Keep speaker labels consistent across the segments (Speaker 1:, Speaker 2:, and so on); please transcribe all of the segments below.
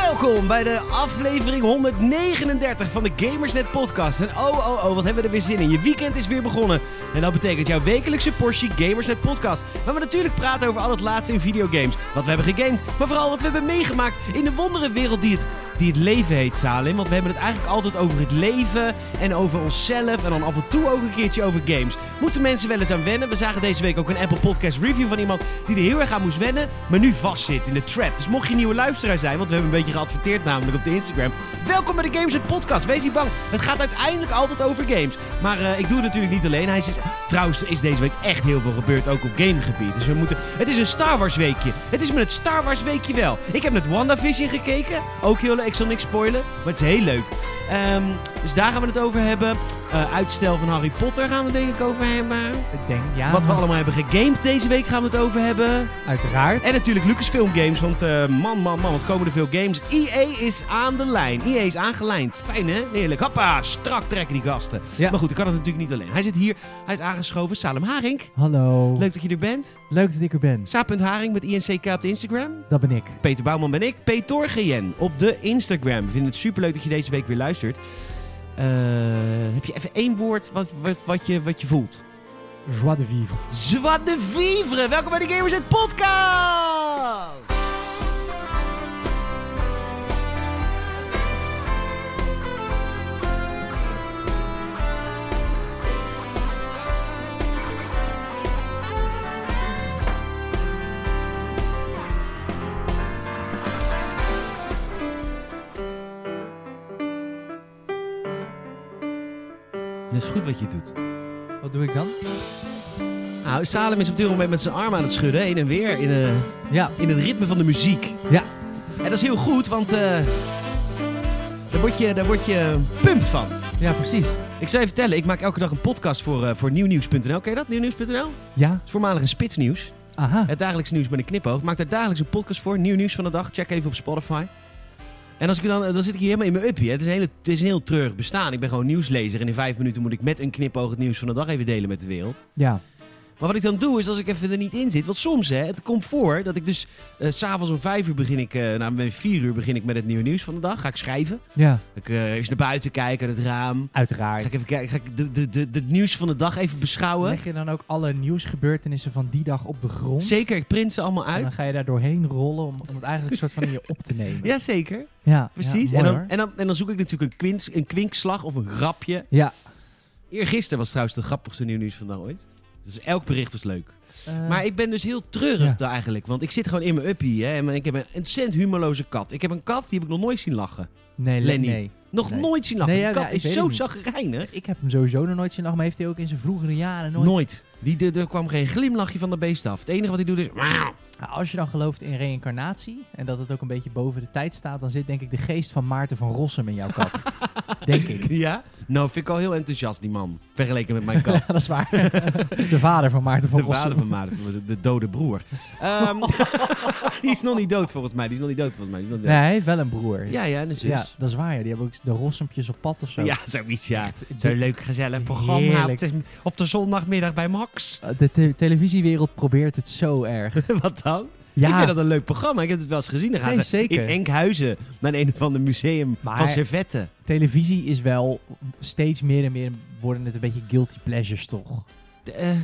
Speaker 1: Welkom bij de aflevering 139 van de Gamersnet podcast. En oh, oh, oh, wat hebben we er weer zin in. Je weekend is weer begonnen. En dat betekent jouw wekelijkse portie Gamersnet podcast. Waar we natuurlijk praten over al het laatste in videogames. Wat we hebben gegamed, maar vooral wat we hebben meegemaakt in de wonderenwereld die het, die het leven heet, Salim. Want we hebben het eigenlijk altijd over het leven en over onszelf. En dan af en toe ook een keertje over games. Moeten mensen wel eens aan wennen. We zagen deze week ook een Apple Podcast review van iemand die er heel erg aan moest wennen. Maar nu vastzit in de trap. Dus mocht je nieuwe luisteraar zijn, want we hebben een beetje geadverteerd namelijk op de Instagram. Welkom bij de Games het Podcast. Wees niet bang. Het gaat uiteindelijk altijd over games. Maar eh, ik doe het natuurlijk niet alleen. Hij is, trouwens er is deze week echt heel veel gebeurd, ook op gamegebied. Dus we moeten... Het is een Star Wars weekje. Het is met het Star Wars weekje wel. Ik heb net WandaVision gekeken. Ook heel leuk. Ik zal niks spoilen. Maar het is heel leuk. Ehm, dus daar gaan we het over hebben. Eh, uitstel van Harry Potter gaan we denk ik over hebben.
Speaker 2: Ik denk, ja.
Speaker 1: Wat we
Speaker 2: maar-
Speaker 1: allemaal hebben gegamed deze week gaan we het over hebben.
Speaker 2: Uiteraard.
Speaker 1: En natuurlijk Lucasfilm Games, want eh, man, man, man, wat komen er veel games. EA is aan de lijn. EA is aangelijnd. Fijn hè? Heerlijk. Hoppa, strak trekken die gasten.
Speaker 2: Ja.
Speaker 1: Maar goed, ik kan het natuurlijk niet alleen. Hij zit hier, hij is aangeschoven. Salem Haring.
Speaker 2: Hallo.
Speaker 1: Leuk dat je er bent.
Speaker 2: Leuk dat ik er ben.
Speaker 1: Sa.haring met INCK op de Instagram.
Speaker 2: Dat ben ik.
Speaker 1: Peter Bouwman ben ik. Peter Gien op de Instagram. We vinden het superleuk dat je deze week weer luistert. Eh, heb je even één woord wat, wat, wat, je, wat je voelt?
Speaker 2: Joie de vivre.
Speaker 1: Zwa de Vivre. Welkom bij de Gamers het Podcast. Dat is goed wat je doet.
Speaker 2: Wat doe ik dan?
Speaker 1: Nou, Salem is op dit moment met zijn arm aan het schudden, heen en weer, in, eh,
Speaker 2: Ja.
Speaker 1: in het ritme van de muziek.
Speaker 2: Ja.
Speaker 1: En dat is heel goed, want eh, daar, word je, daar word je pumped van.
Speaker 2: Ja, precies.
Speaker 1: Ik zou je vertellen, ik maak elke dag een podcast voor, eh, voor nieuwnieuws.nl. Ken je dat, nieuwnieuws.nl? Dat
Speaker 2: Ja.
Speaker 1: is voormalige spitsnieuws.
Speaker 2: Aha.
Speaker 1: Het dagelijks nieuws met een knipoog. Ik maak daar dagelijks een podcast voor, nieuw nieuws van de dag. Check even op Spotify. En als ik dan, dan zit ik hier helemaal in mijn uppie. hè. Het is, een hele, het is een heel treurig bestaan. Ik ben gewoon nieuwslezer en in vijf minuten moet ik met een knipoog het nieuws van de dag even delen met de wereld.
Speaker 2: Ja.
Speaker 1: Maar wat ik dan doe is als ik even er niet in zit. Want soms, hè, het komt voor dat ik dus eh, s s'avonds om vijf uur begin ik, eh nou, om vier uur begin ik met het nieuwe nieuws van de dag. Ga ik schrijven.
Speaker 2: Ja.
Speaker 1: Ik eh eens naar buiten kijken, uit het raam.
Speaker 2: Uiteraard.
Speaker 1: Ga ik even kijken, ga ik de, de, de, het nieuws van de dag even beschouwen.
Speaker 2: Leg je dan ook alle nieuwsgebeurtenissen van die dag op de grond?
Speaker 1: Zeker, ik print ze allemaal
Speaker 2: En dan
Speaker 1: uit.
Speaker 2: ga je daar doorheen rollen om, om het eigenlijk een soort van in je op te nemen.
Speaker 1: Jazeker,
Speaker 2: ja
Speaker 1: precies.
Speaker 2: Ja,
Speaker 1: en,
Speaker 2: mooi
Speaker 1: dan,
Speaker 2: hoor.
Speaker 1: en, dan, en dan zoek ik natuurlijk een, kwint, een kwinkslag of een grapje.
Speaker 2: Ja.
Speaker 1: Eergisteren was trouwens de grappigste nieuw nieuws van de dag ooit. Dus elk bericht was leuk.
Speaker 2: Eh,
Speaker 1: Maar ik ben dus heel treurig
Speaker 2: Ja.
Speaker 1: daar eigenlijk. Want ik zit gewoon in mijn uppie. Hè, en ik heb een ontzettend humorloze kat. Ik heb een kat, die heb ik nog nooit zien lachen.
Speaker 2: nee, Le-
Speaker 1: Lenny.
Speaker 2: nee.
Speaker 1: Nog
Speaker 2: Nee.
Speaker 1: nooit zien lachen.
Speaker 2: Nee,
Speaker 1: Die
Speaker 2: ja,
Speaker 1: kat
Speaker 2: ja, ik
Speaker 1: is
Speaker 2: weet
Speaker 1: zo
Speaker 2: het niet.
Speaker 1: zagrijnig.
Speaker 2: Ik heb hem sowieso nog nooit zien lachen, maar heeft hij ook in zijn vroegere jaren nooit...
Speaker 1: Nooit. Die, er, er kwam geen glimlachje van de beest af. Het enige wat hij doet is... "Wauw."
Speaker 2: Nou, Als je dan gelooft in reïncarnatie en dat het ook een beetje boven de tijd staat, dan zit denk ik de geest van Maarten van Rossum in jouw kat. denk ik.
Speaker 1: Ja? Nou, vind ik al heel enthousiast, die man. Vergeleken met mijn kat.
Speaker 2: Ja, dat is waar. de vader van Maarten van
Speaker 1: De
Speaker 2: Rossum.
Speaker 1: vader van Maarten, de, de dode broer. Ehm, die is nog niet dood volgens mij. Die is nog niet dood volgens mij. Die is nog niet
Speaker 2: Nee,
Speaker 1: dood.
Speaker 2: hij heeft wel een broer.
Speaker 1: Ja, ja, en een zus.
Speaker 2: Ja,
Speaker 1: Ja,
Speaker 2: dat is waar. Ja. Die hebben ook de Rossempjes op pad of zo.
Speaker 1: zoiets, ja.
Speaker 2: Echt, de-
Speaker 1: Zo'n leuk, gezellig programma.
Speaker 2: Heerlijk.
Speaker 1: Het is op de zondagmiddag bij Max.
Speaker 2: Eh, De te- televisiewereld probeert het zo erg.
Speaker 1: Wat dan? Ik
Speaker 2: Ja,
Speaker 1: vind dat een leuk programma. Ik heb het wel eens gezien. Dan gaan
Speaker 2: Nee,
Speaker 1: ze
Speaker 2: zeker.
Speaker 1: in Enkhuizen naar een of ander museum
Speaker 2: Maar-
Speaker 1: van servetten.
Speaker 2: televisie is wel steeds meer en meer worden het een beetje guilty pleasures toch.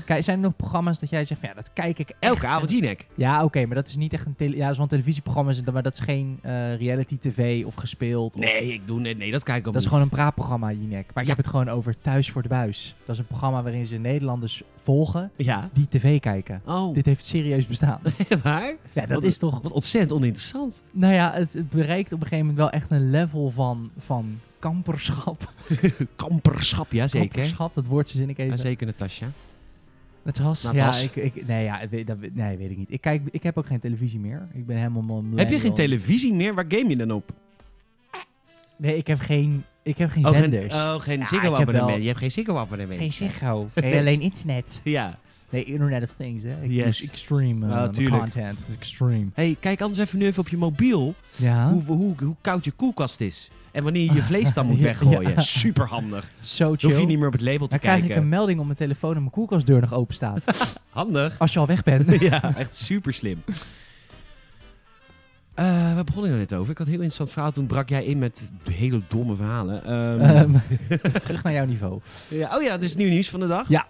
Speaker 2: Kijk, zijn er nog programma's dat jij zegt van ja, dat kijk ik echt.
Speaker 1: Eh. elke avond Jinek.
Speaker 2: Ja, oké, maar dat is niet echt een tele ja, zo'n televisieprogramma, is het, maar dat is geen eh, reality tv of gespeeld. of-
Speaker 1: Nee, ik doe nee, nee, dat kijk ik al
Speaker 2: Dat is gewoon een praatprogramma, Jinek. Maar ik
Speaker 1: Ja.
Speaker 2: heb het gewoon over Thuis voor de Buis. Dat is een programma waarin ze Nederlanders volgen
Speaker 1: Ja.
Speaker 2: die tv kijken.
Speaker 1: Oh,
Speaker 2: Dit heeft serieus bestaan.
Speaker 1: waar?
Speaker 2: Ja, dat
Speaker 1: Wat-
Speaker 2: is toch...
Speaker 1: Wat ontzettend oninteressant.
Speaker 2: Nou ja, het, het bereikt op een gegeven moment wel echt een level van, van kamperschap.
Speaker 1: Kamperschap, ja zeker.
Speaker 2: Kamperschap, dat woord verzin ik even.
Speaker 1: Ja, zeker, Natasja.
Speaker 2: Het was...
Speaker 1: Nou, het
Speaker 2: ja,
Speaker 1: was.
Speaker 2: ik, ik, nee, ja, weet- dat, weet- nee, weet ik niet. Ik, kijk, ik heb ook geen televisie meer. Ik ben helemaal een
Speaker 1: Heb je geen
Speaker 2: millennial.
Speaker 1: televisie meer? Waar game je dan op?
Speaker 2: Nee, ik heb geen, ik heb geen
Speaker 1: Oh, geen-
Speaker 2: zenders.
Speaker 1: Oh, geen
Speaker 2: Ja,
Speaker 1: Ziggo
Speaker 2: ik heb wel-
Speaker 1: abonnement. Je hebt geen Ziggo abonnement.
Speaker 2: Geen Ziggo. Nee, alleen internet.
Speaker 1: Ja.
Speaker 2: Nee, Internet of Things, hè. Ik
Speaker 1: Yes.
Speaker 2: Dus extreme eh,
Speaker 1: Ah,
Speaker 2: mijn
Speaker 1: tuurlijk.
Speaker 2: content. Extreme.
Speaker 1: hey, kijk anders even nu even op je mobiel
Speaker 2: Ja.
Speaker 1: hoe, hoe, hoe koud je koelkast is. En wanneer je je vlees dan moet
Speaker 2: Ja.
Speaker 1: weggooien. Super handig.
Speaker 2: Zo
Speaker 1: Dan
Speaker 2: chill.
Speaker 1: hoef je niet meer op het label te
Speaker 2: dan krijg ik
Speaker 1: kijken.
Speaker 2: een melding op mijn telefoon en mijn koelkastdeur nog open staat.
Speaker 1: Handig.
Speaker 2: Als je al weg bent.
Speaker 1: ja, echt super slim. Eh waar begon ik nou net over? Ik had een heel interessant verhaal. Toen brak jij in met hele domme verhalen. Ehm,
Speaker 2: Ehm, even terug naar jouw niveau.
Speaker 1: ja, oh ja, dus nieuw nieuws van de dag.
Speaker 2: Ja.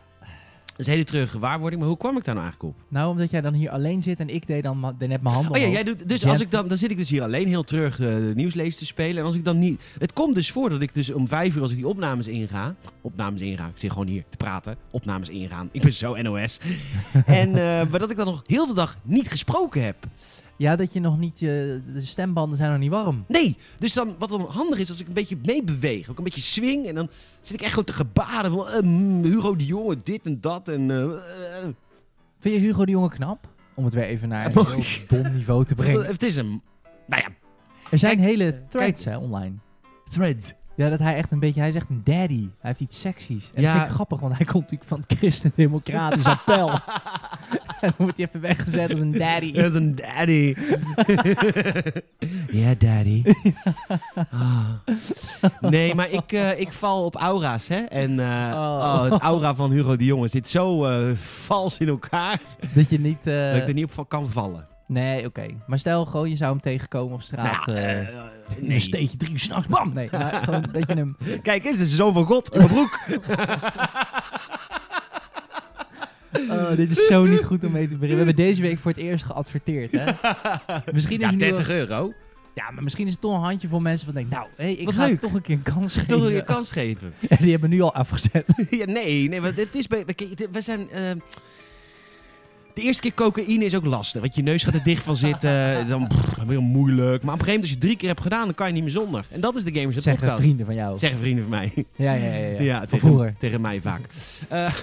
Speaker 1: Dat is een hele treurige gewaarwording. Maar hoe kwam ik daar nou eigenlijk op?
Speaker 2: Nou, omdat jij dan hier alleen zit en ik deed dan ma- net mijn handen
Speaker 1: Oh ja,
Speaker 2: omhoog.
Speaker 1: jij doet, dus
Speaker 2: Jet.
Speaker 1: als ik dan, dan zit ik dus hier alleen heel terug eh, de nieuwslezer te spelen. En als ik dan niet... Het komt dus voor dat ik dus om vijf uur als ik die opnames inga... Opnames inga, ik zit gewoon hier te praten. Opnames ingaan. Ik ben zo NOS. en, eh, maar dat ik dan nog heel de dag niet gesproken heb.
Speaker 2: Ja, dat je nog niet... je de stembanden zijn nog niet warm.
Speaker 1: Nee, dus dan, wat dan handig is, als ik een beetje meebeweeg, ook een beetje swing, en dan zit ik echt gewoon te gebaren van eh, mm, Hugo de Jonge, dit en dat, en eh, eh,
Speaker 2: Vind je Hugo de Jonge knap? Om het weer even naar een
Speaker 1: Mooi.
Speaker 2: heel dom niveau te
Speaker 1: eh,
Speaker 2: brengen.
Speaker 1: het is een, nou ja,
Speaker 2: Er zijn
Speaker 1: Kijk,
Speaker 2: hele threads hè, online.
Speaker 1: thread.
Speaker 2: Ja, dat hij echt een beetje... Hij is echt een daddy. Hij heeft iets seksies. En
Speaker 1: Ja.
Speaker 2: dat vind ik grappig, want hij komt natuurlijk van het christendemocratisch appel. en dan wordt hij even weggezet als een daddy.
Speaker 1: Het is een daddy. Ja, daddy. Ah. Nee, maar ik, eh, ik val op aura's, hè. En eh,
Speaker 2: Oh.
Speaker 1: oh, het aura van Hugo de Jonge zit zo eh, vals in elkaar,
Speaker 2: Dat je niet... eh,
Speaker 1: dat ik er niet op van kan vallen.
Speaker 2: Nee, oké. Maar stel gewoon, je zou hem tegenkomen op straat.
Speaker 1: Nou ja,
Speaker 2: eh,
Speaker 1: eh,
Speaker 2: in
Speaker 1: nee.
Speaker 2: een steentje drie uur s'nachts, bam! Nee, nou, gewoon dat je hem...
Speaker 1: Kijk eens, het is de zoon van God in mijn broek.
Speaker 2: Oh, dit is zo niet goed om mee te beginnen. We hebben deze week voor het eerst geadverteerd, hè? Misschien is
Speaker 1: ja,
Speaker 2: het nu
Speaker 1: 30 euro.
Speaker 2: wel- ja, maar misschien is het toch een handje voor mensen van denk, nou, hé, ik
Speaker 1: Wat
Speaker 2: ga
Speaker 1: leuk.
Speaker 2: toch een keer een kans geven.
Speaker 1: Toch je kans geven.
Speaker 2: En die hebben nu al afgezet.
Speaker 1: ja, nee, nee, want het is bij, we- kijk, we zijn. ehm, de eerste keer cocaïne is ook lastig, want je neus gaat er dicht van zitten. Dan pff, weer moeilijk. Maar op een gegeven moment, als je het drie keer hebt gedaan, dan kan je niet meer zonder. En dat is de Gamers Net
Speaker 2: Zeggen
Speaker 1: Podcast.
Speaker 2: vrienden van jou.
Speaker 1: Zeggen vrienden van mij.
Speaker 2: Ja, ja, ja. ja.
Speaker 1: Ja,
Speaker 2: van
Speaker 1: tegen,
Speaker 2: vroeger.
Speaker 1: tegen mij vaak. Eh,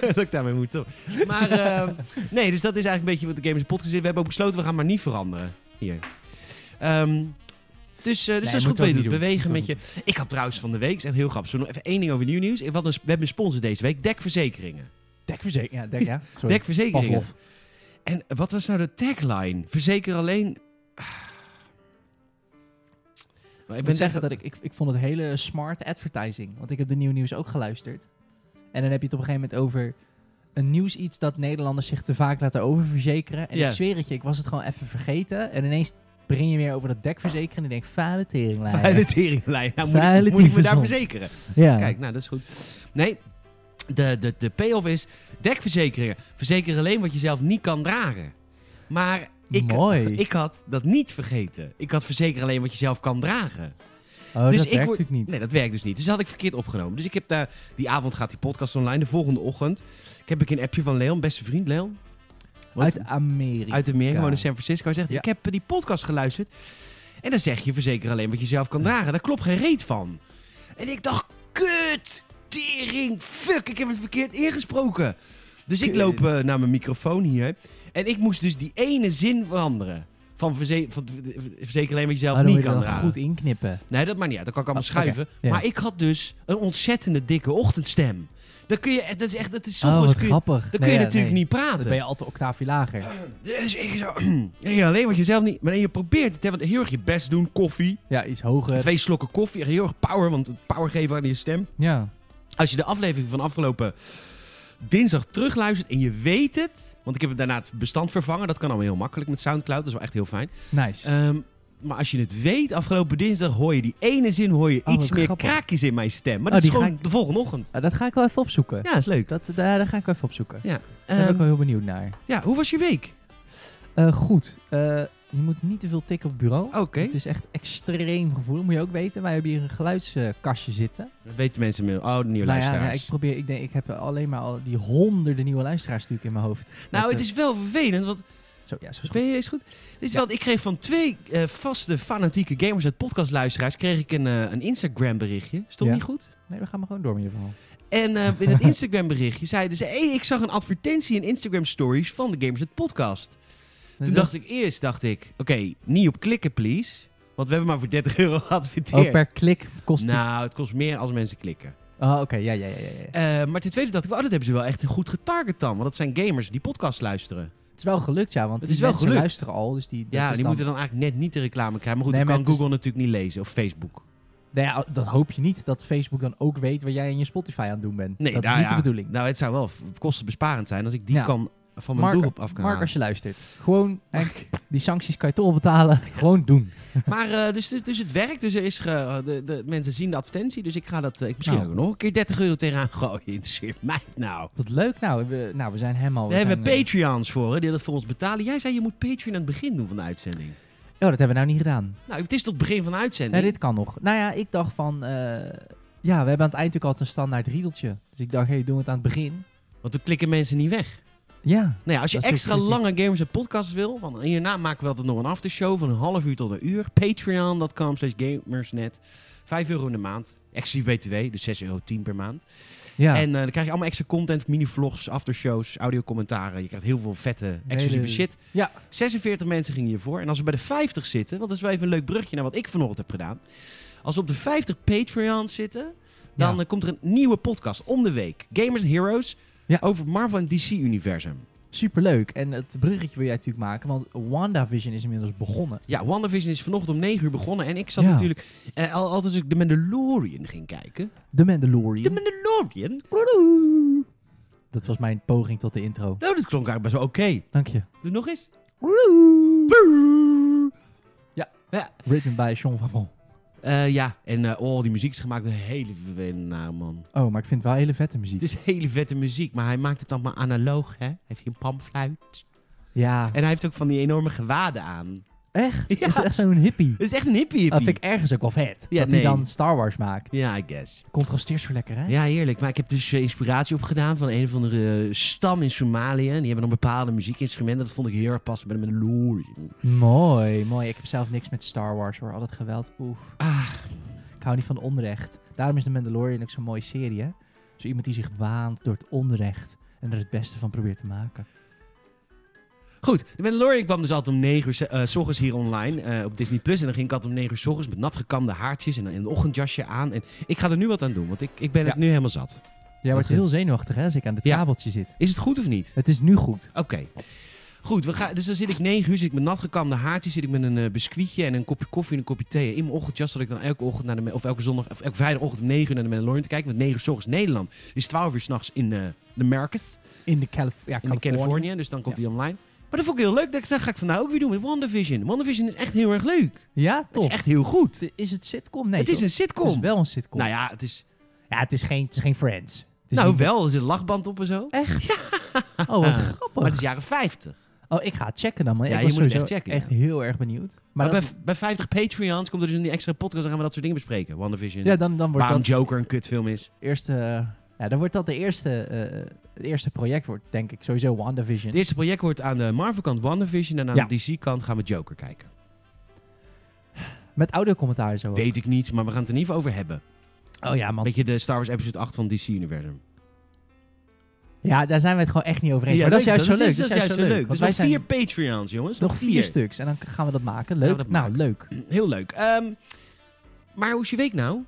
Speaker 1: dat ik daarmee moet. stoppen. Maar ehm, nee, dus dat is eigenlijk een beetje wat de Gamers Podcast is. We hebben ook besloten, we gaan maar niet veranderen hier. Ehm, dus eh, dus
Speaker 2: Nee,
Speaker 1: dat is
Speaker 2: moeten
Speaker 1: goed
Speaker 2: we
Speaker 1: wat je
Speaker 2: ook
Speaker 1: doet.
Speaker 2: niet doen.
Speaker 1: Bewegen met
Speaker 2: Moeten
Speaker 1: je. Ik had trouwens van de week, is echt heel grappig. Zo nog even één ding over nieuw nieuws. Ik had een- We hebben een sponsor deze week, dekverzekeringen.
Speaker 2: Dekverzekering. Ja, dek, ja. Sorry.
Speaker 1: Dekverzekeringen.
Speaker 2: Pavlov.
Speaker 1: En wat was nou de tagline? Verzeker alleen... Maar
Speaker 2: Ik
Speaker 1: ben
Speaker 2: moet zeggen
Speaker 1: echt-
Speaker 2: dat ik, ik, ik vond het hele smart advertising. Want ik heb de Nieuw Nieuws ook geluisterd. En dan heb je het op een gegeven moment over een nieuws iets dat Nederlanders zich te vaak laten oververzekeren. En
Speaker 1: Ja.
Speaker 2: ik zweer het je, ik was het gewoon even vergeten. En ineens begin je weer over dat dekverzekeren en ik denk, vuile teringlijn.
Speaker 1: Vuile teringlijn. Nou, moet,
Speaker 2: Vuile
Speaker 1: ik, moet ik me daar
Speaker 2: tyfusond.
Speaker 1: verzekeren?
Speaker 2: Ja.
Speaker 1: Kijk, nou, dat is goed. Nee, de, de, de payoff is dekverzekeringen. Verzeker alleen wat je zelf niet kan dragen. Maar ik,
Speaker 2: Mooi.
Speaker 1: ik had dat niet vergeten. Ik had verzeker alleen wat je zelf kan dragen.
Speaker 2: oh,
Speaker 1: dus
Speaker 2: dat
Speaker 1: ik
Speaker 2: werkt
Speaker 1: word-
Speaker 2: natuurlijk niet.
Speaker 1: Nee, dat werkt dus niet. Dus dat had ik verkeerd opgenomen. Dus ik heb daar... Die avond gaat die podcast online. De volgende ochtend ik heb ik een appje van Leon, beste vriend Leon. Wat?
Speaker 2: Uit Amerika.
Speaker 1: Uit Amerika, gewoon in San Francisco. Hij zegt,
Speaker 2: Ja.
Speaker 1: ik heb eh, die podcast geluisterd. En dan zeg je verzeker alleen wat je zelf kan dragen. Daar klopt geen reet van. En ik dacht, kut, tering, fuck, ik heb het verkeerd ingesproken. Dus ik
Speaker 2: Kut.
Speaker 1: loop eh, naar mijn microfoon hier. En ik moest dus die ene zin veranderen. Van, verze van eh, verzeker alleen wat je zelf
Speaker 2: Oh, dan
Speaker 1: niet
Speaker 2: moet je
Speaker 1: kan
Speaker 2: dan
Speaker 1: dragen.
Speaker 2: goed inknippen.
Speaker 1: Nee, dat maar niet uit. Dat kan ik allemaal
Speaker 2: Oh,
Speaker 1: schuiven.
Speaker 2: ja.
Speaker 1: Maar ik had dus een ontzettende dikke ochtendstem. Dan kun je, dat is echt, dat is
Speaker 2: oh,
Speaker 1: soms
Speaker 2: wat
Speaker 1: kun je, dan
Speaker 2: grappig.
Speaker 1: kun
Speaker 2: Nee,
Speaker 1: je
Speaker 2: ja,
Speaker 1: natuurlijk
Speaker 2: nee.
Speaker 1: niet praten.
Speaker 2: Dan ben je altijd octaafje lager.
Speaker 1: Dus ik zo... ja, alleen wat je zelf niet... Maar nee, je probeert het. Hè, want heel erg je best doen. Koffie.
Speaker 2: Ja, iets hoger.
Speaker 1: Twee slokken koffie. Heel erg power. Want het power geven aan je stem.
Speaker 2: Ja.
Speaker 1: Als je de aflevering van afgelopen dinsdag terugluistert en je weet het... Want ik heb het daarna het bestand vervangen. Dat kan allemaal heel makkelijk met Soundcloud. Dat is wel echt heel fijn.
Speaker 2: Nice.
Speaker 1: Ehm, maar als je het weet, afgelopen dinsdag hoor je die ene zin... hoor je
Speaker 2: Oh,
Speaker 1: iets
Speaker 2: wat
Speaker 1: meer
Speaker 2: grappig.
Speaker 1: kraakjes in mijn stem. Maar
Speaker 2: Oh,
Speaker 1: dat is
Speaker 2: die
Speaker 1: gewoon
Speaker 2: ga
Speaker 1: de volgende ochtend.
Speaker 2: Ah, dat ga ik wel even opzoeken.
Speaker 1: Ja, is leuk.
Speaker 2: Dat, eh, daar, daar ga ik wel even opzoeken.
Speaker 1: Ja.
Speaker 2: Daar ben ik
Speaker 1: Ehm,
Speaker 2: wel heel benieuwd naar.
Speaker 1: ja, hoe was je week?
Speaker 2: Eh, goed. Eh, je moet niet te veel tikken op het bureau.
Speaker 1: Oké.
Speaker 2: Het is echt extreem gevoelig. Moet je ook weten, wij hebben hier een geluidskastje zitten.
Speaker 1: Dat weten mensen meer. Oh, de nieuwe
Speaker 2: Nou ja,
Speaker 1: luisteraars.
Speaker 2: ja, ik probeer, ik denk, ik heb alleen maar al die honderden nieuwe luisteraars natuurlijk in mijn hoofd.
Speaker 1: nou,
Speaker 2: Dat,
Speaker 1: het
Speaker 2: eh,
Speaker 1: is wel vervelend, want...
Speaker 2: Zo, ja, zo is
Speaker 1: Ben je eens goed? Dit is
Speaker 2: Ja.
Speaker 1: wel, ik kreeg van twee eh, vaste fanatieke gamers uit podcastluisteraars kreeg ik een, eh, een Instagram berichtje. Stond
Speaker 2: Ja.
Speaker 1: niet goed?
Speaker 2: goed. Nee, we gaan maar gewoon door met je verhaal.
Speaker 1: En eh, in het Instagram berichtje zeiden ze: hey, ik zag een advertentie in Instagram stories van de Gamers uit podcast. Toen dacht ik eerst, dacht ik, oké, niet op klikken please, want we hebben maar voor 30 euro
Speaker 2: Oh,
Speaker 1: geadverteerd.
Speaker 2: per klik kost het...
Speaker 1: nou, het kost meer als mensen klikken.
Speaker 2: Oh, oké. Ja, ja, ja, ja, ja.
Speaker 1: Eh, maar ten tweede dacht ik, oh, dat hebben ze wel echt goed getarget dan. Want dat zijn gamers die podcasts luisteren.
Speaker 2: Het is wel gelukt, ja. Want
Speaker 1: Het
Speaker 2: die
Speaker 1: is wel
Speaker 2: mensen
Speaker 1: gelukt.
Speaker 2: luisteren al. Dus die, dat
Speaker 1: Ja,
Speaker 2: is
Speaker 1: die
Speaker 2: dan-
Speaker 1: moeten dan eigenlijk net niet de reclame krijgen. Maar goed,
Speaker 2: Nee,
Speaker 1: dat
Speaker 2: maar
Speaker 1: kan
Speaker 2: het is-
Speaker 1: Google natuurlijk niet lezen. Of Facebook.
Speaker 2: Nou ja, dat hoop je niet. Dat Facebook dan ook weet wat jij in je Spotify aan het doen bent.
Speaker 1: Nee,
Speaker 2: dat
Speaker 1: nou
Speaker 2: is niet
Speaker 1: ja.
Speaker 2: de bedoeling.
Speaker 1: Nou, het zou wel f- kostenbesparend zijn als ik die
Speaker 2: Ja.
Speaker 1: kan van mijn
Speaker 2: Mark,
Speaker 1: doelgroep af kan
Speaker 2: Mark,
Speaker 1: halen.
Speaker 2: als je luistert. Gewoon, echt, die sancties kan je toch wel betalen. Gewoon doen.
Speaker 1: Maar eh, dus, dus, dus het werkt. Dus er is ge- de, de mensen zien de advertentie. Dus ik ga dat eh, ik misschien
Speaker 2: Nou.
Speaker 1: ook nog een keer 30 euro tegenaan gooien. Interesseert mij nou.
Speaker 2: Wat leuk nou. We, nou, we zijn helemaal...
Speaker 1: We hebben
Speaker 2: zijn, eh,
Speaker 1: Patreons voor, hè, die dat voor ons betalen. Jij zei je moet Patreon aan het begin doen van de uitzending.
Speaker 2: Oh, dat hebben we nou niet gedaan.
Speaker 1: Nou, het is tot het begin van de uitzending.
Speaker 2: Nee, dit kan nog. Nou ja, ik dacht van... eh, ja, we hebben aan het eind natuurlijk altijd een standaard riedeltje. Dus ik dacht, hé, hey, doen we het aan het begin.
Speaker 1: Want dan klikken mensen niet weg.
Speaker 2: Ja.
Speaker 1: Nou ja, als je
Speaker 2: Dat is
Speaker 1: extra
Speaker 2: ook kritiek.
Speaker 1: lange gamers en podcasts wil, want hierna maken we altijd nog een aftershow van een half uur tot een uur. Patreon.com slash gamersnet. 5 euro in de maand. Exclusief BTW, dus 6,10 euro per maand.
Speaker 2: Ja.
Speaker 1: En eh, dan krijg je allemaal extra content, mini-vlogs, aftershows, audiocommentaren. Je krijgt heel veel vette, exclusieve
Speaker 2: Hele-
Speaker 1: shit.
Speaker 2: Ja.
Speaker 1: 46 mensen gingen hiervoor. En als we bij de 50 zitten, want dat is wel even een leuk brugje naar wat ik vanochtend heb gedaan. Als we op de 50 Patreons zitten, dan
Speaker 2: Ja.
Speaker 1: eh, komt er een nieuwe podcast om de week. Gamers and Heroes,
Speaker 2: Ja.
Speaker 1: over Marvel en DC-universum.
Speaker 2: Superleuk. En het bruggetje wil jij natuurlijk maken, want WandaVision is inmiddels begonnen.
Speaker 1: Ja, WandaVision is vanochtend om 9 uur begonnen. En ik zat
Speaker 2: Ja.
Speaker 1: natuurlijk, eh, al, altijd als ik de Mandalorian ging kijken.
Speaker 2: The Mandalorian.
Speaker 1: De Mandalorian?
Speaker 2: dat was mijn poging tot de intro.
Speaker 1: Nou, dat klonk eigenlijk best wel oké.
Speaker 2: Dank je.
Speaker 1: Doe nog eens.
Speaker 2: Written by Sean van Vol.
Speaker 1: Eh, ja, en eh, oh, die muziek is gemaakt door een hele vervelende naam, man.
Speaker 2: Oh, maar ik vind het wel hele vette
Speaker 1: Het
Speaker 2: muziek.
Speaker 1: is hele vette muziek, maar hij maakt het allemaal analoog, hè? Heeft hij een pamfluit?
Speaker 2: Ja.
Speaker 1: En hij heeft ook van die enorme gewaden aan.
Speaker 2: Echt?
Speaker 1: Ja.
Speaker 2: Is het echt zo'n hippie?
Speaker 1: Het is echt een hippie hippie.
Speaker 2: Dat Ah, vind ik ergens ook wel vet.
Speaker 1: Ja,
Speaker 2: dat
Speaker 1: nee.
Speaker 2: hij dan Star Wars maakt.
Speaker 1: Ja, I guess.
Speaker 2: Contrasteert zo lekker, hè?
Speaker 1: Ja, heerlijk. Maar ik heb dus eh, inspiratie opgedaan van een of andere eh, stam in Somalië. En die hebben dan bepaalde muziekinstrumenten. Dat vond ik heel erg passend bij de Mandalorian.
Speaker 2: Mooi, mooi. Ik heb zelf niks met Star Wars hoor. Al dat geweld, oef.
Speaker 1: Ah,
Speaker 2: Ik hou niet van onrecht. Daarom is de Mandalorian ook zo'n mooie serie, hè? Zo iemand die zich waant door het onrecht en er het beste van probeert te maken.
Speaker 1: Goed, de Mandalorian kwam dus altijd om 9 uur s- eh, s ochtends hier online eh, op Disney Plus. En dan ging ik altijd om 9 uur s ochtends met natgekamde haartjes en een ochtendjasje aan. En ik ga er nu wat aan doen, want ik, ik ben het
Speaker 2: Ja.
Speaker 1: nu helemaal zat.
Speaker 2: Jij wordt
Speaker 1: Oké.
Speaker 2: heel zenuwachtig, hè, als ik aan dit
Speaker 1: Ja.
Speaker 2: kabeltje zit.
Speaker 1: Is het goed of niet?
Speaker 2: Het is nu goed.
Speaker 1: Oké. Goed, we gaan, dus dan zit ik 9 uur, zit ik met natgekamde haartjes, zit ik met een eh, biscuitje en een kopje koffie en een kopje thee. En in mijn ochtendjas zat ik dan elke ochtend naar de, Ma- of elke zondag, of elke vrijdagochtend om 9 uur naar de Mandalorian te kijken. Want 9 uur s ochtends Nederland is 12 uur s'nachts in eh, de Americas.
Speaker 2: In de Calif ja,
Speaker 1: in
Speaker 2: Californië.
Speaker 1: Californië, dus dan komt hij online. Maar dat vond ik heel leuk. Dat, dat ga ik vandaag ook weer doen met WandaVision. WandaVision is echt heel erg leuk.
Speaker 2: Ja,
Speaker 1: Het
Speaker 2: toch?
Speaker 1: is echt heel goed.
Speaker 2: Is het sitcom? Nee,
Speaker 1: het is
Speaker 2: toch?
Speaker 1: een sitcom.
Speaker 2: Het is wel een sitcom.
Speaker 1: Nou ja, het is...
Speaker 2: Ja, het is geen, het is geen Friends. Het is
Speaker 1: nou,
Speaker 2: niet-
Speaker 1: wel. Er zit een lachband op en zo.
Speaker 2: Echt? Oh, wat
Speaker 1: Ah.
Speaker 2: grappig.
Speaker 1: Maar het is jaren 50.
Speaker 2: Oh, ik ga het checken dan, man.
Speaker 1: Ja,
Speaker 2: ik
Speaker 1: je
Speaker 2: was
Speaker 1: moet het
Speaker 2: sowieso
Speaker 1: echt checken,
Speaker 2: echt heel erg benieuwd. Maar
Speaker 1: Maar bij,
Speaker 2: dat-
Speaker 1: bij 50 Patreons komt er dus een extra podcast. Dan gaan we dat soort dingen bespreken. WandaVision.
Speaker 2: ja, dan, dan wordt
Speaker 1: Waarom
Speaker 2: dat
Speaker 1: Joker een kutfilm is.
Speaker 2: het eerste... eh, Ja, dan wordt dat de eerste, eh, het eerste project, wordt, denk ik. Sowieso WandaVision.
Speaker 1: Het eerste project wordt aan de Marvel-kant WandaVision. En aan
Speaker 2: Ja.
Speaker 1: de DC-kant gaan we Joker kijken.
Speaker 2: Met audiocommentaar zo. ook.
Speaker 1: Weet ik niet, maar we gaan het er niet over hebben.
Speaker 2: Oh ja, man.
Speaker 1: Beetje de Star Wars Episode 8 van DC-universum.
Speaker 2: Ja, daar zijn we het gewoon echt niet over eens.
Speaker 1: Ja,
Speaker 2: maar dat is juist zo
Speaker 1: dat
Speaker 2: leuk.
Speaker 1: Dat is juist zo leuk. Dus
Speaker 2: Want
Speaker 1: nog
Speaker 2: wij zijn
Speaker 1: vier Patreons, jongens.
Speaker 2: nog vier stuks. En dan gaan we dat maken. Leuk.
Speaker 1: Gaan we dat
Speaker 2: nou,
Speaker 1: maken.
Speaker 2: leuk.
Speaker 1: Heel leuk. Ehm, maar hoe is je week nou?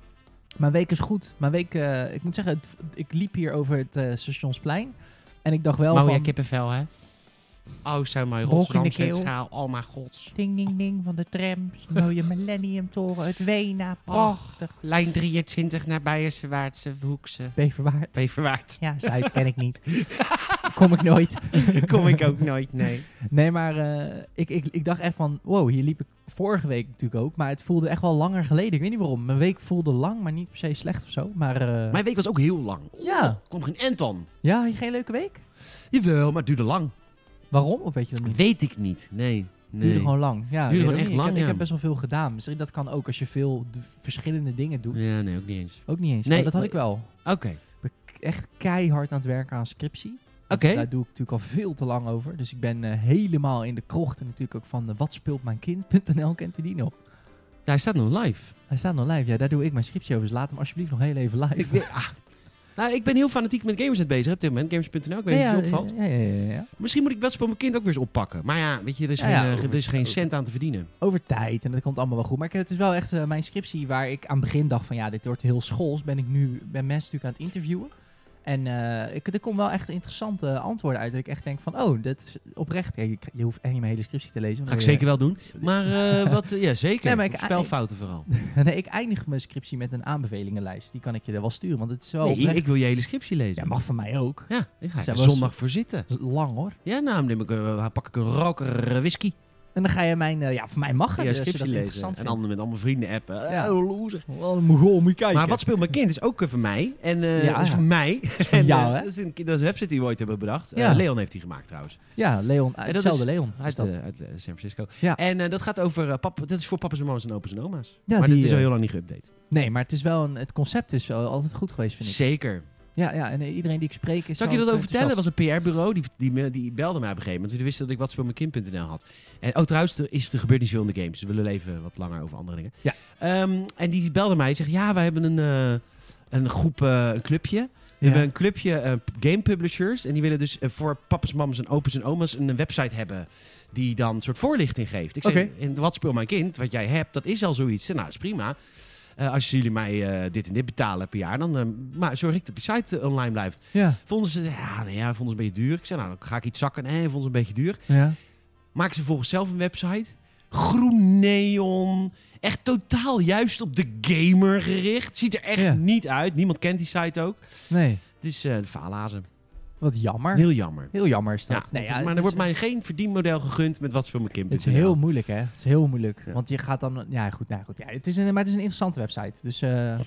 Speaker 2: Mijn week is goed. Mijn week... eh, ik moet zeggen, het- ik liep hier over het eh, Stationsplein. En ik dacht wel
Speaker 1: Mouw
Speaker 2: van...
Speaker 1: jij kippenvel, hè? Oh, zou maar
Speaker 2: Brok in de
Speaker 1: Rotterdam
Speaker 2: keel.
Speaker 1: Centraal. Oh, mijn gods.
Speaker 2: Ding, ding, ding van de trams. De mooie Millenniumtoren. Het Wena. Prachtig.
Speaker 1: Lijn 23 naar Beiersewaardse Hoekse.
Speaker 2: Beverwaard.
Speaker 1: Beverwaard.
Speaker 2: Ja, Zuid ken ik niet. Kom ik nooit.
Speaker 1: Kom ik ook nooit, nee.
Speaker 2: Nee, maar eh, ik, ik, ik dacht echt van... Wow, hier liep ik vorige week natuurlijk ook. Maar het voelde echt wel langer geleden. Ik weet niet waarom. Mijn week voelde lang, maar niet per se slecht of zo. Maar eh,
Speaker 1: Mijn week was ook heel lang.
Speaker 2: ja.
Speaker 1: Kom geen Anton.
Speaker 2: Ja, geen leuke week?
Speaker 1: Jawel, maar het duurde lang.
Speaker 2: Waarom? Of weet je dat niet?
Speaker 1: Weet ik niet. Nee.
Speaker 2: Het
Speaker 1: nee.
Speaker 2: Duurde gewoon lang. Ja,
Speaker 1: Duurde
Speaker 2: weet
Speaker 1: gewoon
Speaker 2: ik
Speaker 1: echt
Speaker 2: niet. Ik
Speaker 1: lang,
Speaker 2: heb, ik
Speaker 1: ja.
Speaker 2: heb best wel veel gedaan. Misschien dat kan ook als je veel d- verschillende dingen doet.
Speaker 1: Ja, nee, ook niet eens.
Speaker 2: Ook niet eens.
Speaker 1: Nee,
Speaker 2: Nee, dat had
Speaker 1: maar-
Speaker 2: ik wel.
Speaker 1: Oké.
Speaker 2: Ik ben echt keihard aan het werken aan scriptie.
Speaker 1: Oké.
Speaker 2: Daar doe ik natuurlijk al veel te lang over. Dus ik ben eh, helemaal in de krochten natuurlijk ook van eh, wat speelt mijn kind.nl. Kent u die nog?
Speaker 1: Ja, hij staat nog live.
Speaker 2: Hij staat nog live. Ja, daar doe ik mijn scriptie over. Dus laat hem alsjeblieft nog heel even live.
Speaker 1: ah. Nou, ik ben heel fanatiek met Gamersnet bezig op dit moment. Gamers.nl, ik weet niet
Speaker 2: Nee,
Speaker 1: of het je
Speaker 2: ja,
Speaker 1: opvalt.
Speaker 2: ja, ja, ja, ja.
Speaker 1: Misschien moet ik Wetspa mijn kind ook weer eens oppakken. Maar ja, weet je, er is,
Speaker 2: Ja,
Speaker 1: geen,
Speaker 2: ja,
Speaker 1: eh,
Speaker 2: over-
Speaker 1: er is geen
Speaker 2: over-
Speaker 1: cent aan te verdienen.
Speaker 2: Over tijd en dat komt allemaal wel goed. Maar ik, het is wel echt eh, mijn scriptie waar ik aan het begin dacht van ja, dit wordt heel schools. Ben ik nu ben mensen natuurlijk aan het interviewen. En eh, ik, er komen wel echt interessante antwoorden uit. Dat ik echt denk van oh, dat is oprecht. Kijk, ik- je hoeft echt niet mijn hele scriptie te lezen.
Speaker 1: Ga ik zeker wel doen. Maar eh, wat, ja, zeker.
Speaker 2: Nee, maar ik-
Speaker 1: Spelfouten vooral.
Speaker 2: nee, ik eindig mijn scriptie met een aanbevelingenlijst. Die kan ik je er wel sturen, want het is wel
Speaker 1: Nee,
Speaker 2: oprecht.
Speaker 1: ik wil je hele scriptie lezen.
Speaker 2: Ja, mag van mij ook.
Speaker 1: Ja, ik ga
Speaker 2: Zij
Speaker 1: er
Speaker 2: was-
Speaker 1: zondag voor zitten.
Speaker 2: Dat is lang hoor.
Speaker 1: Ja, nou, dan neem ik, eh, pak ik een roker eh, whisky.
Speaker 2: En dan ga je mijn, eh, ja, voor mij mag
Speaker 1: Ga
Speaker 2: het.
Speaker 1: je
Speaker 2: als je
Speaker 1: scriptie
Speaker 2: dat
Speaker 1: lezen. En
Speaker 2: interessant vindt.
Speaker 1: dan met allemaal vrienden appen.
Speaker 2: Ja.
Speaker 1: Eh, loser.
Speaker 2: Wel een mogol, moet je kijken.
Speaker 1: Maar wat speelt mijn kind is ook eh, van mij. En eh,
Speaker 2: Ja,
Speaker 1: dat is
Speaker 2: ja.
Speaker 1: van mij.
Speaker 2: is van
Speaker 1: En, eh,
Speaker 2: jou, hè?
Speaker 1: Dat is, een, dat is een website die we ooit hebben bedacht. Eh,
Speaker 2: Ja.
Speaker 1: Leon heeft die gemaakt trouwens.
Speaker 2: Ja, Leon.
Speaker 1: dat
Speaker 2: Hetzelfde
Speaker 1: is-
Speaker 2: Leon.
Speaker 1: Uit,
Speaker 2: Is dat.
Speaker 1: eh, uit eh, San Francisco.
Speaker 2: Ja.
Speaker 1: En eh, dat gaat over... eh, pap, dat is voor papa's en mama's en opa's en oma's.
Speaker 2: Ja,
Speaker 1: maar
Speaker 2: die,
Speaker 1: dit is al
Speaker 2: eh,
Speaker 1: heel lang niet geüpdate.
Speaker 2: Nee, maar het is wel een, het concept is wel altijd goed geweest, vind ik.
Speaker 1: Zeker.
Speaker 2: Ja, ja, en eh, iedereen die ik spreek is.
Speaker 1: Zal ik je
Speaker 2: wel
Speaker 1: dat over vertellen?
Speaker 2: enthousiast.
Speaker 1: Dat was een PR-bureau. Die, die, me- die belde mij op een gegeven moment. Die wisten dat ik wat mijn kind.nl had. En, oh, trouwens, er, is, er gebeurt niet zoveel in de games. Dus We willen even wat langer over andere dingen.
Speaker 2: Ja.
Speaker 1: Ehm, en die belde mij. Zegt, ja, wij hebben een, eh, een groep, eh, een clubje. We
Speaker 2: Ja.
Speaker 1: hebben een clubje eh, game publishers. En die willen dus eh, voor papa's, mama's en opa's en oma's een website hebben. Die dan een soort voorlichting geeft. Ik zeg,
Speaker 2: Oké.
Speaker 1: en wat speel mijn kind? Wat jij hebt, dat is al zoiets. Ik zeg, Nou, is prima. Eh, als jullie mij eh, dit en dit betalen per jaar, dan eh, maar zorg ik dat die site eh, online blijft.
Speaker 2: Ja,
Speaker 1: Vonden ze, ja, nou ja, vonden ze een beetje duur. Ik zei, nou, dan ga ik iets zakken. Nee, vonden ze een beetje duur.
Speaker 2: ja.
Speaker 1: Maken ze volgens zelf een website. Groen neon. Echt totaal juist op de gamer gericht. Ziet er echt
Speaker 2: Ja.
Speaker 1: niet uit. Niemand kent die site ook.
Speaker 2: Nee,
Speaker 1: Dus eh faalhazen.
Speaker 2: wat jammer. Heel,
Speaker 1: Heel jammer.
Speaker 2: jammer is dat.
Speaker 1: Ja,
Speaker 2: nee,
Speaker 1: want- maar
Speaker 2: ja, het
Speaker 1: er
Speaker 2: is-
Speaker 1: wordt mij geen verdienmodel gegund met wat voor mijn kind.
Speaker 2: Het is
Speaker 1: is.
Speaker 2: heel moeilijk, hè? Het is heel moeilijk.
Speaker 1: Ja.
Speaker 2: Want je gaat dan. Ja, goed. Nou, goed ja, het is een, maar het is een interessante website. Dus. eh,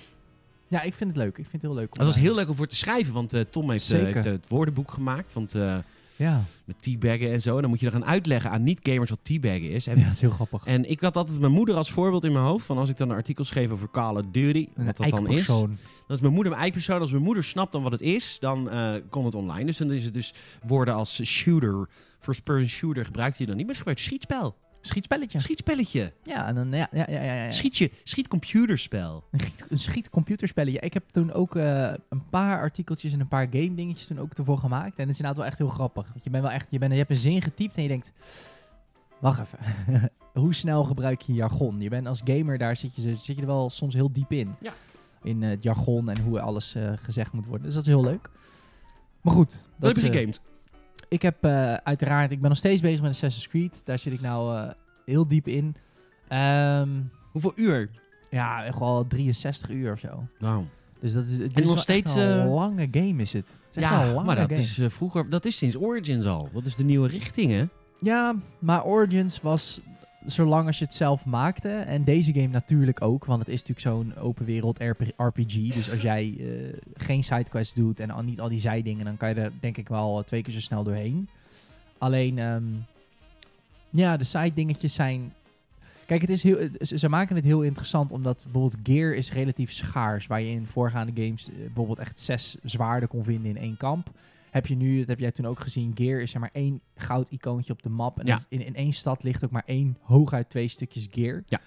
Speaker 2: ja, ik vind het leuk. Ik vind het heel leuk. om,
Speaker 1: Het was
Speaker 2: eh,
Speaker 1: heel leuk om voor te schrijven, want eh, Tom heeft, eh,
Speaker 2: Zeker.
Speaker 1: heeft, eh, het woordenboek gemaakt. Want eh,
Speaker 2: Ja,
Speaker 1: met teabaggen en zo. En dan moet je er gaan uitleggen aan niet-gamers wat teabaggen is. En
Speaker 2: ja, het is heel grappig.
Speaker 1: En ik had altijd mijn moeder als voorbeeld in mijn hoofd. Van als ik dan een artikel schreef over Call of Duty, wat dat dan is. Dan
Speaker 2: eikpersoon.
Speaker 1: is mijn moeder mijn eikpersoon. Als mijn moeder snapt dan wat het is, dan eh kon het online. Dus dan is het dus woorden als shooter, first person shooter gebruikt je dan niet. Maar ze gebruikt schietspel,
Speaker 2: Schietspelletje.
Speaker 1: schietspelletje,
Speaker 2: Ja, en dan. Ja, ja, ja, ja, ja.
Speaker 1: schietje, schietcomputerspel.
Speaker 2: Een, giet, een schietcomputerspelletje. Ik heb toen ook eh, een paar artikeltjes en een paar game dingetjes toen ook ervoor gemaakt. En het is inderdaad wel echt heel grappig. Want je, bent wel echt, je, bent, je hebt een zin getypt en je denkt... Wacht even. Hoe snel gebruik je jargon? Je bent als gamer, daar zit je, zit je er wel soms heel diep in.
Speaker 1: Ja.
Speaker 2: In eh, het jargon en hoe alles eh, gezegd moet worden. Dus dat is heel leuk. Maar goed.
Speaker 1: Dat heb
Speaker 2: is,
Speaker 1: je
Speaker 2: eh,
Speaker 1: gegamed.
Speaker 2: ik heb eh, uiteraard, ik ben nog steeds bezig met Assassin's Creed. Daar zit ik nou eh, heel diep in. Ehm,
Speaker 1: Hoeveel uur?
Speaker 2: ja, echt wel 63 uur of zo.
Speaker 1: Nou,
Speaker 2: Dus dat is, het
Speaker 1: En
Speaker 2: is
Speaker 1: nog
Speaker 2: nog
Speaker 1: steeds,
Speaker 2: steeds een
Speaker 1: eh,
Speaker 2: lange game is het. het is echt wel een
Speaker 1: ja,
Speaker 2: lange
Speaker 1: maar dat
Speaker 2: game.
Speaker 1: is eh, vroeger, dat is sinds Origins al. Dat is de nieuwe richting, hè?
Speaker 2: Ja, maar Origins was zolang als je het zelf maakte en deze game natuurlijk ook, want het is natuurlijk zo'n open wereld RP- RPG. Dus als jij eh, geen sidequests doet en al, niet al die zijdingen, dan kan je er denk ik wel eh, twee keer zo snel doorheen. Alleen, ehm, ja, de side dingetjes zijn Kijk, het is heel, het- ze ze maken het heel interessant omdat bijvoorbeeld gear is relatief schaars. Waar je in voorgaande games eh, bijvoorbeeld echt zes zwaarden kon vinden in één kamp. Heb je nu, dat heb jij toen ook gezien, gear is zeg maar één goud icoontje op de map. En
Speaker 1: Ja.
Speaker 2: dat is- in, in één stad ligt ook maar één, hooguit twee stukjes gear.
Speaker 1: Ja.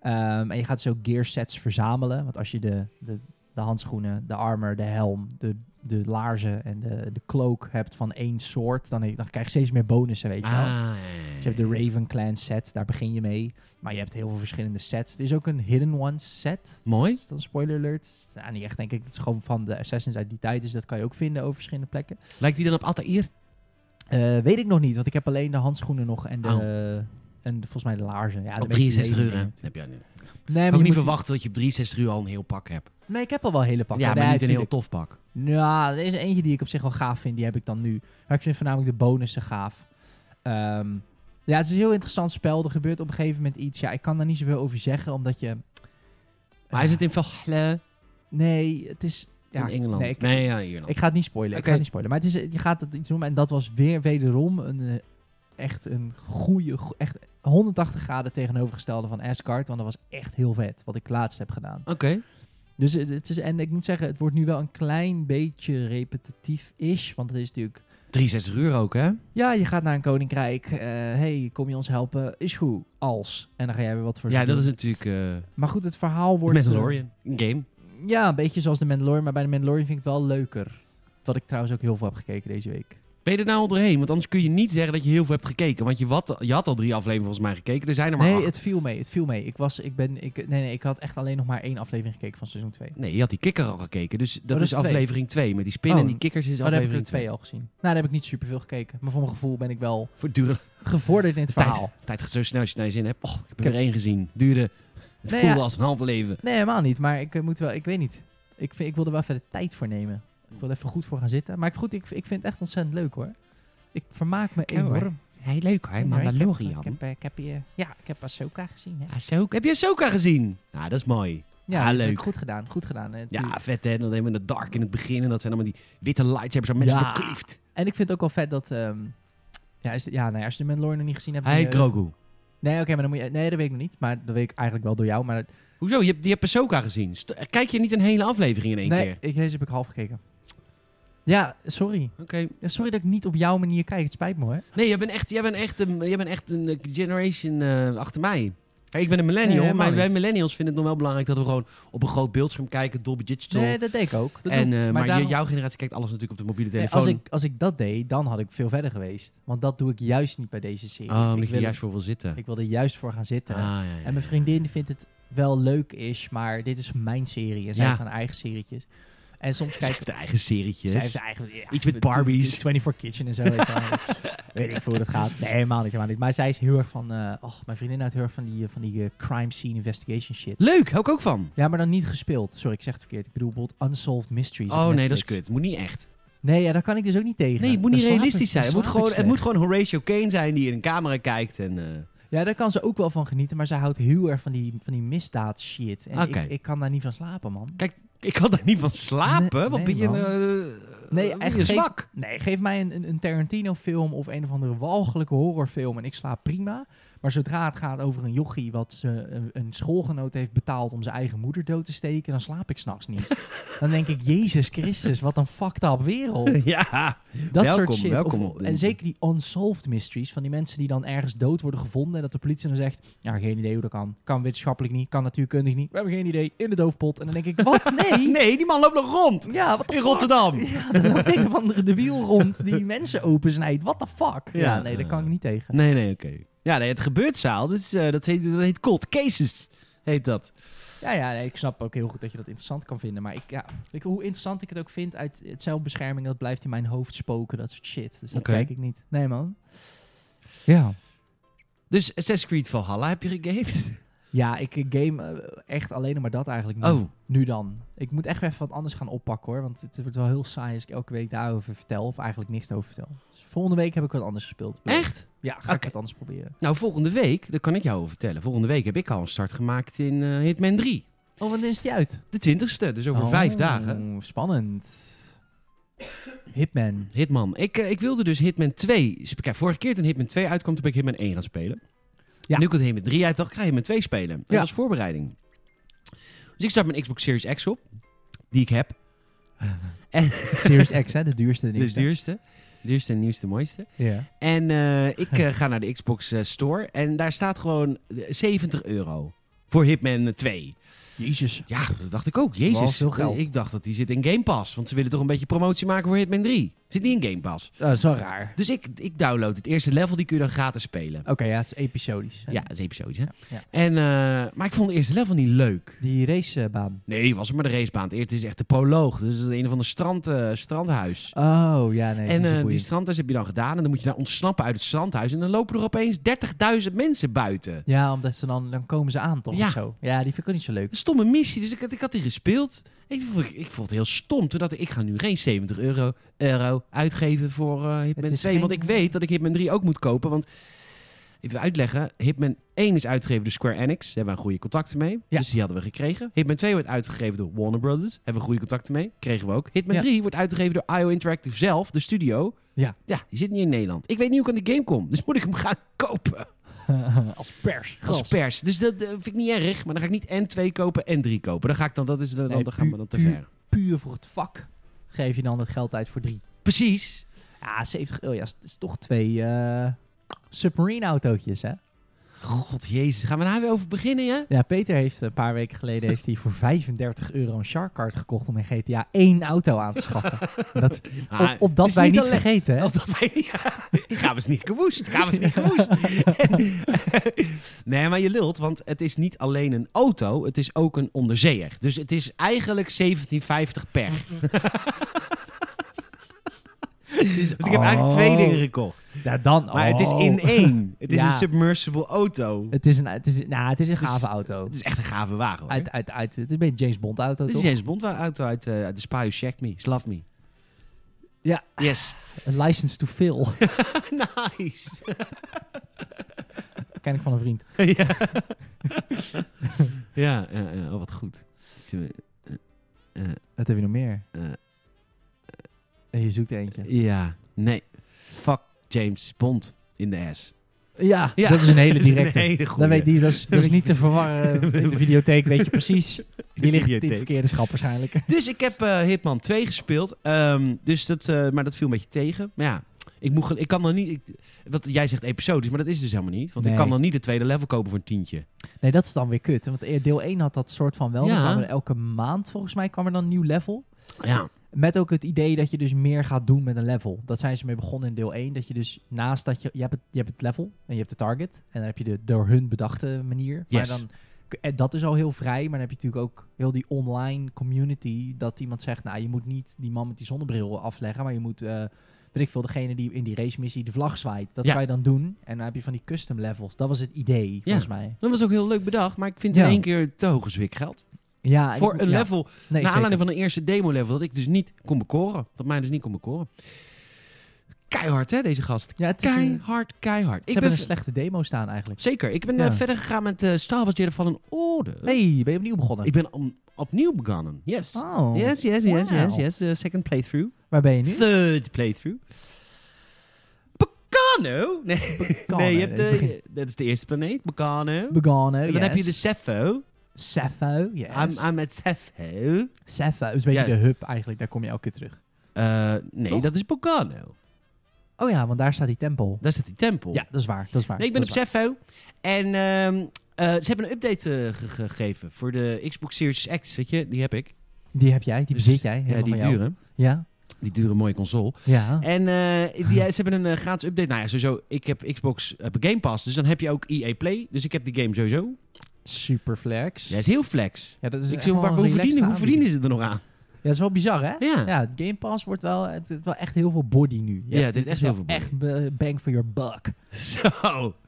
Speaker 2: Ehm, en je gaat zo gear sets verzamelen. Want als je de, de, de handschoenen, de armor, de helm, de, de laarzen en de, de cloak hebt van één soort, dan, dan krijg je steeds meer bonussen, weet je
Speaker 1: Ah,
Speaker 2: wel.
Speaker 1: ja.
Speaker 2: Dus je hebt de Raven Clan set, daar begin je mee. Maar je hebt heel veel verschillende sets. Er is ook een Hidden Ones set.
Speaker 1: Mooi.
Speaker 2: Is dat een spoiler alert? Nou, niet echt, denk ik. Dat is gewoon van de Assassins uit die tijd. Dus dat kan je ook vinden over verschillende plekken.
Speaker 1: Lijkt die dan op Altair?
Speaker 2: Eh, weet ik nog niet, want ik heb alleen de handschoenen nog en de...
Speaker 1: Oh.
Speaker 2: En de- volgens mij de laarzen. Ja, Ah, de
Speaker 1: op
Speaker 2: meest
Speaker 1: 63 uur,
Speaker 2: lelijke
Speaker 1: hè?
Speaker 2: dingen.
Speaker 1: Heb jij niet.
Speaker 2: Nee, maar je
Speaker 1: Ook niet
Speaker 2: moet-
Speaker 1: verwachten dat je op 63 uur al een heel pak hebt.
Speaker 2: Nee, ik heb al wel hele pakken.
Speaker 1: Ja, maar
Speaker 2: Nee,
Speaker 1: niet een heel tof
Speaker 2: tuurlijk.
Speaker 1: pak.
Speaker 2: Nou, er is eentje die ik op zich wel gaaf vind. Die heb ik dan nu. Maar ik vind voornamelijk de bonussen gaaf. Ehm, ja, het is een heel interessant spel. Er gebeurt op een gegeven moment iets. Ja, ik kan daar niet zoveel over zeggen, omdat je...
Speaker 1: Maar hij zit in Valhalla
Speaker 2: Nee, het is... Ja,
Speaker 1: in Engeland.
Speaker 2: Nee,
Speaker 1: Nee,
Speaker 2: ik,
Speaker 1: ja, Ierland.
Speaker 2: ik ga het niet spoilen. Ik
Speaker 1: Oké.
Speaker 2: ga het niet spoilen. Maar het is, je gaat het iets noemen. En dat was weer wederom een, eh, echt een goede... go- Echt 180 graden tegenovergestelde van Asgard. Want dat was echt heel vet. Wat ik laatst heb gedaan.
Speaker 1: Oké.
Speaker 2: Dus eh, het is... En ik moet zeggen, het wordt nu wel een klein beetje repetitief-ish. Want het is natuurlijk...
Speaker 1: 63 uur ook, hè?
Speaker 2: Ja, je gaat naar een koninkrijk. Eh hey, kom je ons helpen? Is goed. Als. En dan ga jij weer wat voor ze
Speaker 1: Ja, dat
Speaker 2: doen.
Speaker 1: is natuurlijk eh
Speaker 2: Maar goed, het verhaal wordt...
Speaker 1: Mandalorian. Een game.
Speaker 2: eh, Ja, een beetje zoals de Mandalorian, maar bij de Mandalorian vind ik het wel leuker. Wat ik trouwens ook heel veel heb gekeken deze week.
Speaker 1: Ben je er nou al doorheen? Want anders kun je niet zeggen dat je heel veel hebt gekeken. Want je, wat, je had al drie afleveringen volgens mij gekeken. Er zijn er maar
Speaker 2: Nee,
Speaker 1: acht.
Speaker 2: het viel mee. Het viel mee. Ik, was, ik, ben, ik, nee, nee, ik had echt alleen nog maar één aflevering gekeken van seizoen 2.
Speaker 1: Nee, je had die kikker al gekeken. Dus dat,
Speaker 2: Oh, dat
Speaker 1: is
Speaker 2: is twee.
Speaker 1: aflevering 2. Met die spinnen
Speaker 2: Oh,
Speaker 1: en die kikkers is
Speaker 2: Oh, daar heb ik er
Speaker 1: aflevering 2.
Speaker 2: twee al gezien. Nou, daar heb ik niet superveel gekeken. Maar voor mijn gevoel ben ik wel
Speaker 1: Voortdurend.
Speaker 2: gevorderd in het verhaal.
Speaker 1: Tijd gaat zo snel als je naar je zin hebt. Och, ik heb
Speaker 2: Ik
Speaker 1: er
Speaker 2: heb-
Speaker 1: weer één gezien. Duurde. Het
Speaker 2: Nee,
Speaker 1: voelde
Speaker 2: ja.
Speaker 1: als een half leven.
Speaker 2: Nee, helemaal niet. Maar ik eh, moet wel, ik weet niet. Ik, vind, ik wil er wel even de tijd voor nemen. Ik wil er even goed voor gaan zitten. Maar ik, goed, ik, ik vind het echt ontzettend leuk hoor. Ik vermaak me
Speaker 1: Ja, hoor.
Speaker 2: enorm.
Speaker 1: Heel leuk hè,
Speaker 2: Maar ik heb-
Speaker 1: Mandalorian.
Speaker 2: Ik heb, eh, ik heb, eh, ja, ik heb Ahsoka gezien. Hè?
Speaker 1: Ahsoka. Heb je Ahsoka gezien? Nou, dat is mooi. Ah,
Speaker 2: Ja, dat heb
Speaker 1: leuk.
Speaker 2: ik Goed gedaan, goed gedaan. eh,
Speaker 1: Ja,
Speaker 2: tuurlijk.
Speaker 1: vet hè. Dan helemaal in het dark in het begin. En dat zijn allemaal die witte lightsabers. Zo mensen
Speaker 2: Ja.
Speaker 1: bekliefd.
Speaker 2: En ik vind het ook wel vet dat... ehm, ja, is, ja, nou ja, als je de Mandalorian nog niet gezien hebt...
Speaker 1: Hij heet
Speaker 2: eh,
Speaker 1: Grogu.
Speaker 2: Nee, oké, maar dan moet je... Nee, dat weet ik nog niet. Maar dat weet ik eigenlijk wel door jou. Maar
Speaker 1: Hoezo? Je hebt, die hebt Ahsoka gezien. St- eh, Kijk je niet een hele aflevering in één
Speaker 2: nee,
Speaker 1: keer?
Speaker 2: Ik, deze heb ik half gekeken. Ja, sorry.
Speaker 1: Oké.
Speaker 2: Ja, sorry dat ik niet op jouw manier kijk. Het spijt me hoor.
Speaker 1: Nee, jij bent echt, jij bent echt, een, jij bent echt een eh, generation eh, achter mij. Kijk, ik ben een millennial,
Speaker 2: Nee, helemaal
Speaker 1: maar wij
Speaker 2: niet.
Speaker 1: millennials vinden het nog wel belangrijk dat we gewoon op een groot beeldscherm kijken, Dolby Digital.
Speaker 2: Nee, dat deed ik ook. Dat
Speaker 1: en,
Speaker 2: doe ik.
Speaker 1: eh, maar j-
Speaker 2: daarom-
Speaker 1: jouw generatie kijkt alles natuurlijk op de mobiele
Speaker 2: Nee,
Speaker 1: telefoon.
Speaker 2: als, ik, als ik dat deed, dan had ik veel verder geweest. Want dat doe ik juist niet bij deze serie.
Speaker 1: oh, omdat
Speaker 2: ik,
Speaker 1: je er
Speaker 2: wil,
Speaker 1: juist voor wil zitten.
Speaker 2: ik wil er juist voor gaan zitten.
Speaker 1: Ah, ja, ja,
Speaker 2: En mijn
Speaker 1: ja.
Speaker 2: vriendin vindt het wel leuk is, maar dit is mijn serie. En zij
Speaker 1: Ja.
Speaker 2: heeft haar eigen serietjes. En soms
Speaker 1: Zij
Speaker 2: kijk
Speaker 1: heeft haar eigen serietjes.
Speaker 2: zij heeft eigenlijk ja,
Speaker 1: Iets met Barbies.
Speaker 2: 24 Kitchen en zo. weet, je wel. weet ik veel hoe dat gaat. Nee, helemaal niet, helemaal niet. Maar zij is heel erg van... eh oh, mijn vriendin houdt heel erg van die, eh, van die eh, crime scene investigation shit.
Speaker 1: Leuk, hou ik ook van.
Speaker 2: Ja, maar dan niet gespeeld. Sorry, ik zeg het verkeerd. Ik bedoel bijvoorbeeld Unsolved Mysteries op
Speaker 1: Oh nee, dat is
Speaker 2: Netflix.
Speaker 1: kut. Moet niet echt.
Speaker 2: Nee, ja, daar kan ik dus ook niet tegen.
Speaker 1: Nee, het moet
Speaker 2: Dan
Speaker 1: niet
Speaker 2: slaap
Speaker 1: realistisch
Speaker 2: ik-
Speaker 1: zijn.
Speaker 2: dan
Speaker 1: Het moet,
Speaker 2: slaap
Speaker 1: gewoon,
Speaker 2: ik
Speaker 1: het moet
Speaker 2: slecht.
Speaker 1: gewoon Horatio Kane zijn die in een camera kijkt. En, eh,
Speaker 2: Ja, daar kan ze ook wel van genieten, maar ze houdt heel erg van die, van die misdaad shit. En
Speaker 1: Oké.
Speaker 2: ik, ik kan daar niet van slapen, man.
Speaker 1: Ik kan daar niet van slapen.
Speaker 2: Nee,
Speaker 1: Wat
Speaker 2: nee,
Speaker 1: ben je,
Speaker 2: man.
Speaker 1: eh,
Speaker 2: Nee,
Speaker 1: wat ben
Speaker 2: echt
Speaker 1: je
Speaker 2: geen-
Speaker 1: zwak?
Speaker 2: Nee, geef mij een, een, een Tarantino-film of een of andere walgelijke horrorfilm en ik slaap prima. Maar zodra het gaat over een jochie wat ze, een, een schoolgenoot heeft betaald om zijn eigen moeder dood te steken, dan slaap ik s'nachts niet. dan denk ik, Jezus Christus, wat een fucked up wereld.
Speaker 1: Ja,
Speaker 2: Dat
Speaker 1: Welkom,
Speaker 2: soort shit.
Speaker 1: welkom
Speaker 2: Of-
Speaker 1: op de-
Speaker 2: en zeker die unsolved mysteries van die mensen die dan ergens dood worden gevonden en dat de politie dan zegt, ja, geen idee hoe dat kan. Kan wetenschappelijk niet, kan natuurkundig niet. We hebben geen idee. In de doofpot. En dan denk ik, wat? Nee.
Speaker 1: Nee, die man loopt nog rond.
Speaker 2: Ja, wat de
Speaker 1: In
Speaker 2: fuck?
Speaker 1: Rotterdam.
Speaker 2: Ja, dan loopt een of andere debiel rond die mensen opensnijdt. What the fuck? Ja,
Speaker 1: Ja,
Speaker 2: nee, daar
Speaker 1: eh.
Speaker 2: kan ik niet tegen.
Speaker 1: Nee, nee, oké. Ja, nee, het gebeurtzaal, dat, is, eh, dat, heet, dat heet cold cases, heet dat.
Speaker 2: Ja, ja, nee, ik snap ook heel goed dat je dat interessant kan vinden. Maar ik, ja, ik, hoe interessant ik het ook vind uit het zelfbescherming, dat blijft in mijn hoofd spoken, dat soort shit. Dus dat
Speaker 1: Oké.
Speaker 2: kijk ik niet. Nee, man. Ja.
Speaker 1: Dus Assassin's Creed Valhalla heb je gegamed?
Speaker 2: Ja, ik eh, game eh, echt alleen nog maar dat eigenlijk nu.
Speaker 1: Oh,
Speaker 2: Nu dan. Ik moet echt weer even wat anders gaan oppakken hoor. Want het wordt wel heel saai als ik elke week daarover vertel. Of eigenlijk niks over vertel. Dus volgende week heb ik wat anders gespeeld.
Speaker 1: echt?
Speaker 2: Ja, ga ik
Speaker 1: Oké.
Speaker 2: het anders proberen.
Speaker 1: Nou, volgende week, daar kan ik jou over vertellen. Volgende week heb ik al een start gemaakt in eh, Hitman 3.
Speaker 2: Oh, wanneer is die uit?
Speaker 1: De 20ste, dus over
Speaker 2: Oh,
Speaker 1: vijf dagen.
Speaker 2: Spannend. Hitman.
Speaker 1: Hitman. Ik, eh, ik wilde dus Hitman 2... sp- Kijk, vorige keer toen Hitman 2 uitkwam, toen ben ik Hitman 1 gaan spelen.
Speaker 2: Ja.
Speaker 1: Nu komt Hitman 3 uit, dacht ik ga Hitman 2 spelen. Dat
Speaker 2: Ja.
Speaker 1: was voorbereiding. Dus ik start mijn Xbox Series X op, die ik heb.
Speaker 2: Series X, hè? De duurste.
Speaker 1: Dus duurste. Duurste, nieuwste, mooiste.
Speaker 2: Ja.
Speaker 1: En eh, ik eh, ga naar de Xbox eh, Store en daar staat gewoon eh, 70 euro voor Hitman 2.
Speaker 2: Jezus.
Speaker 1: Ja, dat dacht ik ook.
Speaker 2: Wel
Speaker 1: Jezus,
Speaker 2: veel geld.
Speaker 1: ik dacht dat die zit in Game Pass. Want ze willen toch een beetje promotie maken voor Hitman 3. Zit niet in Game Pass.
Speaker 2: Dat is wel raar.
Speaker 1: Dus ik, ik download het eerste level, die kun je dan gratis spelen.
Speaker 2: Oké, ja, het is episodisch. hè.
Speaker 1: Ja, dat is episodisch, hè?
Speaker 2: Ja.
Speaker 1: En, eh, maar ik vond het eerste level niet leuk.
Speaker 2: Die racebaan.
Speaker 1: Nee, was het maar de racebaan. Het is echt de proloog. Dus het is een van de strand, eh, strandhuis.
Speaker 2: Oh, ja,
Speaker 1: En
Speaker 2: nee. dat is
Speaker 1: eh,
Speaker 2: een
Speaker 1: die
Speaker 2: boeie.
Speaker 1: strandhuis heb je dan gedaan. En dan moet je daar ontsnappen uit het strandhuis. En dan lopen er opeens 30.000 mensen buiten.
Speaker 2: Ja, omdat ze dan, dan komen ze aan, toch?
Speaker 1: Ja.
Speaker 2: Of zo. Ja, die vind ik ook niet zo leuk.
Speaker 1: Een stomme missie, dus ik, had- ik had die gespeeld. Ik vond, ik, vond het heel stom. Toen dacht ik, ik ga nu geen 70 euro, euro uitgeven voor eh Hitman
Speaker 2: Het is
Speaker 1: 2.
Speaker 2: geen-
Speaker 1: Want ik weet dat ik Hitman 3 ook moet kopen. Want, even uitleggen, Hitman 1 is uitgegeven door Square Enix. Daar hebben we goede contacten mee.
Speaker 2: Ja.
Speaker 1: Dus die hadden we gekregen. Hitman 2 wordt uitgegeven door Warner Brothers. Hebben we goede contacten mee. Kregen we ook. Hitman
Speaker 2: Ja.
Speaker 1: 3 wordt uitgegeven door IO Interactive zelf, de studio.
Speaker 2: Ja.
Speaker 1: Ja, die zit niet in Nederland. Ik weet niet hoe ik aan de game kom. Dus moet ik hem gaan kopen.
Speaker 2: Als pers.
Speaker 1: Als pers. Dus dat eh, vind ik niet erg. Maar dan ga ik niet en 2 kopen en 3 kopen. Dan ga ik dan, dat is, dan,
Speaker 2: Nee,
Speaker 1: dan gaan we dan te
Speaker 2: puur-
Speaker 1: ver.
Speaker 2: Puur voor het vak geef je dan het geld uit voor drie. oh
Speaker 1: Precies.
Speaker 2: Ja, 70 euro. Ja, het is toch twee eh submarine autootjes, hè?
Speaker 1: God, jezus. Gaan we daar weer over beginnen, ja?
Speaker 2: Ja, Peter heeft een paar weken geleden heeft hij voor 35 euro een Shark Card gekocht om in GTA één auto aan te schaffen. En dat, op, op dat
Speaker 1: is
Speaker 2: wij
Speaker 1: niet
Speaker 2: niet
Speaker 1: alleen-
Speaker 2: vergeten, hè?
Speaker 1: Of dat wij niet... Die gaan we eens niet gewoest. Gaan we eens niet gewoest. nee, maar je lult, want het is niet alleen een auto, het is ook een onderzeeër. Dus het is eigenlijk 1750 per. Dus ik heb eigenlijk twee
Speaker 2: Oh.
Speaker 1: dingen gekocht.
Speaker 2: Ja, dan,
Speaker 1: Maar het is in
Speaker 2: oh.
Speaker 1: één. Het is
Speaker 2: Ja.
Speaker 1: een submersible auto.
Speaker 2: Het is een, het is, nou, het is een
Speaker 1: is-
Speaker 2: gave auto.
Speaker 1: Het is echt een gave wagen, hoor.
Speaker 2: Uit, uit, uit, het is een beetje James Bond auto,
Speaker 1: Dit is
Speaker 2: toch?
Speaker 1: een James Bond auto uit, eh, uit de Spy Who Shagged Me. Is Love Me.
Speaker 2: Ja.
Speaker 1: Yes.
Speaker 2: Een license to fill.
Speaker 1: nice.
Speaker 2: Ken ik van een vriend.
Speaker 1: ja. ja, ja, ja. Oh, wat goed.
Speaker 2: Wat heb je nog meer?
Speaker 1: Eh.
Speaker 2: En je zoekt eentje.
Speaker 1: Ja. Nee. Fuck James Bond in de ass.
Speaker 2: Ja,
Speaker 1: Ja.
Speaker 2: dat is een hele
Speaker 1: Dat is een
Speaker 2: directe.
Speaker 1: hele goeie.
Speaker 2: Dan weet die, dat is, dat is niet te verwarren. eh, In de videotheek weet je precies. Die ligt in het
Speaker 1: Videotheek.
Speaker 2: verkeerde schap waarschijnlijk.
Speaker 1: Dus ik heb eh, Hitman 2 gespeeld. Ehm, dus dat, eh, maar dat viel een beetje tegen. Maar ja, ik, moet, gel- ik kan dan niet... ik- wat jij zegt episodisch, maar dat is dus helemaal niet. Want ik
Speaker 2: Nee.
Speaker 1: kan dan niet de tweede level kopen voor een tientje.
Speaker 2: Nee, dat is dan weer kut. Want eer- deel 1 had dat soort van wel. Dan
Speaker 1: Ja.
Speaker 2: kwamen er elke maand volgens mij kwam er dan een nieuw level.
Speaker 1: Ja.
Speaker 2: Met ook het idee dat je dus meer gaat doen met een level. Dat zijn ze mee begonnen in deel 1. Dat je dus naast dat je... Je hebt het, je hebt het level en je hebt de target. En dan heb je de door hun bedachte manier.
Speaker 1: Yes.
Speaker 2: Maar dan, en dat is al heel vrij. Maar dan heb je natuurlijk ook heel die online community. Dat iemand zegt, nou je moet niet die man met die zonnebril afleggen. Maar je moet... eh weet ik veel, degene die in die race missie de vlag zwaait. Dat
Speaker 1: Ja.
Speaker 2: kan je dan doen. En dan heb je van die custom levels. Dat was het idee, volgens mij.
Speaker 1: Dat was ook heel leuk bedacht, maar ik vind
Speaker 2: Ja.
Speaker 1: in één keer te hoge zwikgeld.
Speaker 2: Ja, ik-
Speaker 1: Voor een
Speaker 2: ja.
Speaker 1: level,
Speaker 2: Nee,
Speaker 1: naar
Speaker 2: zeker.
Speaker 1: aanleiding van een eerste demo-level, dat ik dus niet kon bekoren. Dat mij dus niet kon bekoren. Keihard, hè, deze gast.
Speaker 2: Ja, het is, een- ze
Speaker 1: Keihard, keihard. Ik
Speaker 2: hebben
Speaker 1: ben
Speaker 2: een slechte demo staan eigenlijk.
Speaker 1: Zeker. Ik ben
Speaker 2: Ja.
Speaker 1: eh, verder gegaan met eh Star Wars Jedi van een Orde.
Speaker 2: hey, ben je opnieuw begonnen?
Speaker 1: Ik ben om- opnieuw begonnen. Yes.
Speaker 2: Oh.
Speaker 1: Yes, yes, yes,
Speaker 2: Wauw.
Speaker 1: yes, yes. Eh, second playthrough.
Speaker 2: Waar ben je nu?
Speaker 1: Third playthrough. Bacano? Nee,
Speaker 2: Gone,
Speaker 1: nee je
Speaker 2: hè,
Speaker 1: hebt
Speaker 2: dus begin-
Speaker 1: de, dat is de eerste planeet. Bacano.
Speaker 2: Begone,
Speaker 1: En dan heb je de Cepho.
Speaker 2: Sappho, yes.
Speaker 1: I'm, I'm at Cepho.
Speaker 2: Sappho is een beetje
Speaker 1: Ja.
Speaker 2: de hub eigenlijk, daar kom je elke keer terug.
Speaker 1: Eh, nee,
Speaker 2: Toch?
Speaker 1: dat is Bogano.
Speaker 2: Oh ja, want daar staat die tempel.
Speaker 1: Daar staat die tempel.
Speaker 2: Ja, dat is waar, dat is waar.
Speaker 1: Nee, ik ben op
Speaker 2: dat is
Speaker 1: Cepho. En ehm, eh, ze hebben een update eh, ge- gegeven voor de Xbox Series X, weet je? Die heb ik.
Speaker 2: waar. Die heb jij, die
Speaker 1: Dus-
Speaker 2: bezit jij.
Speaker 1: Ja,
Speaker 2: helemaal
Speaker 1: die
Speaker 2: van jou. Oh.
Speaker 1: dure.
Speaker 2: Ja,
Speaker 1: Die dure mooie console.
Speaker 2: ja.
Speaker 1: En eh, die, ze hebben een eh, gratis update. Nou ja, sowieso, ik heb Xbox eh, Game Pass, dus dan heb je ook EA Play. Dus ik heb die game sowieso.
Speaker 2: Super flex.
Speaker 1: Jij is heel flex.
Speaker 2: Ja, dat is
Speaker 1: Dus ik
Speaker 2: echt
Speaker 1: zie,
Speaker 2: wel
Speaker 1: waar,
Speaker 2: een
Speaker 1: hoe,
Speaker 2: relaxed
Speaker 1: verdienen, hoe
Speaker 2: aanbieding.
Speaker 1: verdienen ze er nog aan?
Speaker 2: Ja, dat is wel bizar, hè?
Speaker 1: Ja.
Speaker 2: Ja, Game Pass wordt wel, het, het wel echt heel veel body nu. Je
Speaker 1: Ja,
Speaker 2: hebt-
Speaker 1: dit is
Speaker 2: wel
Speaker 1: heel veel body.
Speaker 2: Echt eh, bang for your buck.
Speaker 1: Zo.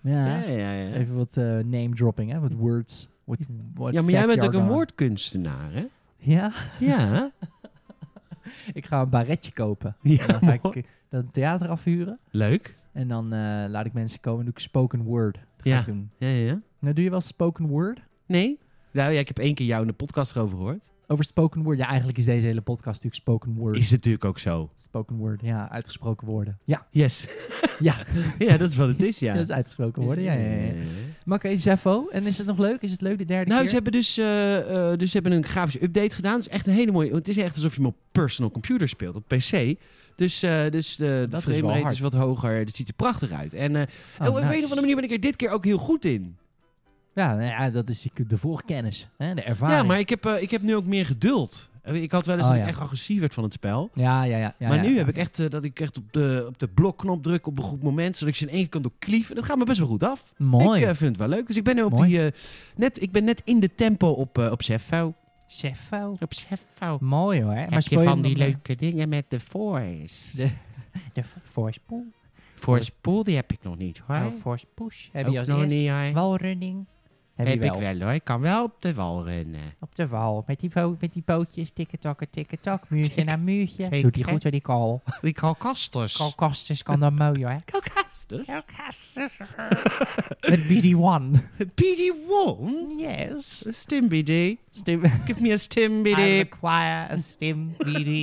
Speaker 2: Ja.
Speaker 1: Ja, ja, ja.
Speaker 2: Even wat eh, name dropping, hè? Wat words. Wat, wat
Speaker 1: Ja, maar jij
Speaker 2: fact
Speaker 1: bent ook een
Speaker 2: jargon.
Speaker 1: woordkunstenaar, hè?
Speaker 2: Ja,
Speaker 1: Ja.
Speaker 2: ik ga een baretje kopen. En
Speaker 1: ja
Speaker 2: dan ga ik eh, dat theater afhuren.
Speaker 1: Leuk.
Speaker 2: En dan eh, laat ik mensen komen en doe ik spoken word. Dat ga
Speaker 1: Ja.
Speaker 2: ik doen.
Speaker 1: Ja, ja, ja.
Speaker 2: Nou, doe je wel spoken word?
Speaker 1: Nee? Nou ja, ik heb één keer jou in de podcast erover gehoord.
Speaker 2: Over spoken word? Ja, eigenlijk is deze hele podcast natuurlijk spoken word.
Speaker 1: Is natuurlijk ook zo.
Speaker 2: Spoken word, ja, uitgesproken woorden. Ja,
Speaker 1: Yes.
Speaker 2: ja,
Speaker 1: ja, dat is wat het is, ja.
Speaker 2: dat is uitgesproken worden. Ja, ja, ja. Maar oké, Zeffo. En is het nog leuk? Is het leuk de derde
Speaker 1: Nou,
Speaker 2: keer?
Speaker 1: ze hebben dus, eh, eh, dus ze hebben een grafische update gedaan. Het is echt een hele mooie... want Het is echt alsof je hem op personal computer speelt, op PC. Dus, eh, dus eh, de
Speaker 2: Dat is
Speaker 1: frame
Speaker 2: wel
Speaker 1: rate
Speaker 2: hard.
Speaker 1: is wat hoger. Het ziet er prachtig uit. En eh,
Speaker 2: Oh,
Speaker 1: en op een
Speaker 2: nice.
Speaker 1: of andere manier ben ik er dit keer ook heel goed in.
Speaker 2: Ja, nou ja, dat is natuurlijk de voorkennis. Hè? De ervaring.
Speaker 1: Ja, maar ik heb, eh, ik heb nu ook meer geduld. Eh, Ik had wel eens
Speaker 2: Oh,
Speaker 1: dat
Speaker 2: ja.
Speaker 1: ik echt agressief werd van het spel.
Speaker 2: Ja, ja, ja. ja,
Speaker 1: maar
Speaker 2: ja,
Speaker 1: nu
Speaker 2: ja.
Speaker 1: heb ik echt eh, dat ik echt op de, op de blokknop druk op een goed moment. Zodat ik ze in één keer kan doorklieven. Dat gaat me best wel goed af.
Speaker 2: Mooi.
Speaker 1: Ik eh, vind het wel leuk. Dus ik ben nu op
Speaker 2: Mooi.
Speaker 1: die... eh, net, ik ben net in de tempo op, eh op Zeffo.
Speaker 2: Zeffo.
Speaker 1: Op Zeffo.
Speaker 2: Mooi hoor.
Speaker 1: Heb
Speaker 2: maar speel je hem dan-
Speaker 1: dingen met eh? de voice?
Speaker 2: De- De voorspoel.
Speaker 1: spoel die heb ik nog niet
Speaker 2: Oh, force push heb je als eerste.
Speaker 1: niet hoor.
Speaker 2: Walrunning heb, je wel.
Speaker 1: hoor. Ik kan wel op de wal rennen.
Speaker 2: Op de wal, met die, po- met die pootjes, tikketakken, tikketak, muurtje
Speaker 1: Tik-
Speaker 2: naar muurtje.
Speaker 1: Zeker.
Speaker 2: Doet die goed door die kal.
Speaker 1: Die kalkasters.
Speaker 2: Kalkasters kan dan mooi hoor.
Speaker 1: Kalkasters?
Speaker 2: Kalkasters. Met BD1.
Speaker 1: PD1?
Speaker 2: Yes.
Speaker 1: Stim BD.
Speaker 2: Stim.
Speaker 1: Give me a Stim
Speaker 2: I
Speaker 1: BD.
Speaker 2: require a stim BD.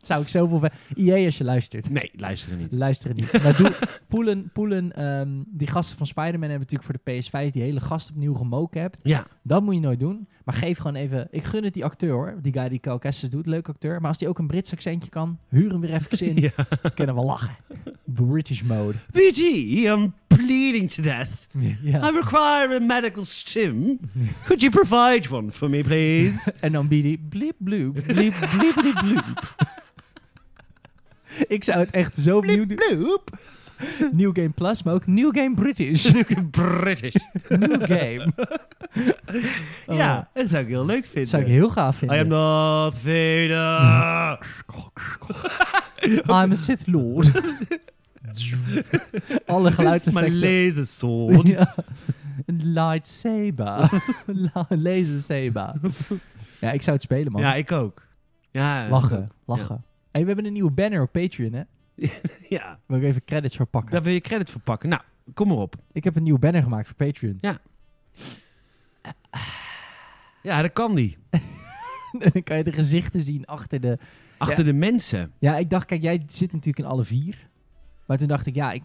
Speaker 2: Zou ik zoveel... ver- IE als je luistert.
Speaker 1: Nee, luister niet.
Speaker 2: Luisteren niet. Maar doe, Poelen, Poelen ehm, die gasten van Spider-Man hebben natuurlijk voor de PS5 die hele gast opnieuw gemocap.
Speaker 1: Ja.
Speaker 2: Dat moet je nooit doen. Maar geef gewoon even... Ik gun het die acteur hoor. Die guy die Calcasus doet. Leuk acteur. Maar als die ook een Brits accentje kan, huur hem weer even in.
Speaker 1: ja.
Speaker 2: Kunnen we lachen. British mode.
Speaker 1: BD, I'm pl- bleeding to death. I
Speaker 2: Ja.
Speaker 1: require a medical sim. Could you provide one for me, please?
Speaker 2: En dan bidi blip bloep, blip blippity bloep. Ik zou het echt zo opnieuw doen.
Speaker 1: Bloop.
Speaker 2: New Game Plus, maar ook New Game British.
Speaker 1: British.
Speaker 2: New Game. Oh,
Speaker 1: Ja, dat zou ik heel leuk vinden.
Speaker 2: Dat zou ik heel gaaf vinden.
Speaker 1: I am not Vader.
Speaker 2: I'm a Sith Lord. Alle
Speaker 1: Mijn
Speaker 2: geluidseffecten.
Speaker 1: laser sword.
Speaker 2: Ja. Een lightsaber. La- Lasersaber. Ja, ik zou het spelen, man.
Speaker 1: Ja, ik ook. Ja,
Speaker 2: lachen, lachen. hey, we hebben een nieuwe banner op Patreon, hè?
Speaker 1: Ja,
Speaker 2: Wil ik even credits voor pakken.
Speaker 1: daar wil je credit voor pakken. Nou, kom maar op.
Speaker 2: Ik heb een nieuwe banner gemaakt voor Patreon.
Speaker 1: Ja, dat kan die.
Speaker 2: en dan kan je de gezichten zien achter de...
Speaker 1: Achter de mensen.
Speaker 2: Ja, ik dacht, kijk, jij zit natuurlijk in alle vier. Maar toen dacht ik, ja, ik...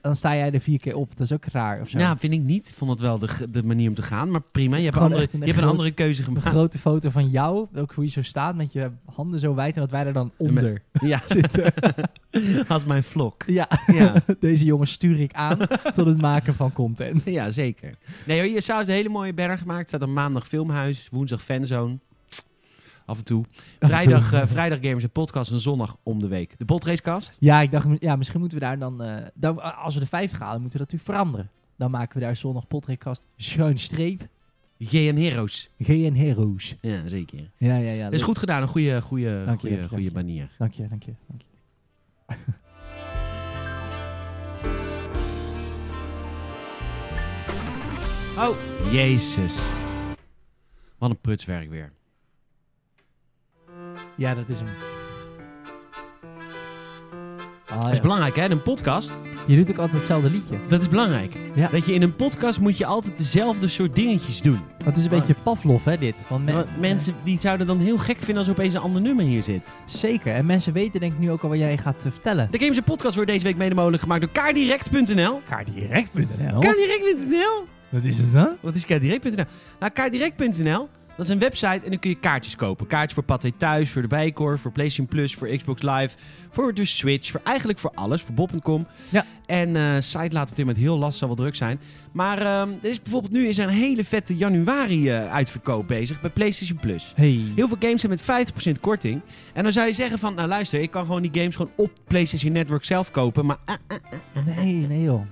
Speaker 2: Dan sta jij er vier keer op. Dat is ook raar of zo.
Speaker 1: Ja, vind ik niet. Ik vond dat wel de, ge- de manier om te gaan. Maar prima, je hebt, een
Speaker 2: Gewoon
Speaker 1: andere,
Speaker 2: echt een
Speaker 1: je hebt een
Speaker 2: groot-
Speaker 1: andere keuze
Speaker 2: Een
Speaker 1: gemaakt.
Speaker 2: grote foto van jou, ook hoe je zo staat met je handen zo wijd en dat wij er dan onder
Speaker 1: Ja,
Speaker 2: zitten.
Speaker 1: als mijn vlog.
Speaker 2: Ja,
Speaker 1: Ja.
Speaker 2: deze jongen stuur ik aan tot het maken van content.
Speaker 1: ja, zeker. Nee, hoor, je zou het een hele mooie berg gemaakt. Er staat een maandag filmhuis, woensdag fanzone. Af en toe. Vrijdag, eh, vrijdag gamers en podcast en zondag om de week. De potracecast.
Speaker 2: Ja, ik dacht, ja, misschien moeten we daar dan, eh, dan als we de 50 halen, moeten we dat natuurlijk veranderen. Dan maken we daar zondag podcast schuin streep
Speaker 1: GN Heroes.
Speaker 2: GN Heroes.
Speaker 1: Ja, zeker.
Speaker 2: Ja, ja, ja.
Speaker 1: Dat is
Speaker 2: leuk.
Speaker 1: goed gedaan. Een goede, goede,
Speaker 2: Dank je,
Speaker 1: goede,
Speaker 2: dank je,
Speaker 1: goede
Speaker 2: dank
Speaker 1: manier.
Speaker 2: Dank je, dank je, dank je.
Speaker 1: Oh, jezus. Wat een prutswerk weer.
Speaker 2: Ja, dat is hem. Ah,
Speaker 1: Dat
Speaker 2: ja.
Speaker 1: is belangrijk, hè? In een podcast.
Speaker 2: Je doet ook altijd hetzelfde liedje.
Speaker 1: Dat is belangrijk.
Speaker 2: Ja.
Speaker 1: Dat je in een podcast moet je altijd dezelfde soort dingetjes doen.
Speaker 2: Want het is een
Speaker 1: Ah.
Speaker 2: beetje Pavlov, hè, dit. Want me-
Speaker 1: Want mensen die zouden dan heel gek vinden als er opeens een ander nummer hier zit.
Speaker 2: Zeker. En mensen weten denk ik nu ook al wat jij gaat eh, vertellen.
Speaker 1: De Games en Podcast wordt deze week mede mogelijk gemaakt door kaardirect.nl.
Speaker 2: Kaardirect.nl?
Speaker 1: Kaardirect.nl?
Speaker 2: Wat is het dan?
Speaker 1: Wat is kaardirect.nl? Nou, kaardirect.nl, dat is een website en dan kun je kaartjes kopen. Kaartjes voor Pathé Thuis, voor de Bijkor, voor PlayStation Plus, voor Xbox Live, voor de Switch, voor eigenlijk voor alles, voor bob.com.
Speaker 2: Ja.
Speaker 1: En eh, site laat op dit moment heel lastig, zal wel druk zijn. Maar ehm, er is bijvoorbeeld nu is er een hele vette januari eh, uitverkoop bezig bij PlayStation Plus.
Speaker 2: Hey.
Speaker 1: Heel veel games zijn met 50% korting. En dan zou je zeggen van, nou luister, ik kan gewoon die games gewoon op PlayStation Network zelf kopen. Maar ah,
Speaker 2: Nee, nee joh.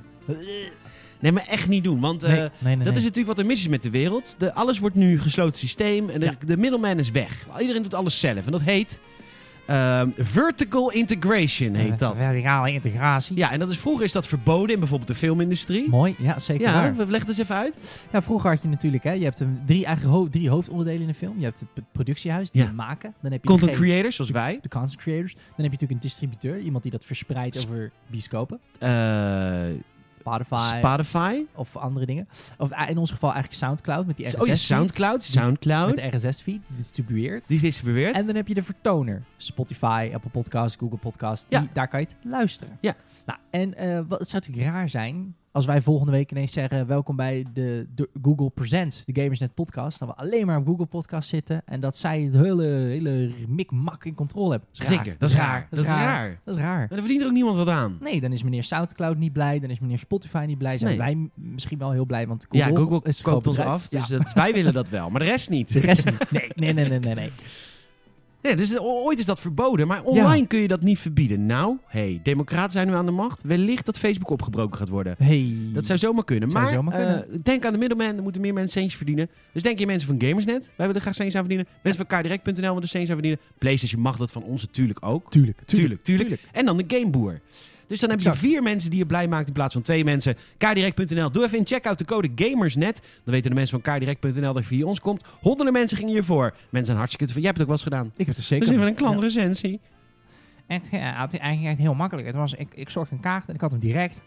Speaker 1: nee, maar echt niet doen. Want eh,
Speaker 2: nee, nee, nee,
Speaker 1: dat
Speaker 2: nee.
Speaker 1: is natuurlijk wat er mis is met de wereld. De, alles wordt nu een gesloten systeem en de,
Speaker 2: Ja.
Speaker 1: de middleman is weg. Iedereen doet alles zelf. En dat heet ehm, vertical integration, heet dat.
Speaker 2: Eh, Verticale integratie.
Speaker 1: Ja, en dat is, vroeger is dat verboden in bijvoorbeeld de filmindustrie.
Speaker 2: Mooi, ja, zeker
Speaker 1: Ja,
Speaker 2: waar.
Speaker 1: we leggen het eens even uit.
Speaker 2: Ja, vroeger had je natuurlijk, hè, je hebt een drie, eigen ho- drie hoofdonderdelen in een film. Je hebt het p- productiehuis, die
Speaker 1: Ja.
Speaker 2: het maken. Dan heb je
Speaker 1: Content
Speaker 2: de,
Speaker 1: creators, zoals wij.
Speaker 2: de content creators. Dan heb je natuurlijk een distributeur, iemand die dat verspreidt
Speaker 1: Sp-
Speaker 2: over bioscopen.
Speaker 1: eh,
Speaker 2: Spotify
Speaker 1: Spotify.
Speaker 2: of andere dingen. Of eh, in ons geval eigenlijk Soundcloud met die RSS
Speaker 1: Oh ja, Soundcloud. Soundcloud.
Speaker 2: Met de RSS-feed, die distribueert.
Speaker 1: Die is distribueerd.
Speaker 2: En dan heb je de vertoner. Spotify, Apple Podcast, Google Podcast. Die,
Speaker 1: Ja.
Speaker 2: Daar kan je het luisteren.
Speaker 1: Ja.
Speaker 2: Nou, en eh, wat, het zou natuurlijk raar zijn als wij volgende week ineens zeggen... welkom bij de, de Google Presents, de Gamersnet podcast. Dat we alleen maar op Google Podcast zitten. En dat zij het hele, hele mikmak in controle hebben. Dat is raar.
Speaker 1: Zeker, dat is raar. Dat is raar.
Speaker 2: Dat is raar.
Speaker 1: Maar daar verdient er ook niemand wat aan.
Speaker 2: Nee, dan is meneer Soundcloud niet blij. Dan is meneer Spotify niet blij. Zijn
Speaker 1: Nee.
Speaker 2: wij m- misschien wel heel blij, want Google,
Speaker 1: ja, Google
Speaker 2: is een groot
Speaker 1: koopt ons
Speaker 2: bedrijf.
Speaker 1: af.
Speaker 2: Ja.
Speaker 1: Dus dat, wij willen dat wel, maar de rest niet.
Speaker 2: De rest niet. Nee, nee, nee, nee, nee. nee.
Speaker 1: Ja, dus o- ooit is dat verboden, maar online kun je dat niet verbieden. Nou, hey, democraten zijn nu aan de macht. Wellicht dat Facebook opgebroken gaat worden.
Speaker 2: Hey.
Speaker 1: Dat zou zomaar kunnen.
Speaker 2: Zou
Speaker 1: maar
Speaker 2: zomaar kunnen.
Speaker 1: eh, denk aan de middelman, er moeten meer mensen centjes verdienen. Dus denk je mensen van Gamersnet, wij willen er graag centjes aan verdienen. Mensen van kaardirect.nl willen er centjes aan verdienen. PlayStation mag dat van ons natuurlijk ook.
Speaker 2: Tuurlijk,
Speaker 1: Tuurlijk, tuurlijk. En dan de Gameboer. Dus dan heb je
Speaker 2: Exact.
Speaker 1: vier mensen die je blij maakt in plaats van twee mensen. Kaardirect.nl. Doe even in checkout de code GAMERSNET. Dan weten de mensen van kaardirect.nl dat je via ons komt. Honderden mensen gingen hiervoor. Mensen zijn hartstikke tevreden. Jij hebt het ook wel eens gedaan.
Speaker 2: Ik heb het er
Speaker 1: Dus
Speaker 2: zeker.
Speaker 1: even een klantrecensie.
Speaker 2: Het, eh, het is eigenlijk heel makkelijk. Het was, ik, ik zocht een kaart en ik had hem direct.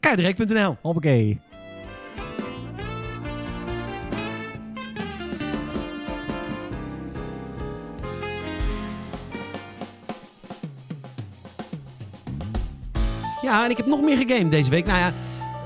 Speaker 1: Kaardirect.nl.
Speaker 2: Hoppakee.
Speaker 1: Ja, en ik heb nog meer gegamed deze week. Nou ja,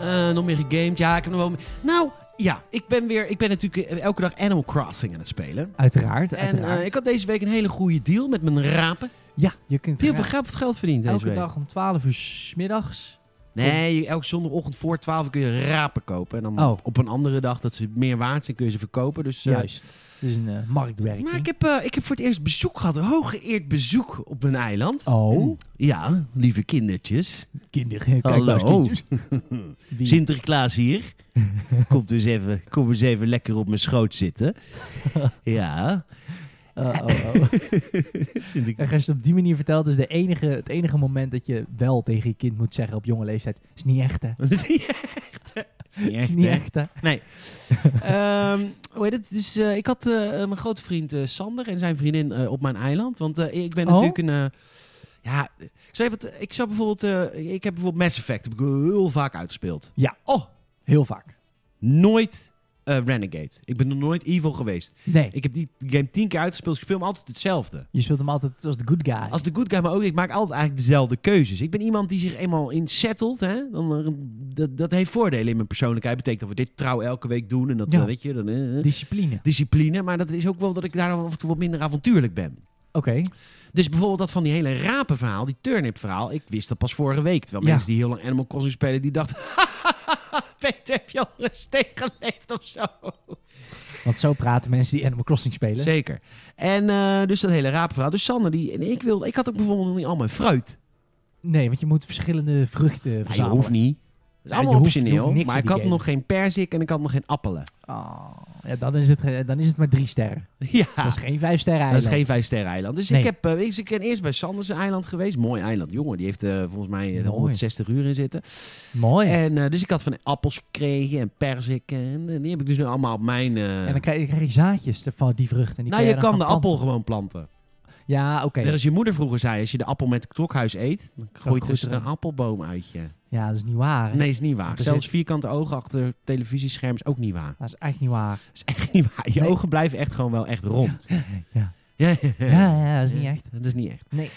Speaker 1: eh, nog meer gegamed. Ja, ik heb nog wel... meer- Nou, ja, ik ben weer... Ik ben natuurlijk eh, elke dag Animal Crossing aan het spelen.
Speaker 2: Uiteraard,
Speaker 1: En
Speaker 2: uiteraard.
Speaker 1: eh, ik had deze week een hele goede deal met mijn rapen.
Speaker 2: Ja, je kunt
Speaker 1: Heel
Speaker 2: graag
Speaker 1: veel geld, geld verdiend deze
Speaker 2: elke
Speaker 1: week.
Speaker 2: dag om 12 uur 's middags
Speaker 1: Nee, je- elke zondagochtend voor 12 kun je rapen kopen. En dan
Speaker 2: Oh.
Speaker 1: op- op een andere dag dat ze meer waard zijn, kun je ze verkopen. Dus, eh,
Speaker 2: Juist. Het is een eh, marktwerking.
Speaker 1: Maar ik heb, eh, ik heb voor het eerst bezoek gehad. Hooggeëerd bezoek op mijn eiland. Hm.
Speaker 2: Oh,
Speaker 1: Ja, lieve kindertjes.
Speaker 2: kinderen. Kijk
Speaker 1: Hallo.
Speaker 2: nou eens, kindjes. Wie-
Speaker 1: Sinterklaas hier. Komt dus even, kom eens even lekker op mijn schoot zitten. Ja.
Speaker 2: Oh, oh, oh.
Speaker 1: Sinterklaas.
Speaker 2: En als je het op die manier vertelt, is de enige, het enige moment dat je wel tegen je kind moet zeggen op jonge leeftijd, is niet echt hè.
Speaker 1: Dat is niet echt, hè? Dat is niet
Speaker 2: Is
Speaker 1: echt,
Speaker 2: niet
Speaker 1: hè?
Speaker 2: echt hè.
Speaker 1: Ehm, hoe heet het? Dus eh, ik had eh, mijn grote vriend eh, Sander en zijn vriendin eh, op mijn eiland. Want eh, ik ben
Speaker 2: Oh?
Speaker 1: natuurlijk een... eh, ja, ik zou, even, wat- ik zou bijvoorbeeld... eh, ik heb bijvoorbeeld Mass Effect. Heb ik heel vaak uitgespeeld.
Speaker 2: Ja.
Speaker 1: Oh,
Speaker 2: Heel vaak.
Speaker 1: nooit eh, Renegade. Ik ben nog nooit evil geweest.
Speaker 2: Nee.
Speaker 1: Ik heb die game tien keer uitgespeeld. dus Ik speel hem altijd hetzelfde.
Speaker 2: Je speelt hem altijd als de good guy.
Speaker 1: Als de good guy, maar ook ik maak altijd eigenlijk dezelfde keuzes. Ik ben iemand die zich eenmaal in settelt. Hè? Dan, eh, dat, dat heeft voordelen in mijn persoonlijkheid. Betekent dat we dit trouw elke week doen. En dat,
Speaker 2: Ja.
Speaker 1: eh, weet je, dan, eh, eh.
Speaker 2: Discipline.
Speaker 1: discipline. Maar dat is ook wel dat ik daar af en toe wat minder avontuurlijk ben.
Speaker 2: Oké.
Speaker 1: Dus bijvoorbeeld dat van die hele rapenverhaal, die turnip-verhaal. Ik wist dat pas vorige week. Terwijl
Speaker 2: Ja.
Speaker 1: mensen die heel lang Animal Crossing spelen, die dachten... Peter, heb je al een steeg geleefd of zo?
Speaker 2: Want zo praten mensen die Animal Crossing spelen.
Speaker 1: Zeker. En eh, dus dat hele raapverhaal. Dus Sander, die, en ik, wilde, ik had ook bijvoorbeeld nog niet al mijn fruit.
Speaker 2: nee, want je moet verschillende vruchten
Speaker 1: Ja, je
Speaker 2: verzamelen.
Speaker 1: hoeft niet. Dat is
Speaker 2: Ja,
Speaker 1: allemaal
Speaker 2: je hoeft- je
Speaker 1: optioneel.
Speaker 2: hoeft niks
Speaker 1: maar
Speaker 2: in
Speaker 1: ik
Speaker 2: die
Speaker 1: had
Speaker 2: game.
Speaker 1: nog geen perzik en ik had nog geen appelen.
Speaker 2: Oh, ja, dan is, het, ge- dan is het maar drie sterren.
Speaker 1: Ja,
Speaker 2: Dat is geen vijf sterren
Speaker 1: dat is
Speaker 2: eiland.
Speaker 1: geen vijfsterren eiland. Dus
Speaker 2: Nee.
Speaker 1: ik, heb, eh, ik ik ben eerst bij Sanders eiland geweest. Mooi eiland, jongen. Die heeft eh, volgens mij eh,
Speaker 2: Mooi.
Speaker 1: 160 uur in zitten.
Speaker 2: Mooi. En,
Speaker 1: En, eh, dus ik had van appels gekregen en perziken. En, eh, die heb ik dus nu allemaal op mijn... eh,
Speaker 2: dan krijg je, krijg je zaadjes van die vruchten. en Die
Speaker 1: nou,
Speaker 2: kun
Speaker 1: je kan
Speaker 2: dan gaan
Speaker 1: de appel
Speaker 2: planten.
Speaker 1: gewoon planten.
Speaker 2: Ja, oké.
Speaker 1: Net als je moeder vroeger zei, als je de appel met het klokhuis eet, dan groeit
Speaker 2: groeit
Speaker 1: er
Speaker 2: er
Speaker 1: een
Speaker 2: een-
Speaker 1: appelboom uit je.
Speaker 2: Ja, dat is niet waar. hè?
Speaker 1: Nee, is niet waar.
Speaker 2: Want er
Speaker 1: Zelfs
Speaker 2: zit-
Speaker 1: vierkante ogen achter televisiescherm is ook niet waar.
Speaker 2: Dat is echt niet waar.
Speaker 1: Dat is echt niet waar. Je
Speaker 2: Nee.
Speaker 1: ogen blijven echt gewoon wel echt rond.
Speaker 2: Ja.
Speaker 1: ja,
Speaker 2: Ja, ja, dat is niet echt.
Speaker 1: Dat is niet echt.
Speaker 2: Nee.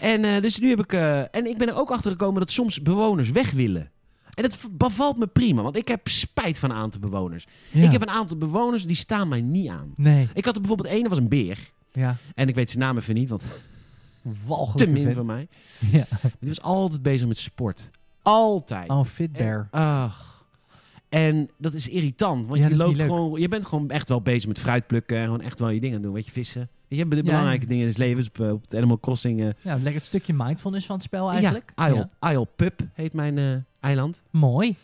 Speaker 1: En eh, dus nu heb ik... eh, en ik ben er ook achter gekomen dat soms bewoners weg willen. En dat v- bevalt me prima, want ik heb spijt van een aantal bewoners.
Speaker 2: Ja.
Speaker 1: Ik heb een aantal bewoners die staan mij niet aan.
Speaker 2: Nee.
Speaker 1: Ik had er bijvoorbeeld één, dat was een beer.
Speaker 2: Ja.
Speaker 1: En ik weet zijn naam even niet, want te
Speaker 2: Walgelijk.
Speaker 1: min van mij.
Speaker 2: Ja.
Speaker 1: Die was altijd bezig met sport. Altijd.
Speaker 2: Oh, Fitbear.
Speaker 1: En, ach. En dat is irritant, want
Speaker 2: Ja,
Speaker 1: je,
Speaker 2: dat is
Speaker 1: loopt
Speaker 2: niet leuk.
Speaker 1: gewoon, je bent gewoon echt wel bezig met fruit plukken en gewoon echt wel je dingen doen. Weet je, vissen. Weet je, de
Speaker 2: Ja,
Speaker 1: belangrijke
Speaker 2: ja.
Speaker 1: dingen in het leven is op, eh, op het Animal Crossing. eh,
Speaker 2: Ja, lekker het stukje mindfulness van het spel Oh, eigenlijk.
Speaker 1: Ja, Isle, Isle Pup heet mijn eh, eiland.
Speaker 2: Mooi.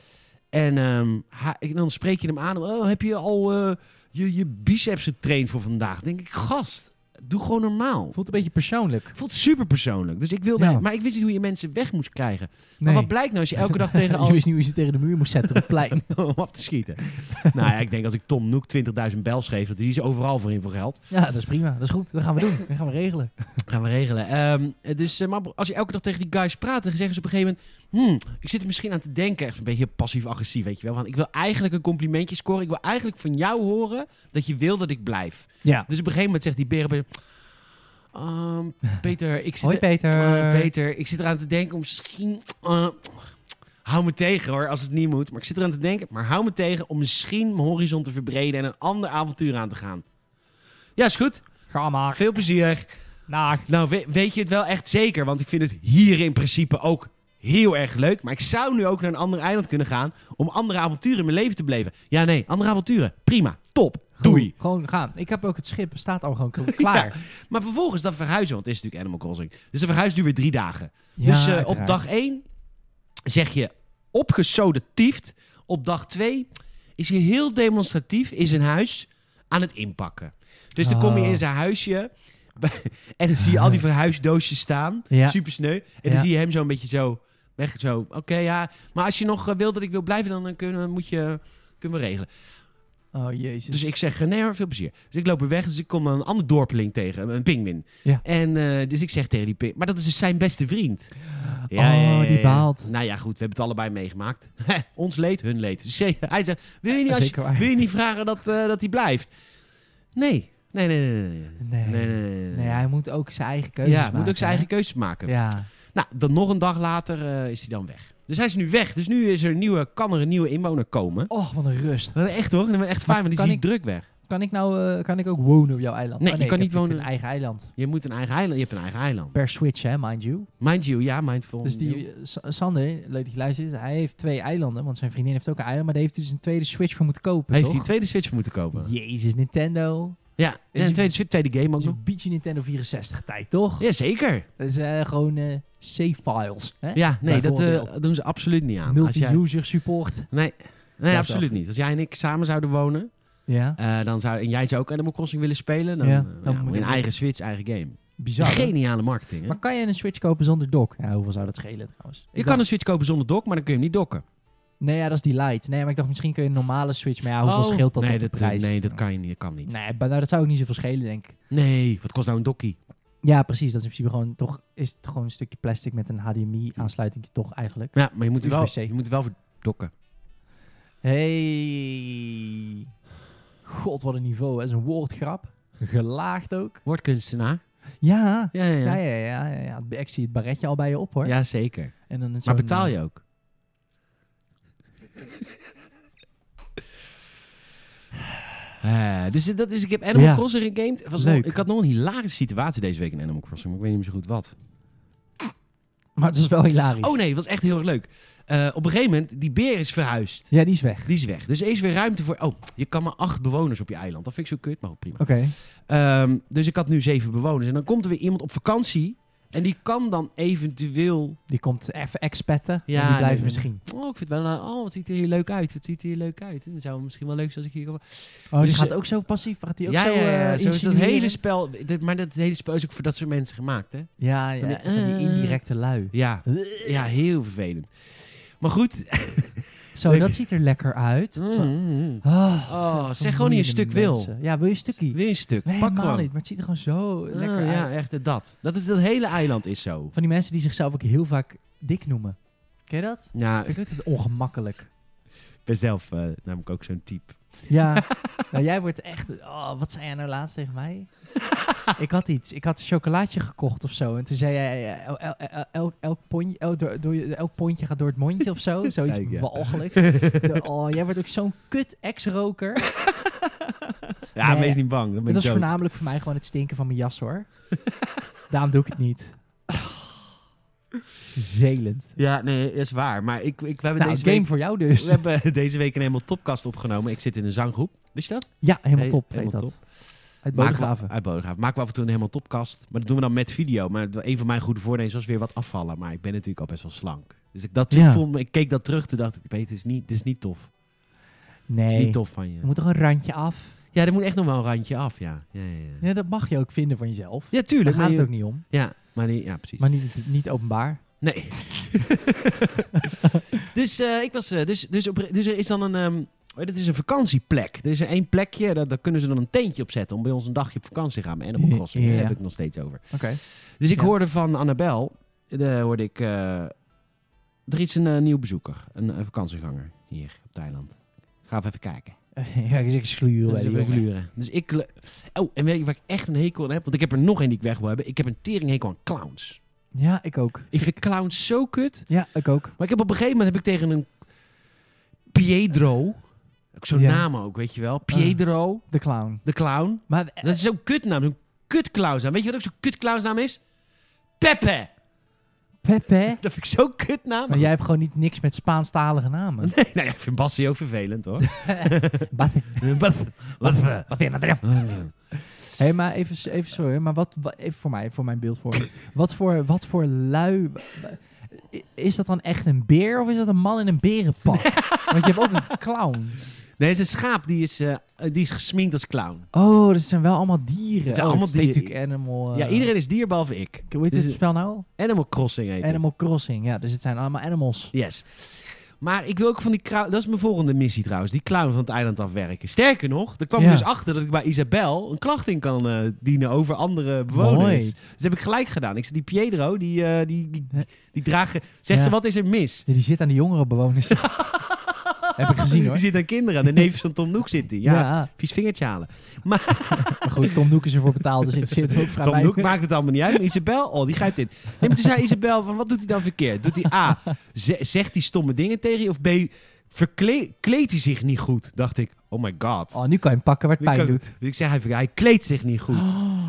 Speaker 1: En ehm, ha- en dan spreek je hem aan. Oh, heb je al eh, je, je biceps getraind voor vandaag? Dan denk ik, gast, doe gewoon normaal.
Speaker 2: Voelt een beetje persoonlijk.
Speaker 1: Ik vond het super persoonlijk. Dus ik wilde,
Speaker 2: Ja.
Speaker 1: maar ik wist niet hoe je mensen weg moest krijgen. Maar
Speaker 2: Nee.
Speaker 1: wat blijkt nou als je elke dag tegen
Speaker 2: Je
Speaker 1: al
Speaker 2: wist niet hoe je ze tegen de muur moest zetten op het plein.
Speaker 1: om af te schieten. nou ja, ik denk als ik Tom Noek 20.000 bel schreef, dat die is overal voor in voor geld.
Speaker 2: Ja, dat is prima. Dat is goed. Dat gaan we doen. Dat gaan we regelen.
Speaker 1: Gaan we regelen. Ehm, eh, dus, eh, maar als je elke dag tegen die guys praat, dan zeggen ze op een gegeven moment, hmm, ik zit er misschien aan te denken, echt een beetje passief-agressief, weet je wel. Want ik wil eigenlijk een complimentje scoren. Ik wil eigenlijk van jou horen dat je wil dat ik blijf.
Speaker 2: Ja.
Speaker 1: Dus op een gegeven moment zegt die berenbeer, ehm Peter, ik zit
Speaker 2: Hoi
Speaker 1: er-
Speaker 2: Peter.
Speaker 1: Ah, Peter, ik zit eraan te denken om misschien... eh, hou me tegen hoor, als het niet moet. Maar ik zit eraan te denken, maar hou me tegen om misschien mijn horizon te verbreden en een ander avontuur aan te gaan. Ja, is goed.
Speaker 2: Ga maar.
Speaker 1: Veel plezier.
Speaker 2: Naag.
Speaker 1: Nou, we- weet je het wel echt zeker? Want ik vind het hier in principe ook heel erg leuk. Maar ik zou nu ook naar een ander eiland kunnen gaan om andere avonturen in mijn leven te beleven. Ja, nee, andere avonturen. Prima. Top. Doei.
Speaker 2: Gewoon gaan. Ik heb ook het schip. Staat al gewoon k- klaar.
Speaker 1: Maar vervolgens dan verhuizen, want het is natuurlijk Animal Crossing. Dus dan verhuist nu weer drie dagen.
Speaker 2: Ja,
Speaker 1: dus eh, op
Speaker 2: uiteraard.
Speaker 1: dag 1 zeg je opgesodetiefd. Op dag 2 is hij heel demonstratief in zijn huis aan het inpakken. Dus dan kom je
Speaker 2: Oh.
Speaker 1: in zijn huisje en dan zie je al die verhuisdoosjes staan.
Speaker 2: Ja.
Speaker 1: Super sneu. En dan
Speaker 2: Ja.
Speaker 1: zie je hem zo'n beetje zo weg. Zo, oké ja, maar als je nog eh, wil dat ik wil blijven, dan eh, kunnen, moet je, kunnen we regelen.
Speaker 2: Oh, jezus.
Speaker 1: Dus ik zeg, eh, nee hoor, veel plezier. Dus ik loop weer weg, dus ik kom een ander dorpeling tegen, een pinguïn.
Speaker 2: Ja.
Speaker 1: En eh, dus ik zeg tegen die pinguïn, maar dat is dus zijn beste vriend.
Speaker 2: Oh, die baalt.
Speaker 1: Nou ja, goed, we hebben het allebei meegemaakt. Ons leed, hun leed. Dus hij- hij zegt, wil je niet,
Speaker 2: Ja,
Speaker 1: als,
Speaker 2: zeker waar.
Speaker 1: wil je niet vragen dat, eh, dat hij blijft? Nee. Nee, nee, nee, nee.
Speaker 2: Nee.
Speaker 1: Nee, nee, nee, nee, nee.
Speaker 2: Nee, hij moet ook zijn eigen keuzes
Speaker 1: ja,
Speaker 2: maken.
Speaker 1: moet ook zijn
Speaker 2: hè?
Speaker 1: eigen keuzes maken.
Speaker 2: Ja.
Speaker 1: Nou, dan nog een dag later eh, is hij dan weg. Dus hij is nu weg. Dus nu is er een nieuwe, kan er een nieuwe inwoner komen.
Speaker 2: Och, Oh, wat een rust.
Speaker 1: Echt hoor, echt fijn,
Speaker 2: Maar
Speaker 1: want die
Speaker 2: kan
Speaker 1: is niet
Speaker 2: ik-
Speaker 1: druk weg.
Speaker 2: Kan ik nou eh, kan ik ook wonen op jouw eiland?
Speaker 1: Nee,
Speaker 2: Oh,
Speaker 1: je kan
Speaker 2: ik
Speaker 1: niet
Speaker 2: heb
Speaker 1: wonen-
Speaker 2: natuurlijk Een eigen eiland.
Speaker 1: Je moet een eigen eiland. Je hebt een eigen eiland.
Speaker 2: Per Switch, hè, mind you.
Speaker 1: Mind you, ja, mindful.
Speaker 2: Dus die eh, S- Sander, leuk dat je luistert, hij heeft twee eilanden, want zijn vriendin heeft ook een eiland, maar daar heeft hij dus een tweede Switch voor moeten kopen,
Speaker 1: heeft hij een
Speaker 2: toch?
Speaker 1: tweede Switch moeten kopen?
Speaker 2: Jezus, Nintendo.
Speaker 1: Ja, en
Speaker 2: hij-
Speaker 1: een tweede, Switch- tweede game
Speaker 2: Dat
Speaker 1: ook
Speaker 2: is
Speaker 1: nog.
Speaker 2: een beetje Nintendo 64 tijd, toch?
Speaker 1: Jazeker.
Speaker 2: Dat is eh, gewoon eh, save files. Hè?
Speaker 1: Ja, nee, dat eh,
Speaker 2: Bijvoorbeeld.
Speaker 1: doen ze absoluut niet aan. Als jij,
Speaker 2: Multi-user support.
Speaker 1: nee, nee
Speaker 2: wel
Speaker 1: absoluut
Speaker 2: goed.
Speaker 1: niet. Als jij en ik samen zouden wonen,
Speaker 2: Ja,
Speaker 1: eh, dan zou, en jij zou ook Animal Crossing willen spelen, dan,
Speaker 2: Ja,
Speaker 1: eh,
Speaker 2: dan
Speaker 1: ja,
Speaker 2: moet
Speaker 1: moet je
Speaker 2: je-
Speaker 1: een eigen Switch, eigen game.
Speaker 2: bizar. hè?
Speaker 1: Geniale marketing, hè?
Speaker 2: Maar kan je een Switch kopen zonder dock? Ja, hoeveel zou dat schelen trouwens? Ik
Speaker 1: Je
Speaker 2: dacht-
Speaker 1: kan een Switch kopen zonder dock, maar dan kun je hem niet docken.
Speaker 2: Nee, ja, dat is die light. Nee, maar ik dacht misschien kun je een normale Switch. Maar ja, hoeveel
Speaker 1: Oh.
Speaker 2: scheelt dat
Speaker 1: nee,
Speaker 2: op de
Speaker 1: dat, eh,
Speaker 2: prijs?
Speaker 1: Nee, dat kan, je niet, dat kan niet.
Speaker 2: Nee, maar nou, dat zou ook niet zoveel schelen, denk ik.
Speaker 1: Nee, wat kost nou een dokkie?
Speaker 2: Ja, precies. Dat is in principe gewoon, toch, is het gewoon een stukje plastic met een HDMI-aansluiting, toch eigenlijk.
Speaker 1: Ja, maar je moet, er wel,
Speaker 2: USB-C.
Speaker 1: je moet er wel voor dokken.
Speaker 2: Hey. God, wat een niveau. Hè. Dat is een woordgrap. Gelaagd ook.
Speaker 1: Woordkunstenaar?
Speaker 2: Ja.
Speaker 1: Ja, ja, ja.
Speaker 2: Ja, ja, ja. ja, ja. Ik zie het baretje al bij je op, hoor.
Speaker 1: Ja, zeker.
Speaker 2: En dan
Speaker 1: Maar betaal je ook? Eh, dus dat is, ik heb Animal
Speaker 2: Ja.
Speaker 1: Crossing gegamed. Het Was
Speaker 2: Leuk.
Speaker 1: nog- ik had nog een hilarische situatie deze week in Animal Crossing, maar ik weet niet meer zo goed wat.
Speaker 2: eh, Maar het is wel hilarisch.
Speaker 1: Oh nee, het was echt heel erg leuk. Eh, op een gegeven moment, die beer is verhuisd.
Speaker 2: Ja, die is weg.
Speaker 1: Die is weg. Dus er is weer ruimte voor... Oh, je kan maar acht bewoners op je eiland. Dat vind ik zo kut, maar goed, prima.
Speaker 2: Oké.
Speaker 1: Ehm, dus ik had nu zeven bewoners. En dan komt er weer iemand op vakantie. En die kan dan eventueel...
Speaker 2: Die komt even expetten.
Speaker 1: Ja,
Speaker 2: en die blijven
Speaker 1: nee,
Speaker 2: misschien.
Speaker 1: Oh, ik vind wel... eh, oh, wat ziet er hier leuk uit. Wat ziet er hier leuk uit. En dan zou het misschien wel leuk zijn als ik hier... kom.
Speaker 2: Oh, die
Speaker 1: Dus,
Speaker 2: gaat
Speaker 1: eh,
Speaker 2: ook zo passief? Gaat die ook
Speaker 1: ja,
Speaker 2: zo,
Speaker 1: ja, ja.
Speaker 2: eh,
Speaker 1: Zo is dat
Speaker 2: insinuerend?
Speaker 1: hele spel... dit- maar dat hele spel is ook voor dat soort mensen gemaakt, hè?
Speaker 2: Ja, ja.
Speaker 1: Van die,
Speaker 2: van die
Speaker 1: eh.
Speaker 2: indirecte lui.
Speaker 1: Ja. Ja, heel vervelend. Maar goed.
Speaker 2: Zo,
Speaker 1: Leuk.
Speaker 2: dat ziet er lekker uit.
Speaker 1: Mm.
Speaker 2: Ah,
Speaker 1: Oh,
Speaker 2: wat
Speaker 1: zeg gewoon niet een
Speaker 2: vermoeiende
Speaker 1: stuk wil.
Speaker 2: mensen. Ja, wil je een stukje?
Speaker 1: Weer een stuk.
Speaker 2: Nee,
Speaker 1: Pak
Speaker 2: helemaal
Speaker 1: gewoon.
Speaker 2: niet. Maar het ziet er gewoon zo
Speaker 1: Oh,
Speaker 2: lekker
Speaker 1: ja,
Speaker 2: uit.
Speaker 1: echt dat. Dat is dat hele eiland is zo.
Speaker 2: Van die mensen die zichzelf ook heel vaak dik noemen. Ken je dat?
Speaker 1: Ja, ik
Speaker 2: Vind ik het ongemakkelijk.
Speaker 1: ben zelf eh, namelijk ook zo'n type.
Speaker 2: Ja. nou, jij wordt echt... Oh, wat zei jij nou laatst tegen mij? ik had iets. Ik had een chocolaatje gekocht of zo. En toen zei jij... eh, el- el- el- elk- elk pondje- el- door- door je- Elk pondje gaat door het mondje of zo. Zoiets
Speaker 1: Zei ik, ja.
Speaker 2: walgelijks. Oh, jij wordt ook zo'n kut ex-roker.
Speaker 1: Ja,
Speaker 2: Nee.
Speaker 1: wees niet bang. Dan ben
Speaker 2: Het
Speaker 1: ik
Speaker 2: was
Speaker 1: dood.
Speaker 2: voornamelijk voor mij gewoon het stinken van mijn jas hoor. Daarom doe ik het niet. Velend.
Speaker 1: Ja, nee, dat is waar. Maar ik, ik, we, hebben
Speaker 2: Nou,
Speaker 1: deze
Speaker 2: game
Speaker 1: week,
Speaker 2: voor jou
Speaker 1: we
Speaker 2: dus.
Speaker 1: hebben deze week een helemaal topkast opgenomen. Ik zit in een zanggroep. Wist je dat?
Speaker 2: Ja, helemaal
Speaker 1: Hey,
Speaker 2: top.
Speaker 1: helemaal
Speaker 2: heet dat.
Speaker 1: top.
Speaker 2: Uit
Speaker 1: Maken we-
Speaker 2: Bodegraven.
Speaker 1: Uit Bodegraven. Maken we af en toe een helemaal topkast. Maar dat doen we dan met video. Maar een van mijn goede voornemens was weer wat afvallen. Maar ik ben natuurlijk al best wel slank. Dus ik, dat,
Speaker 2: Ja.
Speaker 1: ik, vond, ik keek dat terug. Toen dacht ik, weet, dit is niet, dit is niet tof. Dit is
Speaker 2: Nee,
Speaker 1: niet tof van je.
Speaker 2: er moet toch een randje af?
Speaker 1: Ja, er moet echt nog wel een randje af. Ja, ja, ja, ja.
Speaker 2: Ja, dat mag je ook vinden van jezelf.
Speaker 1: ja
Speaker 2: Daar
Speaker 1: tuurlijk.
Speaker 2: gaat
Speaker 1: maar
Speaker 2: het
Speaker 1: je-
Speaker 2: ook niet om.
Speaker 1: Ja, maar die, ja, precies.
Speaker 2: Maar niet, niet openbaar.
Speaker 1: Nee. dus, eh, ik was, eh, dus, dus, op, dus er is dan een. ehm, oh, dit is een vakantieplek. Er is een één plekje. Daar, daar kunnen ze dan een teentje op zetten. Om bij ons een dagje op vakantie te gaan. Met Animal Crossing.
Speaker 2: Ja.
Speaker 1: Daar heb ik het nog steeds over.
Speaker 2: Oké.
Speaker 1: Dus ik
Speaker 2: Ja.
Speaker 1: hoorde van Annabel. eh, hoorde ik. eh, er is een eh, nieuw bezoeker. Een, eh, vakantieganger. Hier op Thailand. Ga even kijken.
Speaker 2: Eh, ja, ik zeg sluren bij die
Speaker 1: Even
Speaker 2: jongen.
Speaker 1: gluren. Dus ik. le- Oh, en weet je waar ik echt een hekel aan heb? Want ik heb er nog één die ik weg wil hebben. Ik heb een teringhekel aan clowns.
Speaker 2: Ja, ik ook.
Speaker 1: Ik vind clowns zo kut.
Speaker 2: Ja, ik ook.
Speaker 1: Maar ik heb op een gegeven moment heb ik tegen een Pietro, ook zo'n
Speaker 2: Ja.
Speaker 1: naam ook, weet je wel. Pietro,
Speaker 2: De clown.
Speaker 1: de clown.
Speaker 2: Maar eh,
Speaker 1: Dat is zo'n kutnaam, zo'n kutclownsnaam. Weet je wat ook zo'n kutclownsnaam is? Pepe.
Speaker 2: Pepe...
Speaker 1: Dat vind ik zo'n kutnaam.
Speaker 2: Maar jij hebt gewoon niet niks met Spaanstalige namen.
Speaker 1: Nee, nou ja, ik vind Bassie ook vervelend hoor.
Speaker 2: Wat
Speaker 1: Wat? Wat?
Speaker 2: wat in dat Hé, hey, maar even, even sorry, maar wat, wa- even voor mij, voor mijn beeldvorming. wat, voor, wat voor lui. I- Is dat dan echt een beer of is dat een man in een berenpak? Want je hebt ook een clown.
Speaker 1: Nee, het is een schaap die is, eh, die is gesminkt als clown.
Speaker 2: Oh, dat zijn wel allemaal dieren.
Speaker 1: Het zijn
Speaker 2: oh,
Speaker 1: allemaal
Speaker 2: het is
Speaker 1: dieren.
Speaker 2: natuurlijk Animal. eh,
Speaker 1: Ja, iedereen is dier behalve ik.
Speaker 2: Hoe heet
Speaker 1: Dus
Speaker 2: dit
Speaker 1: het-
Speaker 2: spel nou?
Speaker 1: Animal Crossing heet het.
Speaker 2: Animal Crossing. Ja, dus het zijn allemaal animals.
Speaker 1: Yes. Maar ik wil ook van die clown... Dat is mijn volgende missie trouwens. Die clown van het eiland afwerken. Sterker nog, er kwam
Speaker 2: Ja.
Speaker 1: ik dus achter dat ik bij Isabel een klacht in kan eh, dienen over andere bewoners.
Speaker 2: Mooi.
Speaker 1: Dus dat heb ik gelijk gedaan. Ik zei, die Pietro, die, eh, die, die, die dragen... Zegt
Speaker 2: Ja.
Speaker 1: ze, wat is er mis?
Speaker 2: Ja, die zit aan de jongere bewoners. Heb ik gezien hoor.
Speaker 1: Die zit aan kinderen. Aan de neef van Tom Noek zit die. Ja, vies vingertje halen.
Speaker 2: maar goed, Tom Noek is ervoor betaald, dus het zit ook vrij
Speaker 1: Tom
Speaker 2: bij.
Speaker 1: Noek maakt het allemaal niet uit. Maar Isabel, oh, die grijpt in. Nee, maar toen zei Isabel, van, wat doet hij dan verkeerd? Doet hij A, ze- zegt hij stomme dingen tegen je? Of B, verkleedt hij zich niet goed. Dacht ik, oh my god.
Speaker 2: Oh, nu kan je hem pakken waar het
Speaker 1: Nu
Speaker 2: pijn
Speaker 1: kan-
Speaker 2: doet.
Speaker 1: Dus ik zei, hij, hij kleedt zich niet goed.
Speaker 2: Oh,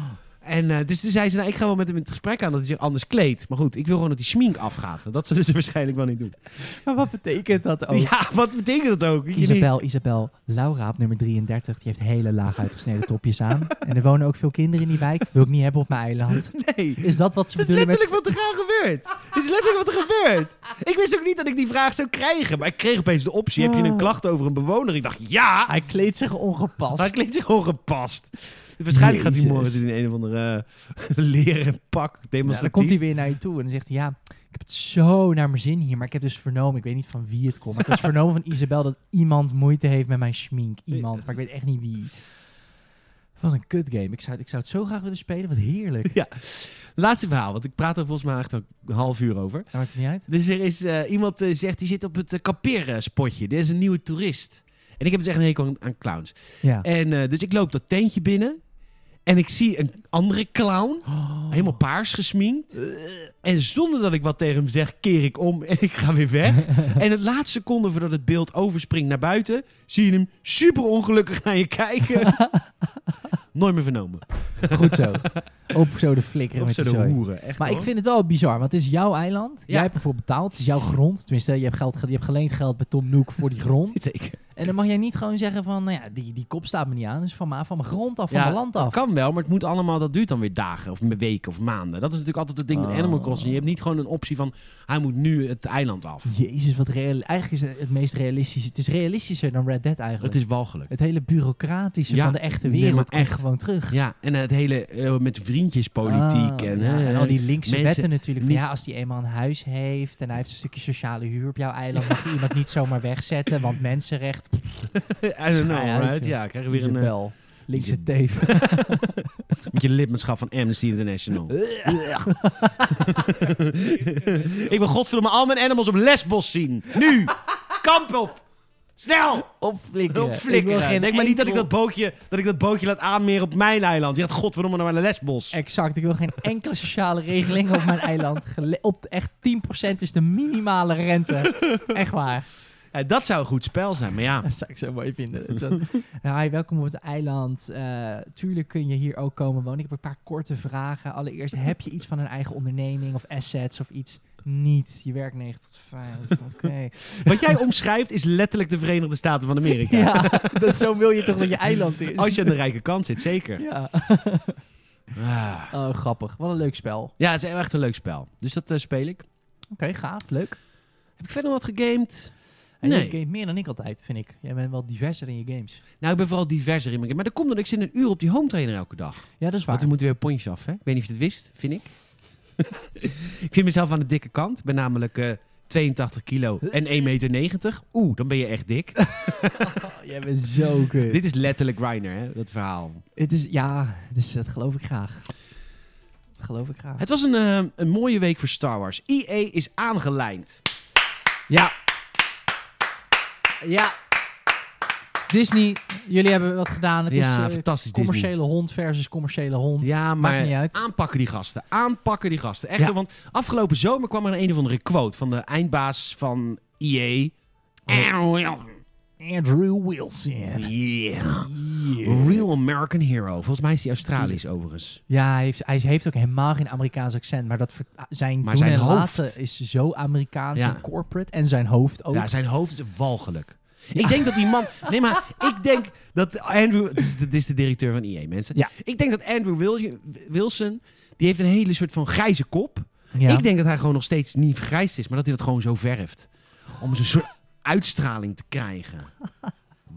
Speaker 1: En eh, dus toen zei ze, nou, ik ga wel met hem in het gesprek aan dat hij zich anders kleedt. Maar goed, ik wil gewoon dat die schmink afgaat. Want dat zullen ze waarschijnlijk wel niet doen.
Speaker 2: maar wat betekent dat ook?
Speaker 1: Ja, wat betekent dat ook? Dat je niet-
Speaker 2: Oh. Isabel, Isabel, Laura op nummer 33, die heeft hele laag uitgesneden topjes aan. En er wonen ook veel kinderen in die wijk. Wil ik niet hebben op mijn eiland.
Speaker 1: Nee.
Speaker 2: Is dat wat ze
Speaker 1: Dat is
Speaker 2: bedoelen
Speaker 1: letterlijk wat er aan gebeurt. Dat is letterlijk wat er gebeurt. Ik wist ook niet dat ik die vraag zou krijgen. Maar ik kreeg opeens de optie, heb je een klacht over een bewoner? Ik dacht, ja.
Speaker 2: met... Hij kleedt zich ongepast.
Speaker 1: Maar het klinkt zich ongepast. Waarschijnlijk gaat hij
Speaker 2: Jezus.
Speaker 1: morgen in een of andere eh, leren pak
Speaker 2: Ja, dan
Speaker 1: demonstratief.
Speaker 2: komt hij weer naar je toe en dan zegt hij, ja, ik heb het zo naar mijn zin hier. Maar ik heb dus vernomen, ik weet niet van wie het komt. Maar ik heb dus vernomen van Isabel dat iemand moeite heeft met mijn schmink. Iemand, maar ik weet echt niet wie. Wat een kutgame. Ik zou, ik zou het zo graag willen spelen, wat heerlijk.
Speaker 1: Laatste verhaal, want ik praat er volgens mij echt ook een half uur over.
Speaker 2: Dat maakt het niet uit.
Speaker 1: Dus er is eh, iemand eh, zegt, die zit op het kaperenspotje. Dit is een nieuwe toerist. En ik heb dus echt een hekel aan, aan clowns.
Speaker 2: Ja.
Speaker 1: En eh, dus ik loop dat tentje binnen. En ik zie een andere clown,
Speaker 2: Oh.
Speaker 1: helemaal paars gesminkt. En zonder dat ik wat tegen hem zeg, keer ik om en ik ga weer weg. En het laatste seconde voordat het beeld overspringt naar buiten, zie je hem super ongelukkig naar je kijken. Nooit meer vernomen.
Speaker 2: Goed zo. Op zo de flikker
Speaker 1: Of
Speaker 2: met
Speaker 1: ze
Speaker 2: de
Speaker 1: de
Speaker 2: zooi.
Speaker 1: hoeren, echt
Speaker 2: Maar
Speaker 1: hoor.
Speaker 2: ik vind het wel bizar, want het is jouw eiland.
Speaker 1: Ja.
Speaker 2: Jij hebt ervoor betaald. Het is jouw grond. Tenminste, je hebt, geld, ge- je hebt geleend geld bij Tom Nook voor die grond.
Speaker 1: Zeker.
Speaker 2: En dan mag jij niet gewoon zeggen van, nou ja, die, die kop staat me niet aan. Dat is van, ma- van mijn grond af, van
Speaker 1: Ja,
Speaker 2: mijn land
Speaker 1: Dat
Speaker 2: af.
Speaker 1: kan wel, maar het moet allemaal, dat duurt dan weer dagen of me- weken of maanden. Dat is natuurlijk altijd het ding met
Speaker 2: Oh.
Speaker 1: Animal Crossing. Je hebt niet gewoon een optie van, hij moet nu het eiland af.
Speaker 2: Jezus, wat real. Eigenlijk is het het meest realistische. Het is realistischer dan Red Dead eigenlijk.
Speaker 1: Het
Speaker 2: Het,
Speaker 1: is walgelijk.
Speaker 2: hele bureaucratische
Speaker 1: Ja,
Speaker 2: van de echte
Speaker 1: nee,
Speaker 2: wereld
Speaker 1: maar
Speaker 2: komt
Speaker 1: echt.
Speaker 2: gewoon terug.
Speaker 1: Ja, en het hele eh, met vriendjespolitiek
Speaker 2: Ah,
Speaker 1: en,
Speaker 2: ja,
Speaker 1: hè,
Speaker 2: en al die linkse
Speaker 1: mensen-
Speaker 2: wetten natuurlijk. Van,
Speaker 1: niet-
Speaker 2: ja, als die eenmaal een huis heeft en hij heeft een stukje sociale huur op jouw eiland, mag je iemand niet zomaar wegzetten, want mensenrecht,
Speaker 1: I don't know,
Speaker 2: Schei uit,
Speaker 1: right?
Speaker 2: joh.
Speaker 1: Ja, krijgen we weer een, eh,
Speaker 2: Isabel, linkse teef.
Speaker 1: met je lidmaatschap van Amnesty International. ik wil godverdomme al mijn animals op Lesbos zien. Nu! Kamp op! Snel!
Speaker 2: Opflikkeren.
Speaker 1: Op flikkeren. Denk maar niet dat ik dat bootje, dat ik dat bootje laat aanmeren op mijn eiland. Die gaat godverdomme nou naar Lesbos.
Speaker 2: Exact, ik wil geen enkele sociale regeling op mijn eiland. Gele- op echt 10% is de minimale rente. Echt waar.
Speaker 1: Eh, dat zou een goed spel zijn, maar ja.
Speaker 2: Dat zou ik zo mooi vinden. Het is dan, hi, welkom op het eiland. Eh, tuurlijk kun je hier ook komen wonen. Ik heb een paar korte vragen. Allereerst, heb je iets van een eigen onderneming of assets of iets? Niet. Je werkt 9 tot 5. Oké.
Speaker 1: Wat jij omschrijft is letterlijk de Verenigde Staten van Amerika.
Speaker 2: Ja, dat, zo wil je toch dat je eiland is?
Speaker 1: Als je aan de rijke kant zit, zeker.
Speaker 2: Ja.
Speaker 1: Ah.
Speaker 2: Oh, grappig. Wat een leuk spel. Oké,
Speaker 1: Ja, het is echt een leuk spel. Dus dat eh, speel ik.
Speaker 2: gaaf. Leuk.
Speaker 1: Heb ik verder wat gegamed?
Speaker 2: En
Speaker 1: Nee.
Speaker 2: Je game meer dan ik altijd, vind ik. Jij bent wel diverser in je games.
Speaker 1: Nou, ik ben vooral diverser in mijn game. Maar dat komt omdat ik zit een uur op die home trainer elke dag.
Speaker 2: Ja, dat is waar.
Speaker 1: Want we moeten weer pontjes af, hè? Ik weet niet of je het wist, vind ik. ik vind mezelf aan de dikke kant. Ik ben namelijk eh, 82 kilo en 1,90 meter. Oeh, dan ben je echt dik.
Speaker 2: Oh, jij bent zo kut.
Speaker 1: Dit is letterlijk Reiner, hè? Dat verhaal.
Speaker 2: Het is, ja, dus dat geloof ik graag. Dat geloof ik graag.
Speaker 1: Het was een, eh, een mooie week voor Star Wars. EA is aangelijnd.
Speaker 2: Ja. Ja. Disney, jullie hebben wat gedaan. Het
Speaker 1: ja,
Speaker 2: is eh,
Speaker 1: fantastisch
Speaker 2: commerciële hond versus commerciële hond.
Speaker 1: Ja,
Speaker 2: Maakt niet
Speaker 1: maar
Speaker 2: uit.
Speaker 1: aanpakken die gasten. Aanpakken die gasten. Echt,
Speaker 2: Ja.
Speaker 1: hoor, want afgelopen zomer kwam er een, een of andere quote van de eindbaas van E EA. Oh.
Speaker 2: Andrew Wilson.
Speaker 1: Yeah. Real American Hero. Volgens mij is die Australisch overigens.
Speaker 2: Ja, hij heeft, hij heeft ook helemaal geen Amerikaans accent. Maar dat ver- ah, zijn
Speaker 1: Maar
Speaker 2: doen
Speaker 1: zijn
Speaker 2: en
Speaker 1: hoofd.
Speaker 2: laten is zo Amerikaans
Speaker 1: Ja.
Speaker 2: en corporate. En zijn hoofd ook.
Speaker 1: Ja, zijn hoofd is walgelijk. Ik denk dat die man... Nee, maar ik denk dat Andrew... Dit is de, dit is de directeur van EA, mensen.
Speaker 2: Ja.
Speaker 1: Ik denk dat Andrew Wil- Wilson... Die heeft een hele soort van grijze kop.
Speaker 2: Ja.
Speaker 1: Ik denk dat hij gewoon nog steeds niet vergrijsd is. Maar dat hij dat gewoon zo verft. Om zo'n soort uitstraling te krijgen.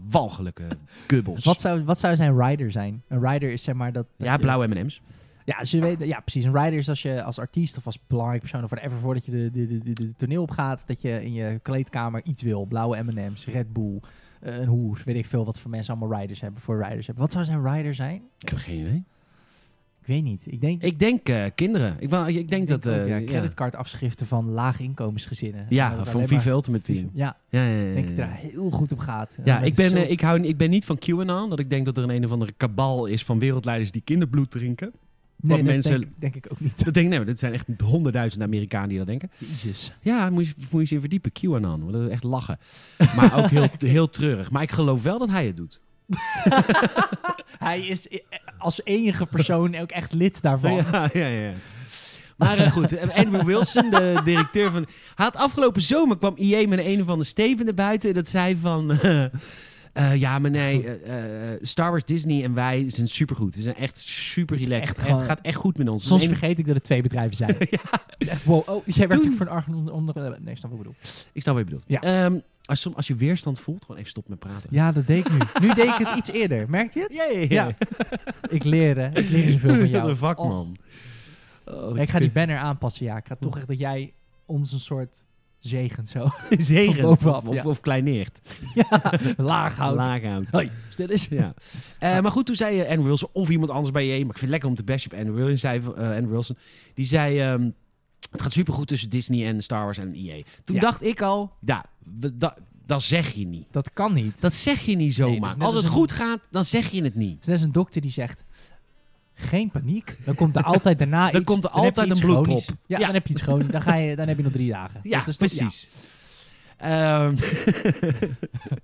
Speaker 1: Walgelijke gubbels.
Speaker 2: wat, zou, wat zou zijn rider zijn? Een rider is zeg maar dat... dat
Speaker 1: Ja,
Speaker 2: je-
Speaker 1: blauwe M&M's.
Speaker 2: Ja, als je weet, ja, precies. Een rider is als je als artiest of als belangrijk persoon of whatever voordat je de, de, de, de, de toneel opgaat, dat je in je kleedkamer iets wil. Blauwe M&M's, Red Bull, eh, een hoer, weet ik veel wat voor mensen allemaal riders hebben, voor riders hebben. Wat zou zijn rider zijn?
Speaker 1: Ik heb geen idee.
Speaker 2: Ik weet niet. Ik denk,
Speaker 1: Ik denk eh, kinderen. Ik, wou- ik denk dat...
Speaker 2: ook,
Speaker 1: eh,
Speaker 2: ja,
Speaker 1: ja.
Speaker 2: creditcardafschriften van laaginkomensgezinnen.
Speaker 1: Ja,
Speaker 2: Dat het
Speaker 1: van
Speaker 2: alleen maar-
Speaker 1: FIFA Ultimate Team.
Speaker 2: Ja,
Speaker 1: Ja, ja, ja, ja,
Speaker 2: ik denk dat
Speaker 1: ja.
Speaker 2: het daar heel goed op gaat.
Speaker 1: Ja,
Speaker 2: Dat
Speaker 1: ik
Speaker 2: is
Speaker 1: ben,
Speaker 2: zo-
Speaker 1: eh, ik, hou, ik ben niet van QAnon. Dat ik denk dat er een een of andere kabal is van wereldleiders die kinderbloed drinken.
Speaker 2: Nee, dat
Speaker 1: mensen-
Speaker 2: denk, denk ik ook niet.
Speaker 1: Dat denk ik, nee, maar dat zijn echt honderdduizend Amerikanen die dat denken.
Speaker 2: Jezus.
Speaker 1: Ja, moet je, moet je eens in verdiepen, QAnon. Want Dat is echt lachen. Maar ook heel, heel treurig. Maar ik geloof wel dat hij het doet.
Speaker 2: Hij is i- als enige persoon ook echt lid daarvan.
Speaker 1: Ja, ja, ja. Maar eh, goed, eh, Andrew Wilson, de directeur van... Hij had afgelopen zomer kwam IE met een van de steven naar buiten. Dat zei van... eh, eh, ja, maar nee, eh, eh, Star Wars, Disney en wij zijn supergoed. We zijn echt super
Speaker 2: Het is
Speaker 1: relaxed.
Speaker 2: echt
Speaker 1: Echt
Speaker 2: gewoon-
Speaker 1: gaat echt goed met ons. We
Speaker 2: Soms
Speaker 1: zijn een-
Speaker 2: vergeet ik dat het twee bedrijven zijn. Het is echt, wow, oh, jij werkt
Speaker 1: Toen-
Speaker 2: ook voor een arg onder, onder- Nee, snap wat ik bedoel.
Speaker 1: Ik snap wat je bedoelt.
Speaker 2: Ja.
Speaker 1: Ehm, als, som- als je weerstand voelt, gewoon even stop met praten.
Speaker 2: Ja, dat deed ik nu. Nu deed ik het iets eerder. Merkt je het?
Speaker 1: Ja, ja,
Speaker 2: Ja. Ik leer, hè. Ik leer zoveel van jou.
Speaker 1: Wat een
Speaker 2: Oh.
Speaker 1: vakman. Oh,
Speaker 2: Ja, Ik ga die banner aanpassen, ja. Ik ga toch echt dat jij ons een soort zegent zo.
Speaker 1: zegen.
Speaker 2: Van bovenaf,
Speaker 1: of,
Speaker 2: ja.
Speaker 1: of kleineert.
Speaker 2: ja, laag houdt.
Speaker 1: Laag houdt.
Speaker 2: Hoi, stil eens.
Speaker 1: Ja. Eh, maar goed, toen zei eh, Andrew Wilson of iemand anders bij je, maar ik vind het lekker om te bashen op Andrew Wilson, zei, eh, Andrew Wilson die zei, ehm, het gaat supergoed tussen Disney en Star Wars en EA. Toen
Speaker 2: Ja.
Speaker 1: dacht ik al, ja, we- da- dat zeg je niet.
Speaker 2: Dat kan niet.
Speaker 1: Dat zeg je niet
Speaker 2: Nee, dat
Speaker 1: zomaar.
Speaker 2: is net
Speaker 1: Als
Speaker 2: als
Speaker 1: het
Speaker 2: een-
Speaker 1: goed gaat, dan zeg je het niet.
Speaker 2: Het Dus is net als een dokter die zegt, geen paniek. Dan komt er altijd daarna iets.
Speaker 1: Dan komt er
Speaker 2: heb je
Speaker 1: altijd
Speaker 2: iets
Speaker 1: een bloedprop.
Speaker 2: chronisch. Ja,
Speaker 1: Ja.
Speaker 2: dan heb je iets chronisch. Dan, ga je, dan heb je nog drie dagen.
Speaker 1: Ja,
Speaker 2: Dat is toch-
Speaker 1: precies. Ehm,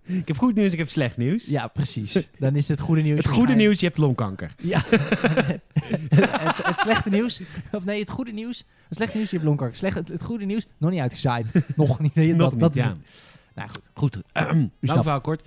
Speaker 1: ik heb goed nieuws, ik heb slecht nieuws.
Speaker 2: Ja. dus Ja, precies. Dan is het goede nieuws.
Speaker 1: Het goede
Speaker 2: waarschijnlijk-
Speaker 1: nieuws, je hebt longkanker.
Speaker 2: Ja. het, het slechte nieuws. Of nee, het goede nieuws. Het slechte nieuws, je hebt longkanker. Slecht, het, het goede nieuws, nog niet uitgezaaid. Nog niet. Dat,
Speaker 1: Nog
Speaker 2: dat
Speaker 1: niet,
Speaker 2: is
Speaker 1: ja.
Speaker 2: het. Nou goed.
Speaker 1: Goed, lang
Speaker 2: snapt.
Speaker 1: verhaal Nou, kort.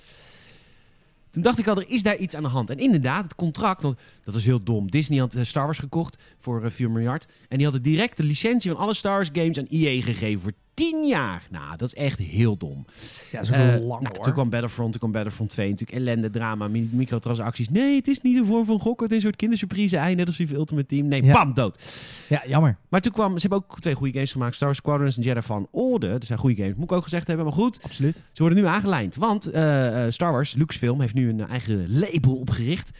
Speaker 1: Toen dacht ik al, er is daar iets aan de hand. En inderdaad, het contract, want dat was heel dom. Disney had eh, Star Wars gekocht voor eh, 4 miljard. En die hadden direct de licentie van alle Star Wars games aan EA gegeven voor 10 jaar. Nou, dat is echt heel dom.
Speaker 2: Ja, dat is ook
Speaker 1: Eh,
Speaker 2: wel lang
Speaker 1: nou,
Speaker 2: hoor.
Speaker 1: Toen kwam Battlefront, toen kwam Battlefront 2. Natuurlijk ellende, drama, mi- microtransacties. Nee, het is niet een vorm van gokken. Het is een soort kindersurprise ei, net als die van Ultimate Team. Nee,
Speaker 2: Ja.
Speaker 1: bam, dood.
Speaker 2: Ja, jammer.
Speaker 1: Maar toen kwam, ze hebben ook twee goede games gemaakt. Star Wars Squadrons en Jedi Fallen Order. Dat zijn goede games, moet ik ook gezegd hebben. Maar goed,
Speaker 2: Absoluut.
Speaker 1: ze worden nu aangelijnd. Want eh, eh, Star Wars, Lucasfilm, heeft nu een eigen label opgericht.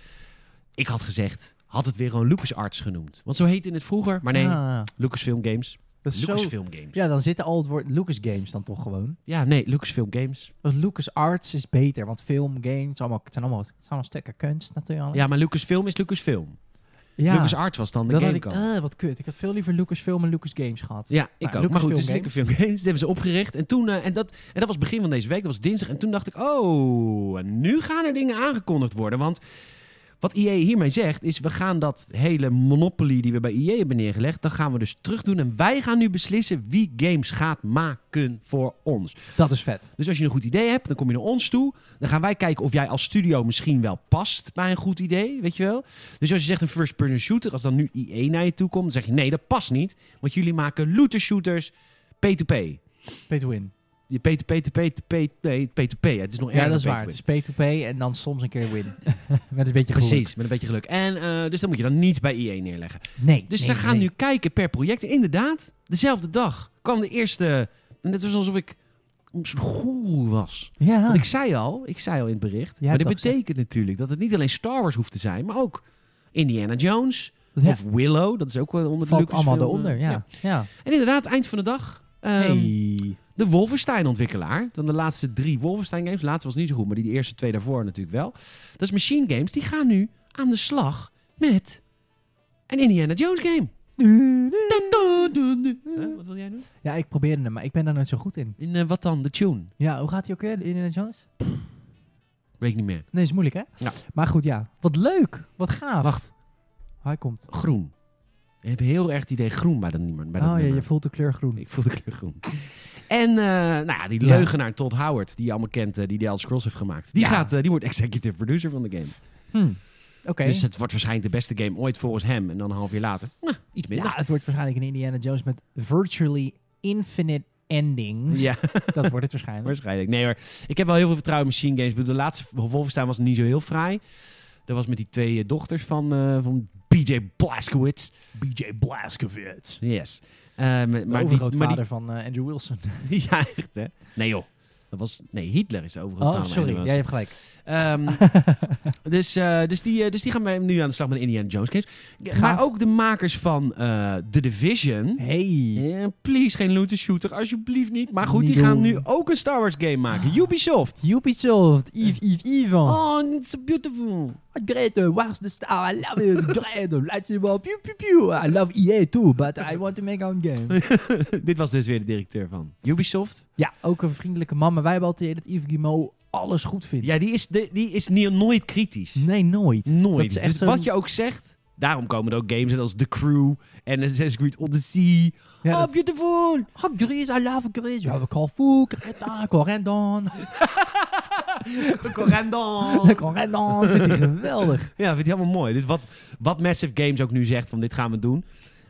Speaker 1: Ik had gezegd, had het weer gewoon LucasArts genoemd. Want zo heette het vroeger. Maar nee,
Speaker 2: Ah,
Speaker 1: Lucasfilm Games.
Speaker 2: dat is zo...
Speaker 1: Lucasfilm Games. Ja.
Speaker 2: Ja, dan zitten al het woord Lucas Games dan toch gewoon.
Speaker 1: nee, Lucasfilm Games.
Speaker 2: Want Lucas Arts is beter, want film, games, allemaal, het zijn allemaal, het zijn allemaal stukken kunst natuurlijk.
Speaker 1: Ja, maar Lucasfilm is Lucasfilm.
Speaker 2: Oh. ja.
Speaker 1: LucasArts was dan de
Speaker 2: dat had ik,
Speaker 1: gamekant.
Speaker 2: eh, wat kut. Ik had veel liever Lucasfilm en Lucas Games gehad.
Speaker 1: Ja, ik
Speaker 2: Nou,
Speaker 1: ook. Maar goed, het is
Speaker 2: Lucasfilm
Speaker 1: Lucasfilm Games. Dat hebben ze opgericht. En, toen, eh, en, dat, en dat was het begin van deze week. Dat was dinsdag. En toen dacht ik, oh, en nu gaan er dingen aangekondigd worden. Want wat EA hiermee zegt, is we gaan dat hele monopoly die we bij EA hebben neergelegd, dat gaan we dus terugdoen. En wij gaan nu beslissen wie games gaat maken voor ons.
Speaker 2: Dat is vet.
Speaker 1: Dus als je een goed idee hebt, dan kom je naar ons toe. Dan gaan wij kijken of jij als studio misschien wel past bij een goed idee, weet je wel. Dus als je zegt een first-person shooter, als dan nu IE naar je toe komt, dan zeg je nee, dat past niet. Want jullie maken looter shooters P2P.
Speaker 2: Pay to win.
Speaker 1: Je P2P, P2P, nee, P2P. hè. Het is nog
Speaker 2: Ja,
Speaker 1: erger
Speaker 2: dat is
Speaker 1: dan
Speaker 2: waar.
Speaker 1: P2P.
Speaker 2: Het is P2P en dan soms een keer win. Met een beetje geluk.
Speaker 1: Precies, met een beetje geluk. En eh, dus dat moet je dan niet bij IE neerleggen.
Speaker 2: Nee.
Speaker 1: Dus
Speaker 2: nee,
Speaker 1: ze gaan
Speaker 2: nee.
Speaker 1: nu kijken per project. Inderdaad, dezelfde dag kwam de eerste. En het was alsof ik een soort goe was.
Speaker 2: Ja.
Speaker 1: Want ik zei al, ik zei al in het bericht.
Speaker 2: Ah. Jij
Speaker 1: maar
Speaker 2: hebt
Speaker 1: dit
Speaker 2: het al gezegd.
Speaker 1: betekent natuurlijk dat het niet alleen Star Wars hoeft te zijn, maar ook Indiana Jones
Speaker 2: Dat ja,
Speaker 1: of Willow. Dat is ook wel onder de
Speaker 2: valt
Speaker 1: Lucasfilm,
Speaker 2: allemaal
Speaker 1: eh,
Speaker 2: eronder. Ja. ja.
Speaker 1: En inderdaad, eind van de dag. ehm,
Speaker 2: Hey.
Speaker 1: De Wolfenstein-ontwikkelaar. Dan de laatste drie Wolfenstein-games. De laatste was niet zo goed, maar die, die eerste twee daarvoor natuurlijk wel. Dat is Machine Games. Die gaan nu aan de slag met een Indiana Jones-game. Huh, wat wil jij doen?
Speaker 2: Ja, ik probeerde hem, maar ik ben daar nooit zo goed in.
Speaker 1: In, eh, wat dan? De tune.
Speaker 2: Ja, hoe gaat hij ook weer, de Indiana Jones?
Speaker 1: Weet ik niet meer.
Speaker 2: Nee, is moeilijk hè?
Speaker 1: Ja.
Speaker 2: Maar goed, ja. Wat leuk. Wat gaaf.
Speaker 1: Wacht.
Speaker 2: Hij komt.
Speaker 1: Groen. Ik heb heel erg het idee groen bij dat nummer. Bij dat
Speaker 2: Oh ja,
Speaker 1: nummer.
Speaker 2: je voelt de kleur groen.
Speaker 1: Ik voel de kleur groen. En eh, nou ja, die
Speaker 2: Ja.
Speaker 1: leugenaar Todd Howard, die je allemaal kent, eh, die de Elder Scrolls heeft gemaakt. Die,
Speaker 2: Ja.
Speaker 1: gaat, eh, die wordt executive producer van de game.
Speaker 2: Hm. Oké.
Speaker 1: Dus het wordt waarschijnlijk de beste game ooit volgens hem. En dan een half jaar later, nou, iets
Speaker 2: ja,
Speaker 1: minder.
Speaker 2: het wordt waarschijnlijk een Indiana Jones met virtually infinite endings.
Speaker 1: Ja,
Speaker 2: Dat wordt het waarschijnlijk.
Speaker 1: waarschijnlijk. Nee hoor, ik heb wel heel veel vertrouwen in Machine Games. Ik bedoel, De laatste Wolfenstein was niet zo heel fraai. Dat was met die twee eh, dochters van, eh, van BJ Blazkowicz.
Speaker 2: BJ Blazkowicz.
Speaker 1: Yes. Eh, maar- maar
Speaker 2: De
Speaker 1: die- maar die-
Speaker 2: overgrootvader van eh, Andrew Wilson.
Speaker 1: Ja, echt hè? Nee joh. Dat Dat was, nee, Hitler is overigens. de
Speaker 2: Oh,
Speaker 1: naam,
Speaker 2: sorry.
Speaker 1: anyways.
Speaker 2: Jij hebt gelijk.
Speaker 1: Ehm, dus, eh, dus, die, eh, dus die gaan wij nu aan de slag met Indiana Jones games. Ja,
Speaker 2: Gaaf.
Speaker 1: Maar ook de makers van eh, The Division.
Speaker 2: Hey.
Speaker 1: Eh, please, geen looter shooter, alsjeblieft niet. Maar goed,
Speaker 2: Niet
Speaker 1: die gaan
Speaker 2: doen.
Speaker 1: nu ook een Star Wars game maken. Ubisoft.
Speaker 2: Ubisoft, Yves, Yves, Ivan.
Speaker 1: Oh, it's so beautiful.
Speaker 2: Greta, where's the star? I love it. Greta, lights it up. Pew, pew, pew. I love EA too, but I want to make our own game.
Speaker 1: Dit was dus weer de directeur van Ubisoft.
Speaker 2: ja, ook een vriendelijke man. Maar wij hebben altijd dat Yves Guillemot alles goed vindt.
Speaker 1: Ja, die is, de, die is niet, nooit kritisch.
Speaker 2: Nee, nooit.
Speaker 1: Nooit.
Speaker 2: Dat is echt
Speaker 1: dus
Speaker 2: zo'n-
Speaker 1: wat je ook zegt, daarom komen er ook games in als The Crew en Assassin's Creed Odyssey.
Speaker 2: Ja,
Speaker 1: oh,
Speaker 2: dat-
Speaker 1: beautiful.
Speaker 2: Oh, Gris, I love Gris. We hebben Carrefour, Greta, Corendon.
Speaker 1: Corendon.
Speaker 2: Corendon, vind ik geweldig.
Speaker 1: Ja, vindt hij allemaal mooi. Dus wat, wat Massive Games ook nu zegt van dit gaan we doen,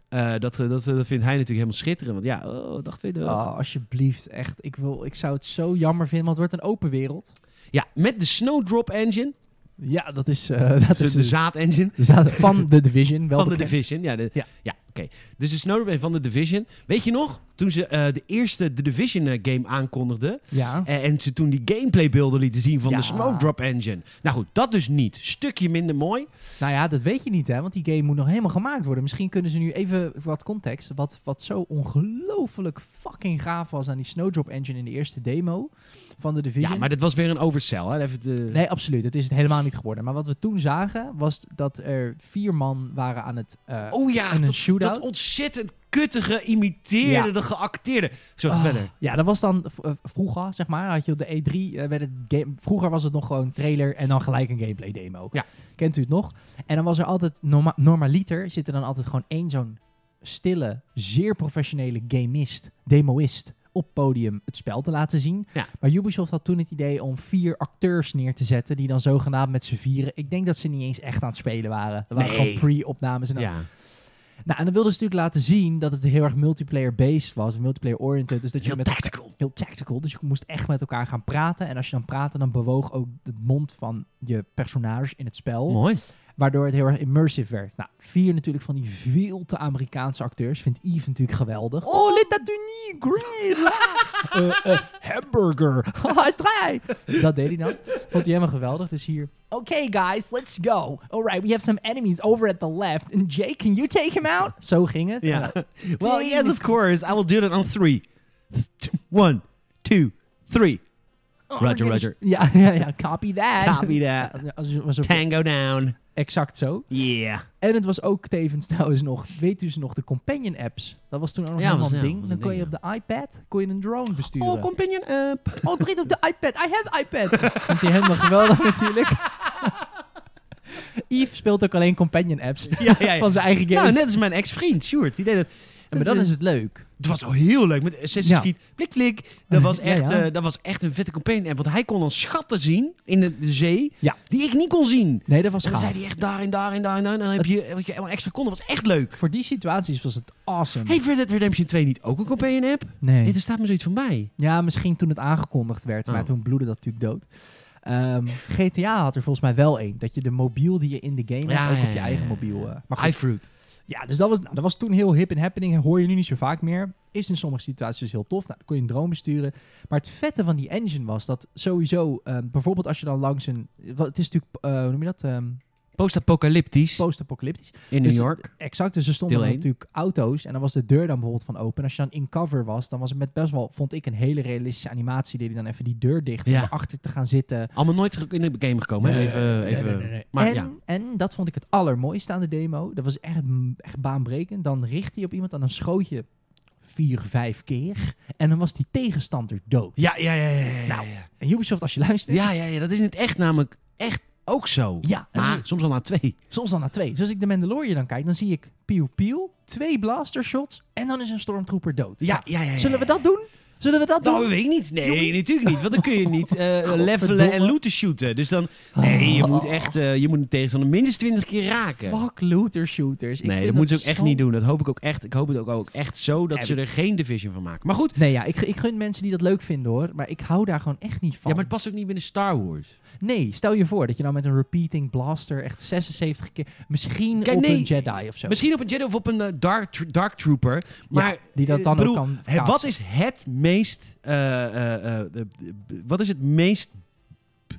Speaker 1: eh, dat, dat, dat vindt hij natuurlijk helemaal schitterend. Want ja, oh, dacht weer wel.
Speaker 2: Oh, alsjeblieft, echt. Ik, wil, ik zou het zo jammer vinden, want het wordt een open wereld.
Speaker 1: Ja, met de Snowdrop Engine,
Speaker 2: Ja, dat is... eh dat
Speaker 1: dus
Speaker 2: is
Speaker 1: de zaad engine
Speaker 2: de zaad- van de Division, wel
Speaker 1: van de
Speaker 2: bekend.
Speaker 1: Division. Ja, de- ja.
Speaker 2: Ja.
Speaker 1: oké. Dus de Snowdrop Engine van de Division. Weet je nog, toen ze eh, de eerste The Division eh, game aankondigden,
Speaker 2: Ja.
Speaker 1: En, en ze toen die gameplaybeelden lieten zien van
Speaker 2: Ja.
Speaker 1: de Snowdrop Engine. Nou goed, dat dus niet. Stukje minder mooi.
Speaker 2: Nou ja, dat weet je niet, hè? Want die game moet nog helemaal gemaakt worden. Misschien kunnen ze nu even wat context. Wat, wat zo ongelooflijk fucking gaaf was aan die Snowdrop Engine in de eerste demo van de Division.
Speaker 1: Ja, maar dit was weer een oversell. Hè? Even de...
Speaker 2: Nee, absoluut. Het is het helemaal niet geworden. Maar wat we toen zagen, was dat er vier man waren aan het... eh,
Speaker 1: Oh ja,
Speaker 2: En een
Speaker 1: dat,
Speaker 2: shootout?
Speaker 1: dat ontzettend kutte geïmiteerde,
Speaker 2: Ja.
Speaker 1: de geacteerde. Zo,
Speaker 2: Ah,
Speaker 1: verder.
Speaker 2: Ja, dat was dan v- eh, vroeger, zeg maar. Had je op de E3 eh, werd het game. Vroeger was het nog gewoon trailer en dan gelijk een gameplay demo.
Speaker 1: Ja.
Speaker 2: Kent u het nog? En dan was er altijd norma normaliter zit er dan altijd gewoon één zo'n stille, zeer professionele gamist, demoist op podium het spel te laten zien.
Speaker 1: Ja.
Speaker 2: Maar Ubisoft had toen het idee om vier acteurs neer te zetten die dan zogenaamd met z'n vieren. Ik denk dat ze niet eens echt aan het spelen waren. Dat waren
Speaker 1: Nee.
Speaker 2: gewoon pre-opnames en dan
Speaker 1: Ja.
Speaker 2: nou, en dan wilden ze natuurlijk laten zien dat het heel erg multiplayer-based was, multiplayer-oriented. Dus dat je
Speaker 1: Heel
Speaker 2: met
Speaker 1: tactical.
Speaker 2: heel tactical. Dus je moest echt met elkaar gaan praten. En als je dan praatte, dan bewoog ook de mond van je personage in het spel.
Speaker 1: Mooi.
Speaker 2: Waardoor het heel erg immersive werd. Nou, vier natuurlijk van die veel te Amerikaanse acteurs. Vindt Yves natuurlijk geweldig. Oh, let dat u niet, great. Eh, eh, hamburger. I try. Dat deed hij dan. Vond hij helemaal geweldig. Dus hier. Okay, guys, let's go. Alright, we have some enemies over at the left. And Jake, can you take him out? Zo ging het.
Speaker 1: Ja.
Speaker 2: Eh,
Speaker 1: Well, yes, of course. I will do it on three. Th- One, two, three.
Speaker 2: oh,
Speaker 1: Roger,
Speaker 2: we're
Speaker 1: roger.
Speaker 2: gonna- Ja, ja, ja. Copy that.
Speaker 1: Copy that.
Speaker 2: Ja, als je- was ook
Speaker 1: Tango down.
Speaker 2: exact zo.
Speaker 1: Yeah.
Speaker 2: En het was ook tevens trouwens nog, weet u ze nog, de companion apps. Dat was toen ook nog
Speaker 1: Ja,
Speaker 2: helemaal
Speaker 1: was-
Speaker 2: een
Speaker 1: ja,
Speaker 2: ding.
Speaker 1: was
Speaker 2: Dan
Speaker 1: een
Speaker 2: kon je
Speaker 1: ding,
Speaker 2: op de iPad kon je een drone besturen.
Speaker 1: Oh, companion up.
Speaker 2: Oh, het begint op de iPad. I have iPad. Vond hij helemaal geweldig natuurlijk. Yves speelt ook alleen companion apps
Speaker 1: Ja, ja, ja.
Speaker 2: van zijn eigen games.
Speaker 1: Nou, net als mijn ex-vriend, Sjoerd. Die deed dat.
Speaker 2: maar dan is het leuk.
Speaker 1: Het was al heel leuk met Assassin's
Speaker 2: Ja.
Speaker 1: Creed. Blik, blik. Dat was
Speaker 2: Ja,
Speaker 1: echt,
Speaker 2: ja.
Speaker 1: eh, dat was echt een vette campagne. Want hij kon dan schatten zien in de, de zee
Speaker 2: Ja.
Speaker 1: die ik niet kon zien.
Speaker 2: Nee, dat was
Speaker 1: En dan
Speaker 2: gaaf.
Speaker 1: zei hij echt daarin, daarin, daarin. daarin. En dan heb
Speaker 2: Het-
Speaker 1: je, eh, wat je helemaal extra kon. Dat was echt leuk.
Speaker 2: Voor die situaties was het awesome.
Speaker 1: Heeft Red Dead Redemption 2 niet ook een campagne app? Nee,
Speaker 2: nee.
Speaker 1: er staat me zoiets van bij.
Speaker 2: Ja, misschien toen het aangekondigd werd, maar
Speaker 1: Oh.
Speaker 2: toen bloedde dat natuurlijk dood. Ehm, GTA had er volgens mij wel één. Dat je de mobiel die je in de game
Speaker 1: Ja,
Speaker 2: hebt, ook
Speaker 1: ja,
Speaker 2: op je
Speaker 1: ja,
Speaker 2: eigen
Speaker 1: ja.
Speaker 2: mobiel... eh, maar goed,
Speaker 1: iFruit.
Speaker 2: Ja, dus dat was, nou, dat was toen heel hip en happening. en Hoor je nu niet zo vaak meer. Is in sommige situaties dus heel tof. Nou, dan kon je een drone besturen. Maar het vette van die engine was dat sowieso... ehm, bijvoorbeeld als je dan langs een... wat- Het is natuurlijk, eh, hoe noem je dat? Ehm,
Speaker 1: Post-apocalyptisch
Speaker 2: Post-apocalyptisch.
Speaker 1: in
Speaker 2: dus-
Speaker 1: New York.
Speaker 2: Exact, dus er stonden
Speaker 1: Deel
Speaker 2: dan
Speaker 1: één.
Speaker 2: natuurlijk auto's. En dan was de deur dan bijvoorbeeld van open. En als je dan in cover was, dan was het met best wel... Vond ik een hele realistische animatie. Deed hij dan even die deur dicht
Speaker 1: Ja.
Speaker 2: om erachter te gaan zitten.
Speaker 1: Allemaal nooit terug in de game gekomen. hè?
Speaker 2: Nee,
Speaker 1: even,
Speaker 2: Eh, nee,
Speaker 1: even.
Speaker 2: nee, nee, nee.
Speaker 1: Maar
Speaker 2: en,
Speaker 1: ja.
Speaker 2: en dat vond ik het allermooiste aan de demo. Dat was echt, mm, echt baanbrekend. Dan richt hij op iemand en dan schoot je vier, vijf keer. En dan was die tegenstander dood.
Speaker 1: Ja, ja, ja, ja, ja.
Speaker 2: Nou.
Speaker 1: ja.
Speaker 2: En Ubisoft, als je luistert...
Speaker 1: ja, ja, ja. Dat is in het echt namelijk echt ook zo.
Speaker 2: Ja, en
Speaker 1: Maar
Speaker 2: dus-
Speaker 1: soms al na twee.
Speaker 2: soms dan na twee. Dus als ik de Mandalorian dan kijk, dan zie ik piu piu, twee blaster shots en dan is een stormtrooper dood.
Speaker 1: Ja, ja, ja. ja.
Speaker 2: Zullen we dat doen? Zullen we dat doen?
Speaker 1: Nou, dat weet ik niet. Nee, natuurlijk niet. Want dan kun je niet eh, levelen en looten shooten. Dus dan... Nee, je moet echt... eh, je moet een tegenstander minstens 20 keer raken.
Speaker 2: Fuck looter shooters. Ik
Speaker 1: nee,
Speaker 2: vind
Speaker 1: dat moeten ze ook echt
Speaker 2: zo-
Speaker 1: niet doen. Dat hoop ik ook echt. Ik hoop het ook, ook echt zo dat
Speaker 2: En-
Speaker 1: ze er geen division van maken. Maar goed.
Speaker 2: Nee, ja, ik, ik gun mensen die dat leuk vinden hoor. Maar ik hou daar gewoon echt niet
Speaker 1: Ja,
Speaker 2: van.
Speaker 1: maar het past ook niet binnen Star Wars.
Speaker 2: Nee, stel je voor dat je nou met een repeating blaster echt 76 keer... Misschien
Speaker 1: Kijk,
Speaker 2: op
Speaker 1: nee,
Speaker 2: een Jedi of zo.
Speaker 1: Misschien op een Jedi of op een eh, dark, tr- dark Trooper. Maar
Speaker 2: ja, die dat
Speaker 1: eh,
Speaker 2: dan
Speaker 1: bedoel,
Speaker 2: ook kan
Speaker 1: hè, wat
Speaker 2: kaatsen.
Speaker 1: is het meest. eh, eh, eh, de- de- wat is het meest p-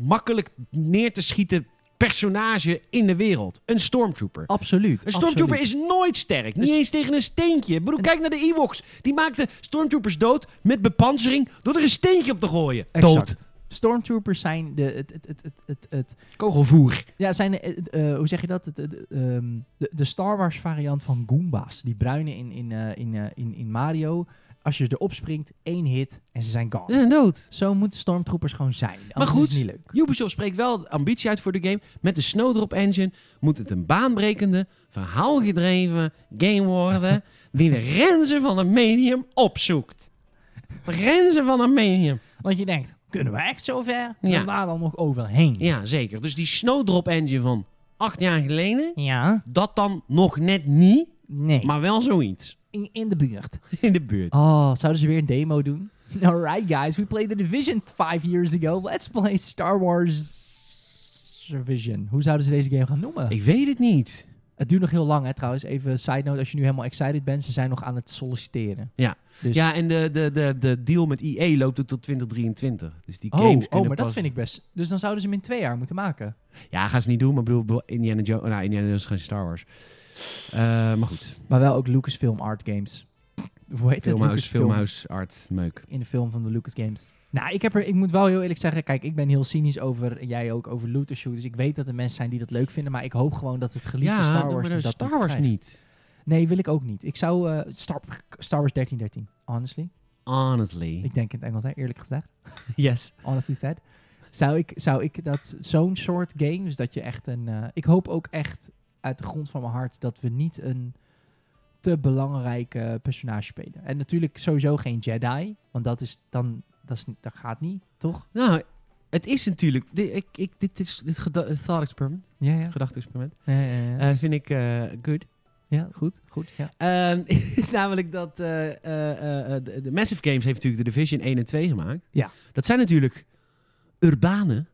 Speaker 1: makkelijk neer te schieten personage in de wereld? Een stormtrooper.
Speaker 2: Absoluut.
Speaker 1: Een stormtrooper
Speaker 2: absoluut.
Speaker 1: is nooit sterk. Niet
Speaker 2: Dus-
Speaker 1: eens tegen een steentje. Ik bedoel, kijk naar de Ewoks. Die maakten stormtroopers dood met bepansering door er een steentje op te gooien. Dood.
Speaker 2: Exact. Stormtroopers zijn de... Het, het, het, het, het, het-
Speaker 1: Kogelvoer.
Speaker 2: ja, zijn de, eh, eh, hoe zeg je dat? Het, het, ehm, de, de Star Wars variant van Goomba's. Die bruine in, in, eh, in, eh, in, in Mario. Als je erop springt, één hit en ze zijn gone.
Speaker 1: Ze zijn dood.
Speaker 2: Zo moeten stormtroopers gewoon zijn. Anders
Speaker 1: Mm. goed,
Speaker 2: is het niet leuk.
Speaker 1: Ubisoft spreekt wel ambitie uit voor de game. Met de Snowdrop Engine moet het een baanbrekende, verhaalgedreven game worden. die de grenzen van een medium opzoekt. De grenzen van een medium.
Speaker 2: Want je denkt, kunnen we echt zo ver?
Speaker 1: Ja.
Speaker 2: We waren al nog overheen.
Speaker 1: Ja, zeker. Dus die Snowdrop Engine van acht jaar geleden.
Speaker 2: Ja,
Speaker 1: Dat dan nog net niet,
Speaker 2: nee.
Speaker 1: maar wel zoiets.
Speaker 2: in, in de buurt.
Speaker 1: In de buurt.
Speaker 2: Oh, zouden ze weer een demo doen? Alright guys, we played The Division five years ago. Let's play Star Wars Division. Hoe zouden ze deze game gaan noemen?
Speaker 1: Ik weet het niet.
Speaker 2: Het duurt nog heel lang hè trouwens. Even side note, als je nu helemaal excited bent, ze zijn nog aan het solliciteren.
Speaker 1: Ja.
Speaker 2: Dus,
Speaker 1: Ja, en de, de, de, de deal met EA loopt tot 2023. Dus die
Speaker 2: oh,
Speaker 1: games
Speaker 2: oh,
Speaker 1: kunnen
Speaker 2: maar dat
Speaker 1: pas-
Speaker 2: vind ik best. Dus dan zouden ze hem in twee jaar moeten maken.
Speaker 1: Ja, gaan ze niet doen, maar ik bedoel, bedoel, Indiana Jones... Nou, Indiana Jones is geen Star Wars. Eh, maar goed,
Speaker 2: Maar wel ook Lucasfilm Art Games. Hoe heet het?
Speaker 1: filmhuis,
Speaker 2: Lucasfilm.
Speaker 1: filmhuis, art, meuk.
Speaker 2: in de film van de Lucas Games. Nou, ik, heb er, ik moet wel heel eerlijk zeggen, kijk, ik ben heel cynisch over, en jij ook, over looter shooters. Ik weet dat er mensen zijn die dat leuk vinden, maar ik hoop gewoon dat het geliefde Star Wars
Speaker 1: maar
Speaker 2: dat
Speaker 1: Star
Speaker 2: niet
Speaker 1: Wars
Speaker 2: krijgt.
Speaker 1: niet.
Speaker 2: Nee, wil ik ook niet. Ik zou eh, Star, Star Wars 1313, honestly.
Speaker 1: Honestly.
Speaker 2: Ik denk in het Engels, hè, eerlijk gezegd.
Speaker 1: Yes.
Speaker 2: Honestly said. Zou ik, zou ik dat zo'n soort game, dus dat je echt een... eh, ik hoop ook echt uit de grond van mijn hart dat we niet een te belangrijk eh, personage spelen. En natuurlijk sowieso geen Jedi, want dat is dan... Dat, is, niet- dat gaat niet, toch?
Speaker 1: Nou, het is natuurlijk... Dit, ik, ik, dit is dit geda- thought experiment,
Speaker 2: Ja, ja.
Speaker 1: gedachte-experiment,
Speaker 2: Ja, ja, ja.
Speaker 1: eh, vind ik eh, good.
Speaker 2: Ja,
Speaker 1: goed.
Speaker 2: Goed, ja.
Speaker 1: Ehm, namelijk dat eh, eh, eh, de, de Massive Games heeft natuurlijk de Division 1 en 2 gemaakt.
Speaker 2: Ja.
Speaker 1: Dat zijn natuurlijk urbane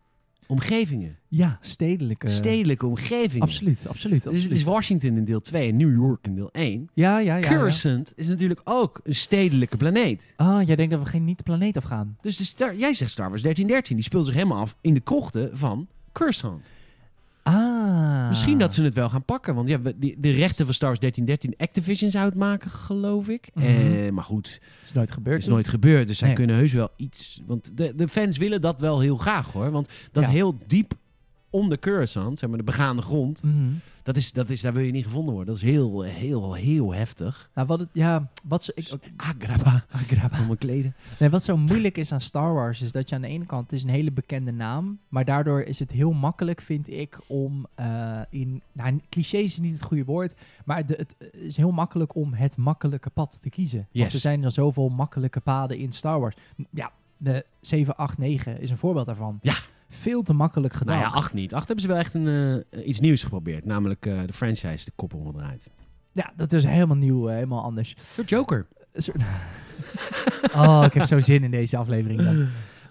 Speaker 1: omgevingen.
Speaker 2: Ja, stedelijke.
Speaker 1: Stedelijke omgevingen.
Speaker 2: Absoluut, absoluut.
Speaker 1: Dus het is
Speaker 2: absoluut.
Speaker 1: Washington in deel 2 en New York in deel 1.
Speaker 2: Ja, ja, ja. ja.
Speaker 1: Coruscant is natuurlijk ook een stedelijke planeet.
Speaker 2: Ah, jij denkt dat we geen niet de planeet afgaan.
Speaker 1: Dus de Star- jij zegt Star Wars 1313. Die speelt zich helemaal af in de krochten van Coruscant.
Speaker 2: Ah.
Speaker 1: Misschien dat ze het wel gaan pakken. Want ja, we- die- de rechten van Star Wars 1313 Activision zou het maken, geloof ik.
Speaker 2: Mhm.
Speaker 1: Eh, maar goed,
Speaker 2: is nooit gebeurd.
Speaker 1: is nooit gebeurd. Dus zij
Speaker 2: Nee.
Speaker 1: kunnen heus wel iets. Want de, de fans willen dat wel heel graag hoor. Want dat
Speaker 2: Ja.
Speaker 1: heel diep onder Coruscant, zeg maar de begaande grond,
Speaker 2: Mhm.
Speaker 1: dat is, dat is, daar wil je niet gevonden worden. Dat is heel, heel, heel heftig.
Speaker 2: Nou, wat het, ja, wat ze, ik,
Speaker 1: Dus Agrabah,
Speaker 2: Ah, grap.
Speaker 1: om mijn kleden.
Speaker 2: nee, wat zo moeilijk is aan Star Wars is dat je aan de ene kant, het is een hele bekende naam, maar daardoor is het heel makkelijk, vind ik, om eh, in, nou, cliché is niet het goede woord, maar de, het is heel makkelijk om het makkelijke pad te kiezen. Want
Speaker 1: Yes.
Speaker 2: er zijn er zoveel makkelijke paden in Star Wars. Ja, de 7, 8, 9 is een voorbeeld daarvan.
Speaker 1: Ja.
Speaker 2: Veel te makkelijk gedaan.
Speaker 1: Nou ja, acht niet. Acht hebben ze wel echt een, eh, iets nieuws geprobeerd. Namelijk eh, de franchise de kop onderuit.
Speaker 2: Ja, dat is helemaal nieuw, eh, helemaal anders.
Speaker 1: De Joker.
Speaker 2: Een soort- oh, ik heb zo zin in deze aflevering. dan.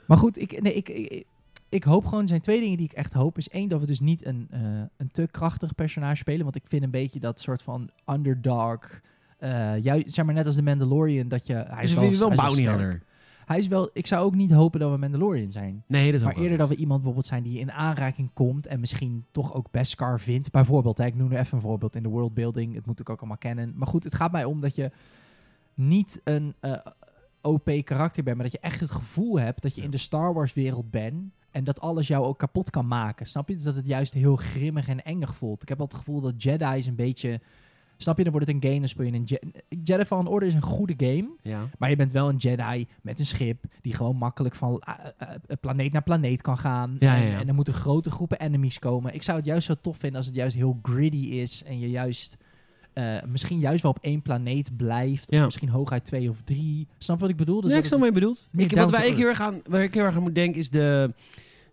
Speaker 2: Maar goed, ik, nee, ik, ik, ik hoop gewoon, er zijn twee dingen die ik echt hoop. Is één, dat we dus niet een, eh, een te krachtig personage spelen. Want ik vind een beetje dat soort van underdog... eh juist, zeg maar net als de Mandalorian, dat je... Hij
Speaker 1: Dus
Speaker 2: is
Speaker 1: we
Speaker 2: wel,
Speaker 1: willen wel een
Speaker 2: hij is
Speaker 1: bounty
Speaker 2: sterk.
Speaker 1: hunter.
Speaker 2: Hij is wel... Ik zou ook niet hopen dat we Mandalorian zijn.
Speaker 1: Nee, dat
Speaker 2: Maar eerder dat we iemand bijvoorbeeld zijn die in aanraking komt en misschien toch ook Beskar vindt. Bijvoorbeeld, hè, ik noem nu even een voorbeeld in de worldbuilding. Het moet ik ook allemaal kennen. Maar goed, het gaat mij om dat je niet een eh, OP karakter bent, maar dat je echt het gevoel hebt dat je
Speaker 1: Ja.
Speaker 2: in de Star Wars wereld bent. En dat alles jou ook kapot kan maken. Snap je? Dus dat het juist heel grimmig en engig voelt. Ik heb al het gevoel dat Jedi's een beetje. Snap je? Dan wordt het een game. Dan speel je een. Je- Jedi Fallen Order is een goede game.
Speaker 1: Ja.
Speaker 2: Maar je bent wel een Jedi met een schip die gewoon makkelijk van eh, eh, eh, planeet naar planeet kan gaan.
Speaker 1: Ja,
Speaker 2: en,
Speaker 1: ja, ja.
Speaker 2: en er moeten grote groepen enemies komen. Ik zou het juist zo tof vinden als het juist heel gritty is en je juist eh, misschien juist wel op één planeet blijft.
Speaker 1: Ja.
Speaker 2: Of misschien hooguit twee of drie. Snap je wat ik bedoel? Dus
Speaker 1: nee, ik
Speaker 2: dat
Speaker 1: snap
Speaker 2: het-
Speaker 1: wat je bedoelt.
Speaker 2: meer
Speaker 1: Ik, wat
Speaker 2: down
Speaker 1: waar
Speaker 2: to
Speaker 1: ik, heel erg aan, waar ik heel erg aan moet denken is de...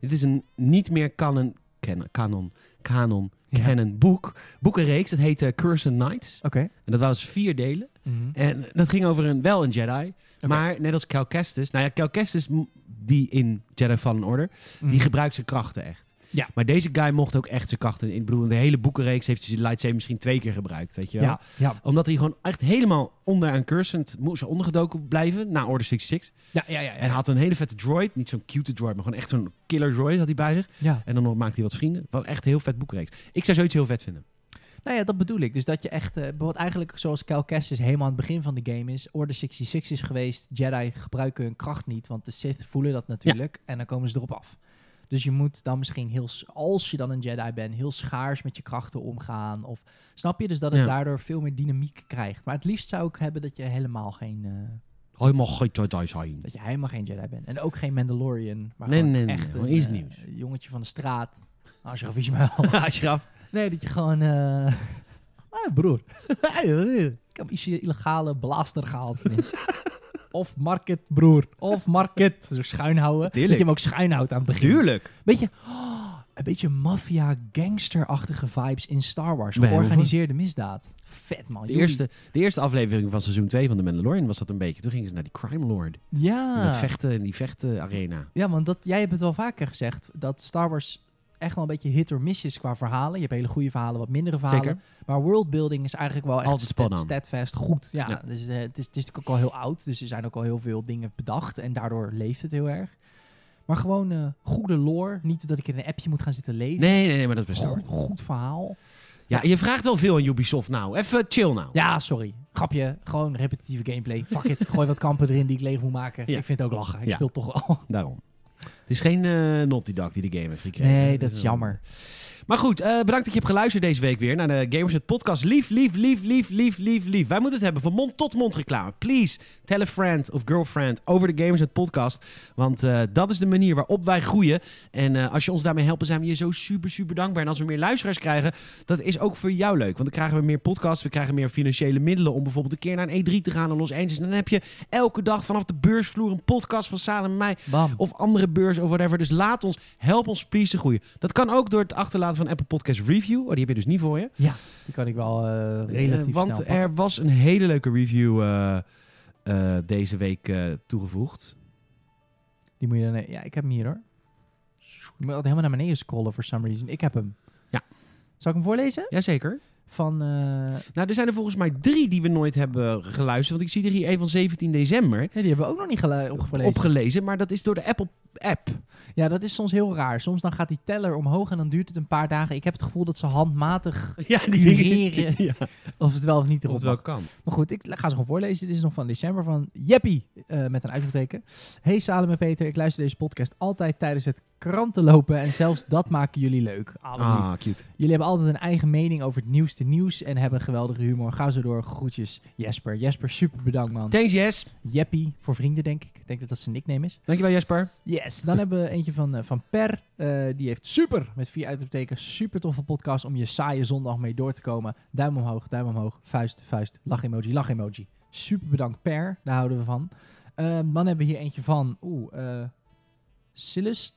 Speaker 1: Dit is een niet meer canon, canon, canon, canon,
Speaker 2: Ja.
Speaker 1: canon boek. Boekenreeks, dat heette Curse Knights.
Speaker 2: Oké.
Speaker 1: En dat was vier delen.
Speaker 2: Mhm.
Speaker 1: En dat ging over een, wel een Jedi,
Speaker 2: Oké.
Speaker 1: maar net als Cal Kestis. Nou ja, Cal Kestis, m- die in Jedi Fallen Order, die
Speaker 2: Mhm.
Speaker 1: gebruikt zijn krachten echt.
Speaker 2: Ja.
Speaker 1: Maar deze guy mocht ook echt zijn krachten. Ik bedoel, in de hele boekenreeks heeft hij zijn lightsaber misschien twee keer gebruikt, weet je wel?
Speaker 2: ja, ja,
Speaker 1: Omdat hij gewoon echt helemaal onder aan Cursant moest ondergedoken blijven na Order 66.
Speaker 2: ja, ja, ja,
Speaker 1: En
Speaker 2: ja.
Speaker 1: had een hele vette droid. Niet zo'n cute droid, maar gewoon echt zo'n killer droid had hij bij zich.
Speaker 2: ja.
Speaker 1: En dan nog maakte hij wat vrienden. Wel echt een heel vet boekreeks. Ik zou zoiets heel vet vinden.
Speaker 2: Nou ja, dat bedoel ik. Dus dat je echt, eh, bijvoorbeeld eigenlijk zoals Cal Kestis helemaal aan het begin van de game is, Order 66 is geweest, Jedi gebruiken hun kracht niet, want de Sith voelen dat natuurlijk en dan komen ze erop af. Dus je moet dan misschien heel, s- als je dan een Jedi bent, heel schaars met je krachten omgaan. Of snap je dus dat het
Speaker 1: Ja.
Speaker 2: daardoor veel meer dynamiek krijgt. Maar het liefst zou ik hebben dat je helemaal geen, eh,
Speaker 1: Helemaal geen Jedi zijn.
Speaker 2: dat je helemaal geen Jedi bent. En ook geen Mandalorian, maar
Speaker 1: Nee,
Speaker 2: gewoon
Speaker 1: nee, nee,
Speaker 2: echt
Speaker 1: gewoon
Speaker 2: een
Speaker 1: iets
Speaker 2: eh,
Speaker 1: nieuws.
Speaker 2: jongetje van de straat. Ashraf Ismail.
Speaker 1: Ashraf.
Speaker 2: Nee, dat je gewoon. eh, ah, broer. Ik heb ietsje illegale blaster gehaald. vriend. of market, broer. Of market. Zo schuin houden.
Speaker 1: Tuurlijk.
Speaker 2: Dat je hem ook schuin houdt aan het begin.
Speaker 1: Tuurlijk.
Speaker 2: Beetje, oh, een beetje maffia-gangsterachtige vibes in Star Wars.
Speaker 1: Nee,
Speaker 2: Georganiseerde misdaad. Vet, man.
Speaker 1: De
Speaker 2: Jullie-
Speaker 1: eerste, de eerste aflevering van seizoen 2 van The Mandalorian was dat een beetje. Toen gingen ze naar die Crime Lord. En dat
Speaker 2: Ja.
Speaker 1: vechten in die vechten arena.
Speaker 2: Ja, want dat, jij hebt het wel vaker gezegd. Dat Star Wars echt wel een beetje hit or miss is qua verhalen. Je hebt hele goede verhalen, wat mindere verhalen.
Speaker 1: Zeker.
Speaker 2: Maar worldbuilding is eigenlijk wel echt
Speaker 1: Altijd spannend.
Speaker 2: sta- steadfast goed. Ja,
Speaker 1: Ja.
Speaker 2: Dus, eh, het, is, het is natuurlijk ook al heel oud. Dus er zijn ook al heel veel dingen bedacht. En daardoor leeft het heel erg. Maar gewoon eh, goede lore. Niet dat ik in een appje moet gaan zitten lezen.
Speaker 1: Nee, nee, nee, maar dat is best
Speaker 2: Goed, goed verhaal.
Speaker 1: Ja, je vraagt wel veel aan Ubisoft nou. Even chill nou.
Speaker 2: Ja, sorry. Grapje. Gewoon repetitieve gameplay. Fuck it. Gooi wat kampen erin die ik leeg moet maken.
Speaker 1: Ja.
Speaker 2: Ik vind het ook lachen. Ik
Speaker 1: Ja.
Speaker 2: speel toch al.
Speaker 1: Daarom. Het is geen eh Naughty Dog die de game heeft gekregen.
Speaker 2: Nee,
Speaker 1: Dat
Speaker 2: dat
Speaker 1: is
Speaker 2: is
Speaker 1: wel-
Speaker 2: jammer.
Speaker 1: Maar goed, eh, bedankt dat je hebt geluisterd deze week weer naar de Gamers het Podcast. Lief, lief, lief, lief, lief, lief, lief. Wij moeten het hebben van mond tot mond reclame. Please, tell a friend of girlfriend over de Gamers het Podcast. Want eh, dat is de manier waarop wij groeien. En eh, als je ons daarmee helpt, zijn we je zo super, super dankbaar. En als we meer luisteraars krijgen, dat is ook voor jou leuk. Want dan krijgen we meer podcasts, we krijgen meer financiële middelen om bijvoorbeeld een keer naar een E3 te gaan in Los Angeles. En dan heb je elke dag vanaf de beursvloer een podcast van Salem en mij.
Speaker 2: Bam.
Speaker 1: Of andere beurs of whatever. Dus laat ons, help ons please te groeien. Dat kan ook door het achterlaten van een Apple Podcast Review. Oh, die heb je dus niet voor je.
Speaker 2: Ja, die kan ik wel eh, relatief
Speaker 1: Eh, want
Speaker 2: snel pakken.
Speaker 1: er was een hele leuke review eh, eh, deze week eh, toegevoegd.
Speaker 2: Die moet je dan... Ja, ik heb hem hier hoor. Je moet altijd helemaal naar beneden scrollen for some reason. Ik heb hem.
Speaker 1: Ja.
Speaker 2: Zal ik hem voorlezen?
Speaker 1: Jazeker.
Speaker 2: Van... eh,
Speaker 1: Nou, er zijn er volgens mij drie die we nooit hebben geluisterd. Want ik zie er hier een van 17 december
Speaker 2: nee, die hebben we ook nog niet gelu- opgelezen.
Speaker 1: opgelezen. Maar dat is door de Apple app.
Speaker 2: ja, dat is soms heel raar. Soms dan gaat die teller omhoog en dan duurt het een paar dagen. Ik heb het gevoel dat ze handmatig,
Speaker 1: Ja,
Speaker 2: Cureren.
Speaker 1: Ja,
Speaker 2: of het wel of niet erop
Speaker 1: dat
Speaker 2: mag.
Speaker 1: wel kan.
Speaker 2: Maar goed, ik ga ze gewoon voorlezen. Dit is nog van december van Jeppie eh, met een uitroepteken. Hey Salem en Peter, ik luister deze podcast altijd tijdens het krantenlopen. En zelfs dat maken jullie leuk. Ah, wat lief.
Speaker 1: Ah, cute.
Speaker 2: Jullie hebben altijd een eigen mening over het nieuwste nieuws en hebben geweldige humor. Ga zo door. Groetjes, Jesper. Jesper, super bedankt, man.
Speaker 1: Thanks, Jes.
Speaker 2: Jeppie, voor vrienden, denk ik. Ik denk dat dat zijn nickname is.
Speaker 1: Dankjewel, Jesper.
Speaker 2: Yes, dan hebben we eentje van, eh, van Per. Eh, die heeft super, met vier uitroeptekens, super toffe podcast om je saaie zondag mee door te komen. Duim omhoog, duim omhoog, vuist, vuist, lach-emoji, lach-emoji. Super bedankt Per, daar houden we van. Eh, dan hebben we hier eentje van, oeh, eh Silas,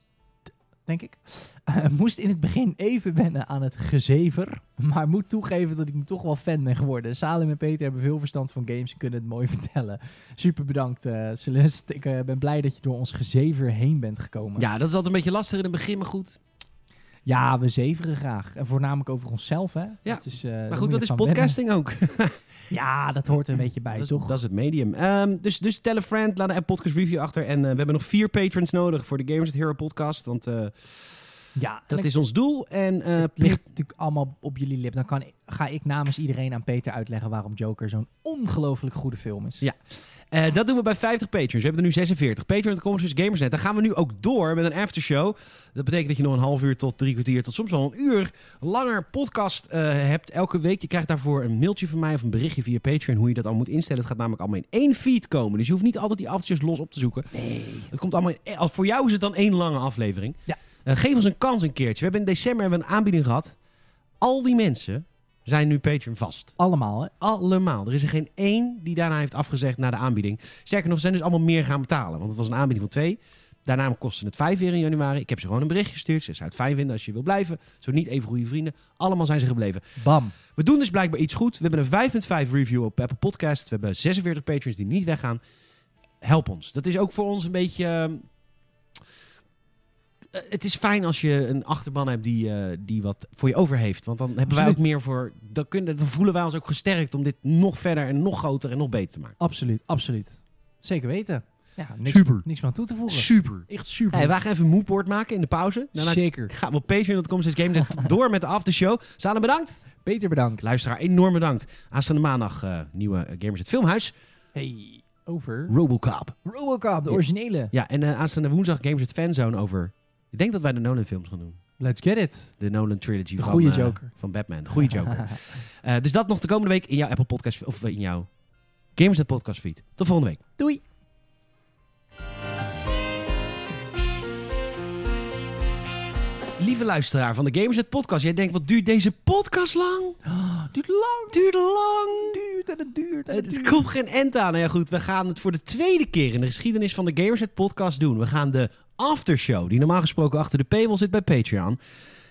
Speaker 2: denk ik. Eh, moest in het begin even wennen aan het gezever, maar moet toegeven dat ik nu toch wel fan ben geworden. Salem en Peter hebben veel verstand van games en kunnen het mooi vertellen. Super bedankt, eh Celeste. Ik eh, ben blij dat je door ons gezever heen bent gekomen.
Speaker 1: Ja, dat is altijd een beetje lastig in het begin, maar goed.
Speaker 2: Ja, we zeveren graag. En voornamelijk over onszelf, hè?
Speaker 1: Ja,
Speaker 2: Dat is, eh, daar
Speaker 1: Maar
Speaker 2: moet
Speaker 1: goed,
Speaker 2: je
Speaker 1: dat is
Speaker 2: van wennen.
Speaker 1: podcasting ook.
Speaker 2: Ja, dat hoort er een beetje bij,
Speaker 1: Dat is,
Speaker 2: toch?
Speaker 1: dat is het medium. Ehm, dus, dus tell a friend, laat een podcast review achter. En eh, we hebben nog vier patrons nodig voor de Gamers at Hero podcast. Want eh,
Speaker 2: ja, en
Speaker 1: dat
Speaker 2: dan-
Speaker 1: is ons doel. En eh
Speaker 2: Het ligt natuurlijk allemaal op jullie lip. Dan kan, ik- ga ik namens iedereen aan Peter uitleggen waarom Joker zo'n ongelooflijk goede film is.
Speaker 1: Ja. eh, dat doen we bij 50 patrons. We hebben er nu 46. Patreon.com is Gamersnet. Daar gaan we nu ook door met een aftershow. Dat betekent dat je nog een half uur tot drie kwartier... tot soms wel een uur langer podcast eh, hebt elke week. Je krijgt daarvoor een mailtje van mij of een berichtje via Patreon... hoe je dat al moet instellen. Het gaat namelijk allemaal in één feed komen. Dus je hoeft niet altijd die aftershows los op te zoeken.
Speaker 2: Nee.
Speaker 1: Het komt allemaal in- als voor jou is het dan één lange aflevering.
Speaker 2: Ja.
Speaker 1: Eh, geef ons een kans een keertje. We hebben in december hebben we een aanbieding gehad. Al die mensen zijn nu Patreon vast.
Speaker 2: Allemaal, hè?
Speaker 1: Allemaal. Er is er geen één die daarna heeft afgezegd na de aanbieding. Sterker nog, er zijn dus allemaal meer gaan betalen. Want het was een aanbieding van twee. Daarna kostte het 5 weer in januari. Ik heb ze gewoon een berichtje gestuurd. Ze zou het fijn vinden als je wil blijven. Zo niet even goede vrienden. Allemaal zijn ze gebleven.
Speaker 2: Bam.
Speaker 1: We doen dus blijkbaar iets goed. We hebben een 5.5 review op Apple Podcast. We hebben 46 patrons die niet weggaan. Help ons. Dat is ook voor ons een beetje... ehm, eh, het is fijn als je een achterban hebt die, eh, die wat voor je over heeft. Want dan hebben wij ook
Speaker 2: Absoluut.
Speaker 1: meer voor... Dan, kunnen, dan voelen wij ons ook gesterkt om dit nog verder en nog groter en nog beter te maken.
Speaker 2: Absoluut, absoluut. Zeker weten. Ja, niks,
Speaker 1: Super.
Speaker 2: niks meer aan toe te voegen.
Speaker 1: Super.
Speaker 2: Echt super.
Speaker 1: Hey, nou, wij gaan even een moodboard maken in de pauze. Daarna
Speaker 2: Zeker.
Speaker 1: gaan we op patreon.com slash gameset door met de aftershow. Salem bedankt.
Speaker 2: Peter, bedankt.
Speaker 1: Luisteraar, enorm bedankt. Aanstaande maandag eh, nieuwe eh, Gamers het Filmhuis.
Speaker 2: Hey, over...
Speaker 1: Robocop.
Speaker 2: Robocop, de
Speaker 1: Ja.
Speaker 2: originele.
Speaker 1: Ja, en eh, aanstaande woensdag Gamers het Fanzone over... Ik denk dat wij de Nolan films gaan doen.
Speaker 2: Let's get it.
Speaker 1: De Nolan Trilogy
Speaker 2: De
Speaker 1: van,
Speaker 2: goede
Speaker 1: eh,
Speaker 2: Joker.
Speaker 1: van Batman. De goede Joker. Eh, dus dat nog de komende week in jouw Apple Podcast... Of eh, in jouw Gamers het Podcast feed. Tot volgende week.
Speaker 2: Doei.
Speaker 1: Lieve luisteraar van de Gamers het Podcast. Jij denkt, wat duurt deze podcast lang?
Speaker 2: Ah, duurt lang.
Speaker 1: Duurt lang.
Speaker 2: Duurt en het duurt en
Speaker 1: Het, het
Speaker 2: het duurt.
Speaker 1: komt geen end aan. Nou ja, goed, we gaan het voor de tweede keer in de geschiedenis van de Gamersnet podcast doen. We gaan de aftershow, die normaal gesproken achter de paywall zit bij Patreon,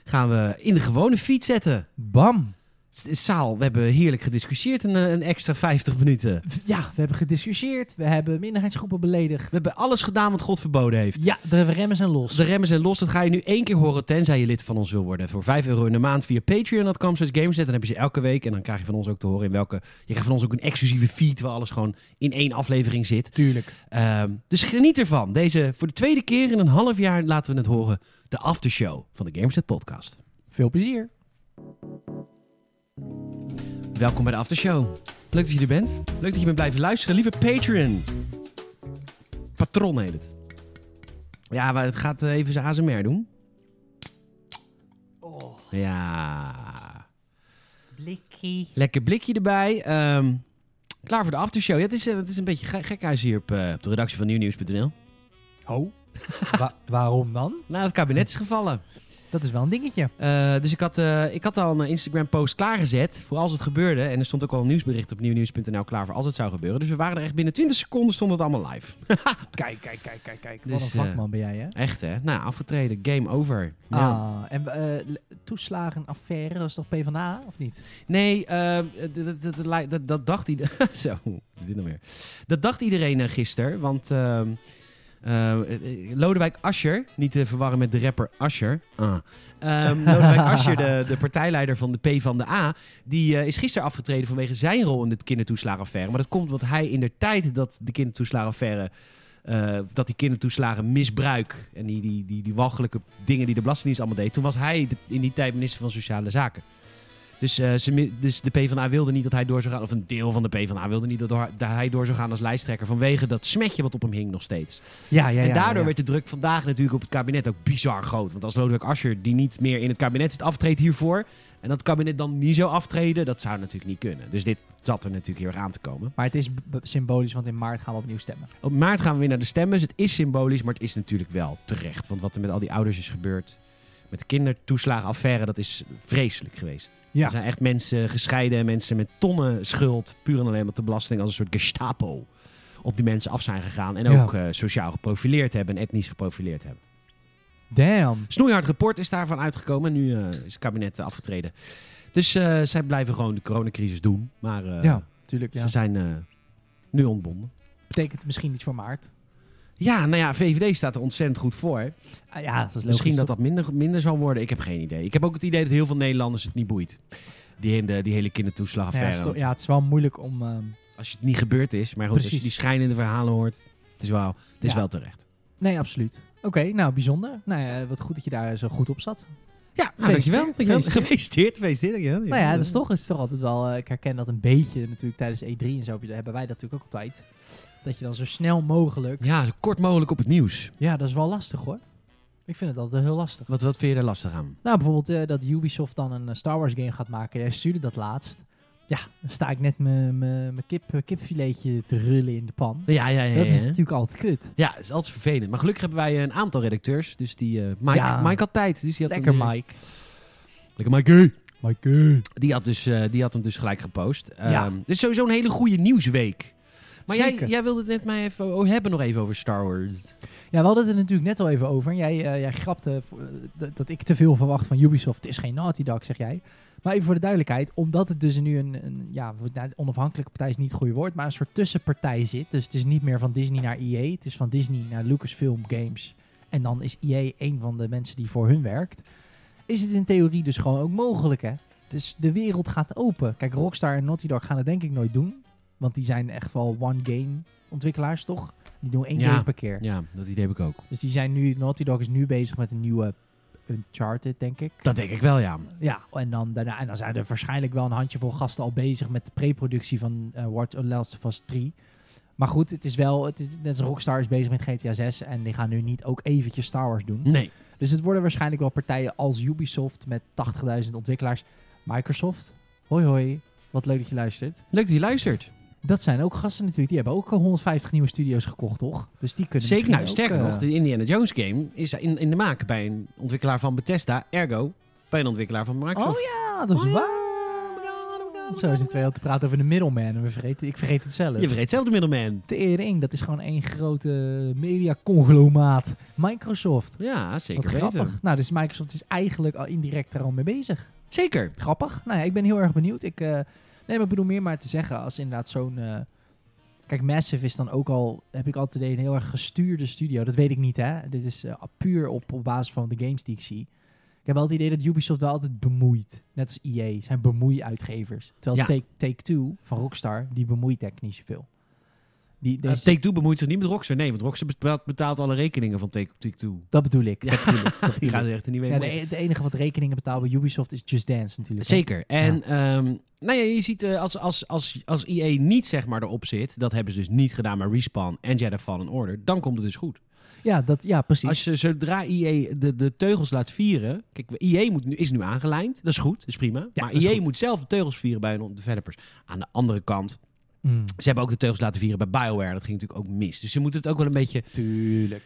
Speaker 1: gaan we in de gewone feed zetten.
Speaker 2: Bam.
Speaker 1: S- Saal, we hebben heerlijk gediscussieerd een, eh, een extra 50 minuten.
Speaker 2: Ja, we hebben gediscussieerd. We hebben minderheidsgroepen beledigd.
Speaker 1: We hebben alles gedaan wat God verboden heeft.
Speaker 2: Ja, de remmen zijn los.
Speaker 1: De remmen zijn los, dat ga je nu één keer horen, tenzij je lid van ons wil worden. Voor 5 euro in de maand via patreon.com slash gamersnet. Dan heb je ze elke week en dan krijg je van ons ook te horen in welke... Je krijgt van ons ook een exclusieve feed waar alles gewoon in één aflevering zit.
Speaker 2: Tuurlijk.
Speaker 1: Ehm, dus geniet ervan. Deze voor de tweede keer in een half jaar laten we het horen. De aftershow van de Gameset podcast.
Speaker 2: Veel plezier.
Speaker 1: Welkom bij de aftershow. Leuk dat je er bent. Leuk dat je bent blijven luisteren. Lieve Patreon. Patron heet het. Ja, maar het gaat eh, even zijn ASMR doen. Ja.
Speaker 2: Blikkie.
Speaker 1: Lekker blikje erbij. Ehm, klaar voor de aftershow. Ja, het, is, eh, het is een beetje gek gekhuis hier op, eh, op de redactie van nieuwnieuws.nl.
Speaker 2: Ho. Wa- waarom dan?
Speaker 1: Nou, het kabinet is gevallen.
Speaker 2: Dat is wel een dingetje.
Speaker 1: Eh, dus ik had, eh, ik had al een Instagram-post klaargezet voor als het gebeurde. En er stond ook al een nieuwsbericht op nieuwnieuws.nl klaar voor als het zou gebeuren. Dus we waren er echt binnen 20 seconden stond het allemaal live.
Speaker 2: Kijk, kijk, kijk, kijk, kijk.
Speaker 1: Dus,
Speaker 2: Wat een
Speaker 1: eh,
Speaker 2: vakman ben jij, hè?
Speaker 1: Echt hè? Nou, afgetreden. Game over. Nou, Ja.
Speaker 2: Ah, en eh, l- toeslagenaffaire, dat is toch PvdA, of niet?
Speaker 1: Nee, eh, dat- dat- dat li- dat- dat dacht iedereen... Zo, wat is dit nou weer? Dat dacht iedereen eh, gisteren, want... ehm, eh, eh, Lodewijk Asscher, niet te verwarren met de rapper Asscher. Ah. Ehm, Lodewijk Asscher, de, de partijleider van de P van de A, die eh, is gisteren afgetreden vanwege zijn rol in de kindertoeslagenaffaire. Maar dat komt omdat hij in de tijd dat de kindertoeslagenaffaire, eh, dat die kindertoeslagen misbruik en die, die, die, die walgelijke dingen die de Belastingdienst allemaal deed, toen was hij de- in die tijd minister van Sociale Zaken. Dus, eh, ze, mi- dus de PvdA wilde niet dat hij door zou gaan, of een deel van de PvdA wilde niet dat, door- dat hij door zou gaan als lijsttrekker vanwege dat smetje wat op hem hing nog steeds
Speaker 2: Ja, ja, ja.
Speaker 1: en daardoor werd de druk vandaag natuurlijk op het kabinet ook bizar groot. Want als Lodewijk Asscher, die niet meer in het kabinet zit, aftreedt hiervoor... en dat het kabinet dan niet zou aftreden, dat zou natuurlijk niet kunnen. Dus dit zat er natuurlijk heel erg aan te komen.
Speaker 2: Maar het is b- b- symbolisch, want in maart gaan we opnieuw stemmen.
Speaker 1: Op maart gaan we weer naar de stemmen. Dus het is symbolisch, maar het is natuurlijk wel terecht. Want wat er met al die ouders is gebeurd... met de kindertoeslagenaffaire, dat is vreselijk geweest.
Speaker 2: Ja.
Speaker 1: Er zijn echt mensen gescheiden, mensen met tonnen schuld... puur en alleen omdat de belasting als een soort gestapo... op die mensen af zijn gegaan... en
Speaker 2: Ja.
Speaker 1: ook eh, sociaal geprofileerd hebben en etnisch geprofileerd hebben.
Speaker 2: Damn.
Speaker 1: Snoeihard rapport is daarvan uitgekomen. Nu eh, is het kabinet eh, afgetreden. Dus eh, zij blijven gewoon de coronacrisis doen. Maar eh,
Speaker 2: ja, tuurlijk. Ja.
Speaker 1: ze zijn eh, nu ontbonden.
Speaker 2: Betekent misschien iets voor maart.
Speaker 1: Ja, nou ja, VVD staat er ontzettend goed voor.
Speaker 2: Ah, ja, dat is logisch.
Speaker 1: Misschien dat dat minder, minder zal worden. Ik heb geen idee. Ik heb ook het idee dat heel veel Nederlanders het niet boeit. Die, in de, die hele
Speaker 2: Ja,
Speaker 1: kindertoeslagaffaire.
Speaker 2: het is toch- ja, het is wel moeilijk om... ehm,
Speaker 1: Als het niet gebeurd is. Maar goed, als je
Speaker 2: Precies.
Speaker 1: die schijnende verhalen hoort. Het is wel, het is
Speaker 2: Ja.
Speaker 1: wel terecht.
Speaker 2: Nee, absoluut. Oké, nou, bijzonder. Nou ja, wat goed dat je daar zo goed op zat.
Speaker 1: Ja, nou, dankjewel. dankjewel.
Speaker 2: Gefeliciteerd.
Speaker 1: Gefeliciteerd. Gefeliciteerd. dankjewel.
Speaker 2: Nou ja, dat is toch, is toch altijd wel... eh, ik herken dat een beetje natuurlijk tijdens E3 en zo heb je- hebben wij dat natuurlijk ook altijd. Dat je dan zo snel mogelijk...
Speaker 1: Ja, zo kort mogelijk op het nieuws.
Speaker 2: Ja, dat is wel lastig hoor. Ik vind het altijd heel lastig.
Speaker 1: Wat, wat vind je daar lastig aan?
Speaker 2: Nou, bijvoorbeeld eh, dat Ubisoft dan een eh, Star Wars game gaat maken. Jij stuurde dat laatst. Ja, dan sta ik net mijn- mijn mijn kip, eh, kipfiletje te rullen in de pan.
Speaker 1: Ja, ja, ja.
Speaker 2: Dat is
Speaker 1: ja.
Speaker 2: natuurlijk altijd kut.
Speaker 1: Ja, het is altijd vervelend. Maar gelukkig hebben wij eh, een aantal redacteurs. Dus die, eh, Mike,
Speaker 2: Ja.
Speaker 1: Mike had tijd. Dus die had
Speaker 2: Lekker
Speaker 1: een-
Speaker 2: Mike.
Speaker 1: Lekker Mike.
Speaker 2: Mike.
Speaker 1: Die had, dus, eh, die had hem dus gelijk gepost.
Speaker 2: Ja.
Speaker 1: Ehm, dus sowieso een hele goede nieuwsweek. Maar jij,
Speaker 2: Zeker.
Speaker 1: jij wilde het net mij even o- hebben nog even over Star Wars.
Speaker 2: Ja, we hadden het er natuurlijk net al even over. En jij, eh, jij grapte voor- eh, dat- dat ik te veel verwacht van Ubisoft. Het is geen Naughty Dog, zeg jij. Maar even voor de duidelijkheid, omdat het dus nu een, een ja, wat- nou, onafhankelijke partij is niet het goede woord, maar een soort tussenpartij zit. Dus het is niet meer van Disney naar EA, het is van Disney naar Lucasfilm Games. En dan is EA een van de mensen die voor hun werkt. Is het in theorie dus gewoon ook mogelijk, hè? Dus de wereld gaat open. Kijk, Rockstar en Naughty Dog gaan het denk ik nooit doen. Want die zijn echt wel one-game ontwikkelaars, toch? Die doen één
Speaker 1: Ja.
Speaker 2: game per keer.
Speaker 1: Ja, dat idee heb ik ook.
Speaker 2: Dus die zijn nu, Naughty Dog is nu bezig met een nieuwe Uncharted, denk ik.
Speaker 1: Dat denk ik wel, ja.
Speaker 2: Ja, en dan, daarna, en dan zijn er waarschijnlijk wel een handjevol gasten al bezig met de pre-productie van eh Watch Last of Us 3. Maar goed, het is wel, het is, net als Rockstar is bezig met GTA 6 en die gaan nu niet ook eventjes Star Wars doen.
Speaker 1: Nee.
Speaker 2: Dus het worden waarschijnlijk wel partijen als Ubisoft met 80.000 ontwikkelaars. Microsoft, hoi hoi, wat leuk dat je luistert.
Speaker 1: Leuk dat je luistert.
Speaker 2: Dat zijn ook gasten natuurlijk, die hebben ook eh, 150 nieuwe studio's gekocht, toch? Dus die kunnen
Speaker 1: Zeker, nou,
Speaker 2: misschien ook,
Speaker 1: sterker
Speaker 2: eh,
Speaker 1: nog, de Indiana Jones game is in, in de maak bij een ontwikkelaar van Bethesda, ergo bij een ontwikkelaar van Microsoft.
Speaker 2: Oh ja, dat is
Speaker 1: Oh ja.
Speaker 2: waar. Zo zitten wij al te praten over de middleman en we vergeten, ik vergeet het zelf.
Speaker 1: Je vergeet zelf de middleman.
Speaker 2: Tering, dat is gewoon één grote mediaconglomeraat. Microsoft.
Speaker 1: Ja, zeker
Speaker 2: Wat grappig.
Speaker 1: weten.
Speaker 2: Nou, dus Microsoft is eigenlijk al indirect daar al mee bezig.
Speaker 1: Zeker.
Speaker 2: Grappig. Nou ja, ik ben heel erg benieuwd. Ik, eh, nee, maar ik bedoel meer maar te zeggen als inderdaad zo'n... eh, kijk, Massive is dan ook al, heb ik altijd een heel erg gestuurde studio. Dat weet ik niet, hè. Dit is eh, puur op, op basis van de games die ik zie. Ik heb wel het idee dat Ubisoft wel altijd bemoeit. Net als EA, zijn bemoei-uitgevers. Terwijl
Speaker 1: Ja.
Speaker 2: Take, Take Two van Rockstar, die bemoeit echt niet zoveel. Die,
Speaker 1: Uh,
Speaker 2: deze,
Speaker 1: Take-Two bemoeit zich niet met Rockstar. Nee, want Rockstar betaalt- betaalt alle rekeningen van Take- Take-Two.
Speaker 2: Dat bedoel ik.
Speaker 1: Ja,
Speaker 2: Dat bedoel ik.
Speaker 1: Die
Speaker 2: Dat bedoel
Speaker 1: gaan
Speaker 2: ik.
Speaker 1: er echt niet mee.
Speaker 2: Ja,
Speaker 1: bemoeien.
Speaker 2: de, de enige wat rekeningen betaalt bij Ubisoft is Just Dance natuurlijk. hè?
Speaker 1: eh, Zeker. En ehm, nou ja, je ziet eh, als, als, als, als EA niet zeg maar erop zit, dat hebben ze dus niet gedaan, maar Respawn en Jedi Fallen Order, dan komt het dus goed.
Speaker 2: Ja, dat, ja precies.
Speaker 1: Als je, zodra EA de, de teugels laat vieren, kijk, EA moet nu, is nu aangelijnd, dat is goed, dat is prima.
Speaker 2: Ja,
Speaker 1: maar
Speaker 2: dat is
Speaker 1: EA
Speaker 2: goed.
Speaker 1: moet zelf de teugels vieren bij hun developers. Aan de andere kant,
Speaker 2: Mm,
Speaker 1: ze hebben ook de teugels laten vieren bij BioWare, dat ging natuurlijk ook mis. Dus ze moeten het ook wel een beetje
Speaker 2: tuurlijk.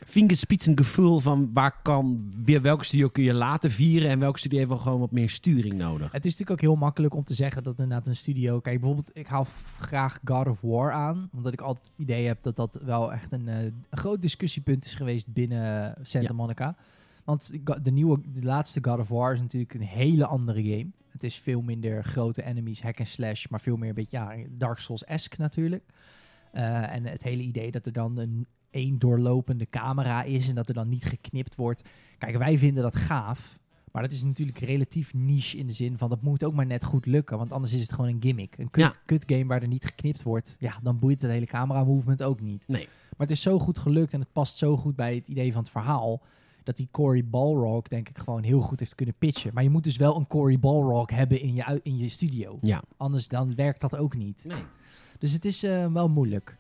Speaker 1: vingerspitsengevoel van waar kan, weer welke studio kun je laten vieren en welke studio heeft wel gewoon wat meer sturing nodig.
Speaker 2: Het is natuurlijk ook heel makkelijk om te zeggen dat inderdaad een studio... Kijk, bijvoorbeeld ik haal f- graag God of War aan. Omdat ik altijd het idee heb dat dat wel echt een, eh, een groot discussiepunt is geweest binnen Santa
Speaker 1: Ja.
Speaker 2: Monica. Want Go- de, nieuwe, de laatste God of War is natuurlijk een hele andere game. Het is veel minder grote enemies, hack en slash, maar veel meer een beetje ja, Dark Souls-esque natuurlijk. Eh, en het hele idee dat er dan een één doorlopende camera is en dat er dan niet geknipt wordt. Kijk, wij vinden dat gaaf, maar dat is natuurlijk relatief niche in de zin van dat moet ook maar net goed lukken, want anders is het gewoon een gimmick. Een kut,
Speaker 1: Ja.
Speaker 2: kut game waar er niet geknipt wordt, ja, dan boeit het hele camera movement ook niet.
Speaker 1: Nee.
Speaker 2: Maar het is zo goed gelukt en het past zo goed bij het idee van het verhaal dat die Cory Balrog denk ik gewoon heel goed heeft kunnen pitchen. Maar je moet dus wel een Cory Balrog hebben in je, ui- in je studio.
Speaker 1: Ja.
Speaker 2: Anders dan werkt dat ook niet.
Speaker 1: Nee.
Speaker 2: Dus het is eh, wel moeilijk.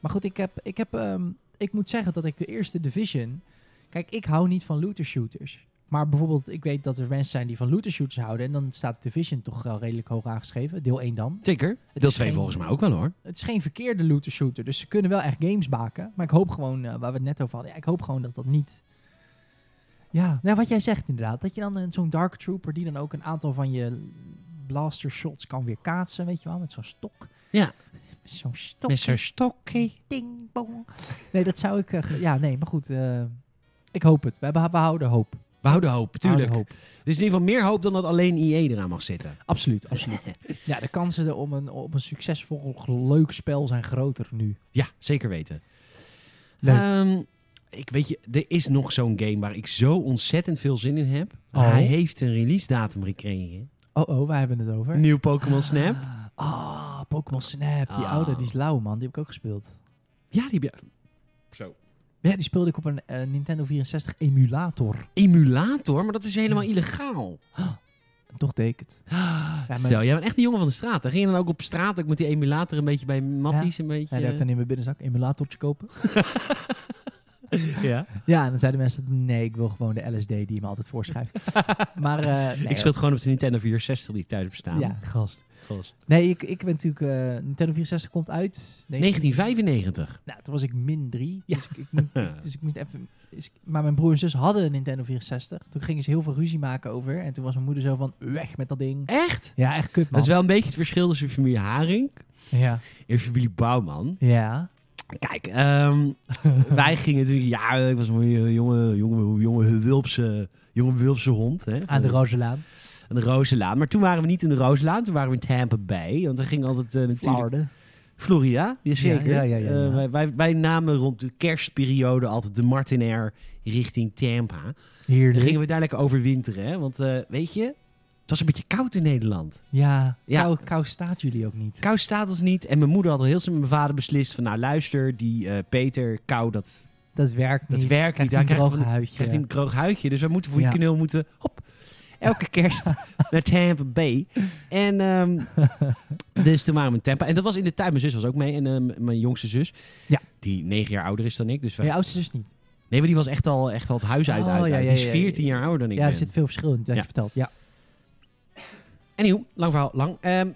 Speaker 2: Maar goed, ik, heb, ik, heb, ehm, ik moet zeggen dat ik de eerste Division... Kijk, ik hou niet van looter shooters. Maar bijvoorbeeld, ik weet dat er mensen zijn die van looter shooters houden. En dan staat Division toch wel redelijk hoog aangeschreven. Deel 1 dan.
Speaker 1: Zeker.
Speaker 2: Het
Speaker 1: Deel
Speaker 2: is
Speaker 1: 2
Speaker 2: geen-
Speaker 1: volgens mij ook wel hoor.
Speaker 2: Het is geen verkeerde looter shooter. Dus ze kunnen wel echt games maken. Maar ik hoop gewoon, eh, waar we het net over hadden. Ja, ik hoop gewoon dat dat niet... Ja, nou, wat jij zegt inderdaad. Dat je dan een- zo'n Dark Trooper die dan ook een aantal van je blaster shots kan weer kaatsen. Weet je wel, met zo'n stok.
Speaker 1: Ja.
Speaker 2: Met zo'n stok.
Speaker 1: Stokkie.
Speaker 2: Ding, bong. Nee, dat zou ik... eh, ge- ja, nee, maar goed. eh, ik hoop het. We, hebben, we houden hoop. We
Speaker 1: We houden hoop, tuurlijk.
Speaker 2: houden hoop.
Speaker 1: Er is in ieder geval meer hoop dan dat alleen IE eraan mag zitten.
Speaker 2: Absoluut, absoluut. ja, de kansen er om een, op een succesvol, leuk spel zijn groter nu.
Speaker 1: Ja, zeker weten.
Speaker 2: Leuk.
Speaker 1: Ehm, ik weet je, er is nog zo'n game waar ik zo ontzettend veel zin in heb.
Speaker 2: Oh.
Speaker 1: Hij heeft een release datum gekregen.
Speaker 2: Oh, oh, wij hebben het over.
Speaker 1: Nieuw Pokémon Snap.
Speaker 2: Ah, Pokémon Snap. Die
Speaker 1: Ah.
Speaker 2: oude, die is lauw, man. Die heb ik ook gespeeld.
Speaker 1: Ja, die heb je- Zo.
Speaker 2: Ja, die speelde ik op een eh, Nintendo 64 emulator.
Speaker 1: Emulator, maar dat is helemaal illegaal.
Speaker 2: En toch deed ik het. maar-
Speaker 1: Zo, jij bent echt een jongen van de straat. Dan ging je dan ook op straat ook met die emulator een beetje bij Matties een beetje.
Speaker 2: Ja, die had ik dan in mijn binnenzak. Emulatortje kopen.
Speaker 1: Ja.
Speaker 2: Ja, en dan zeiden mensen... Nee, ik wil gewoon de LSD die je me altijd voorschrijft. maar... eh, nee,
Speaker 1: ik speel het gewoon op de Nintendo 64 die thuis bestaat.
Speaker 2: Ja, gast.
Speaker 1: Gos.
Speaker 2: Nee, ik, ik ben natuurlijk... eh, Nintendo 64 komt uit...
Speaker 1: 1995.
Speaker 2: Nou, toen was ik min 3.
Speaker 1: Ja.
Speaker 2: Dus, ik, ik moet, ik- dus ik moest even. dus ik- maar mijn broer en zus hadden een Nintendo 64. Toen gingen ze heel veel ruzie maken over. En toen was mijn moeder zo van: weg met dat ding.
Speaker 1: Echt?
Speaker 2: Ja, echt kut
Speaker 1: Dat
Speaker 2: man.
Speaker 1: is wel een beetje het verschil tussen familie Haring
Speaker 2: Ja.
Speaker 1: Eerst jullie Bouwman.
Speaker 2: Ja.
Speaker 1: Kijk, ehm, wij gingen natuurlijk... Ja, ik was een jonge, jonge, jonge, Wilpse, jonge Wilpse hond. Hè,
Speaker 2: Aan de Rozenlaan.
Speaker 1: aan de Rozenlaan. Maar toen waren we niet in de Rozenlaan, toen waren we in Tampa Bay. Want we gingen altijd eh, natuurlijk...
Speaker 2: Florida.
Speaker 1: Florida, jazeker.
Speaker 2: Ja, ja, ja, ja,
Speaker 1: Eh,
Speaker 2: ja.
Speaker 1: wij, wij, wij namen rond de kerstperiode altijd de Martinair richting Tampa. Dan
Speaker 2: Heerlijk.
Speaker 1: gingen we daar lekker overwinteren, hè? Want eh, weet je, het was een beetje koud in Nederland.
Speaker 2: Ja.
Speaker 1: Ja.
Speaker 2: Kou, kou staat jullie ook niet.
Speaker 1: Kou staat ons niet. En mijn moeder had al heel snel met mijn vader beslist van... Nou, luister, die eh, Peter, kou, dat
Speaker 2: Dat werkt
Speaker 1: Dat
Speaker 2: niet.
Speaker 1: werkt
Speaker 2: Krijgt
Speaker 1: niet. Hij
Speaker 2: Een
Speaker 1: krijgt
Speaker 2: droog
Speaker 1: een-
Speaker 2: huidje.
Speaker 1: krijgt in het droog huidje. Dus we moeten voor
Speaker 2: Ja.
Speaker 1: je knul moeten... Hop, elke kerst naar Tampa Bay. En ehm, dus toen waren we in Tampa. En dat was in de tuin. Mijn zus was ook mee. En ehm, mijn jongste zus,
Speaker 2: Ja.
Speaker 1: die negen jaar ouder is dan ik. Dus wij-
Speaker 2: Maar je oudste zus niet.
Speaker 1: Nee, maar die was echt al, echt al het huis uit.
Speaker 2: Oh,
Speaker 1: uit, uit.
Speaker 2: ja, ja,
Speaker 1: die is
Speaker 2: ja, ja, ja.
Speaker 1: 14 jaar ouder dan ik
Speaker 2: Ja, er
Speaker 1: ben.
Speaker 2: zit veel verschil in wat
Speaker 1: Ja.
Speaker 2: je vertelt. Ja.
Speaker 1: Anyhow, lang verhaal, lang. Ehm,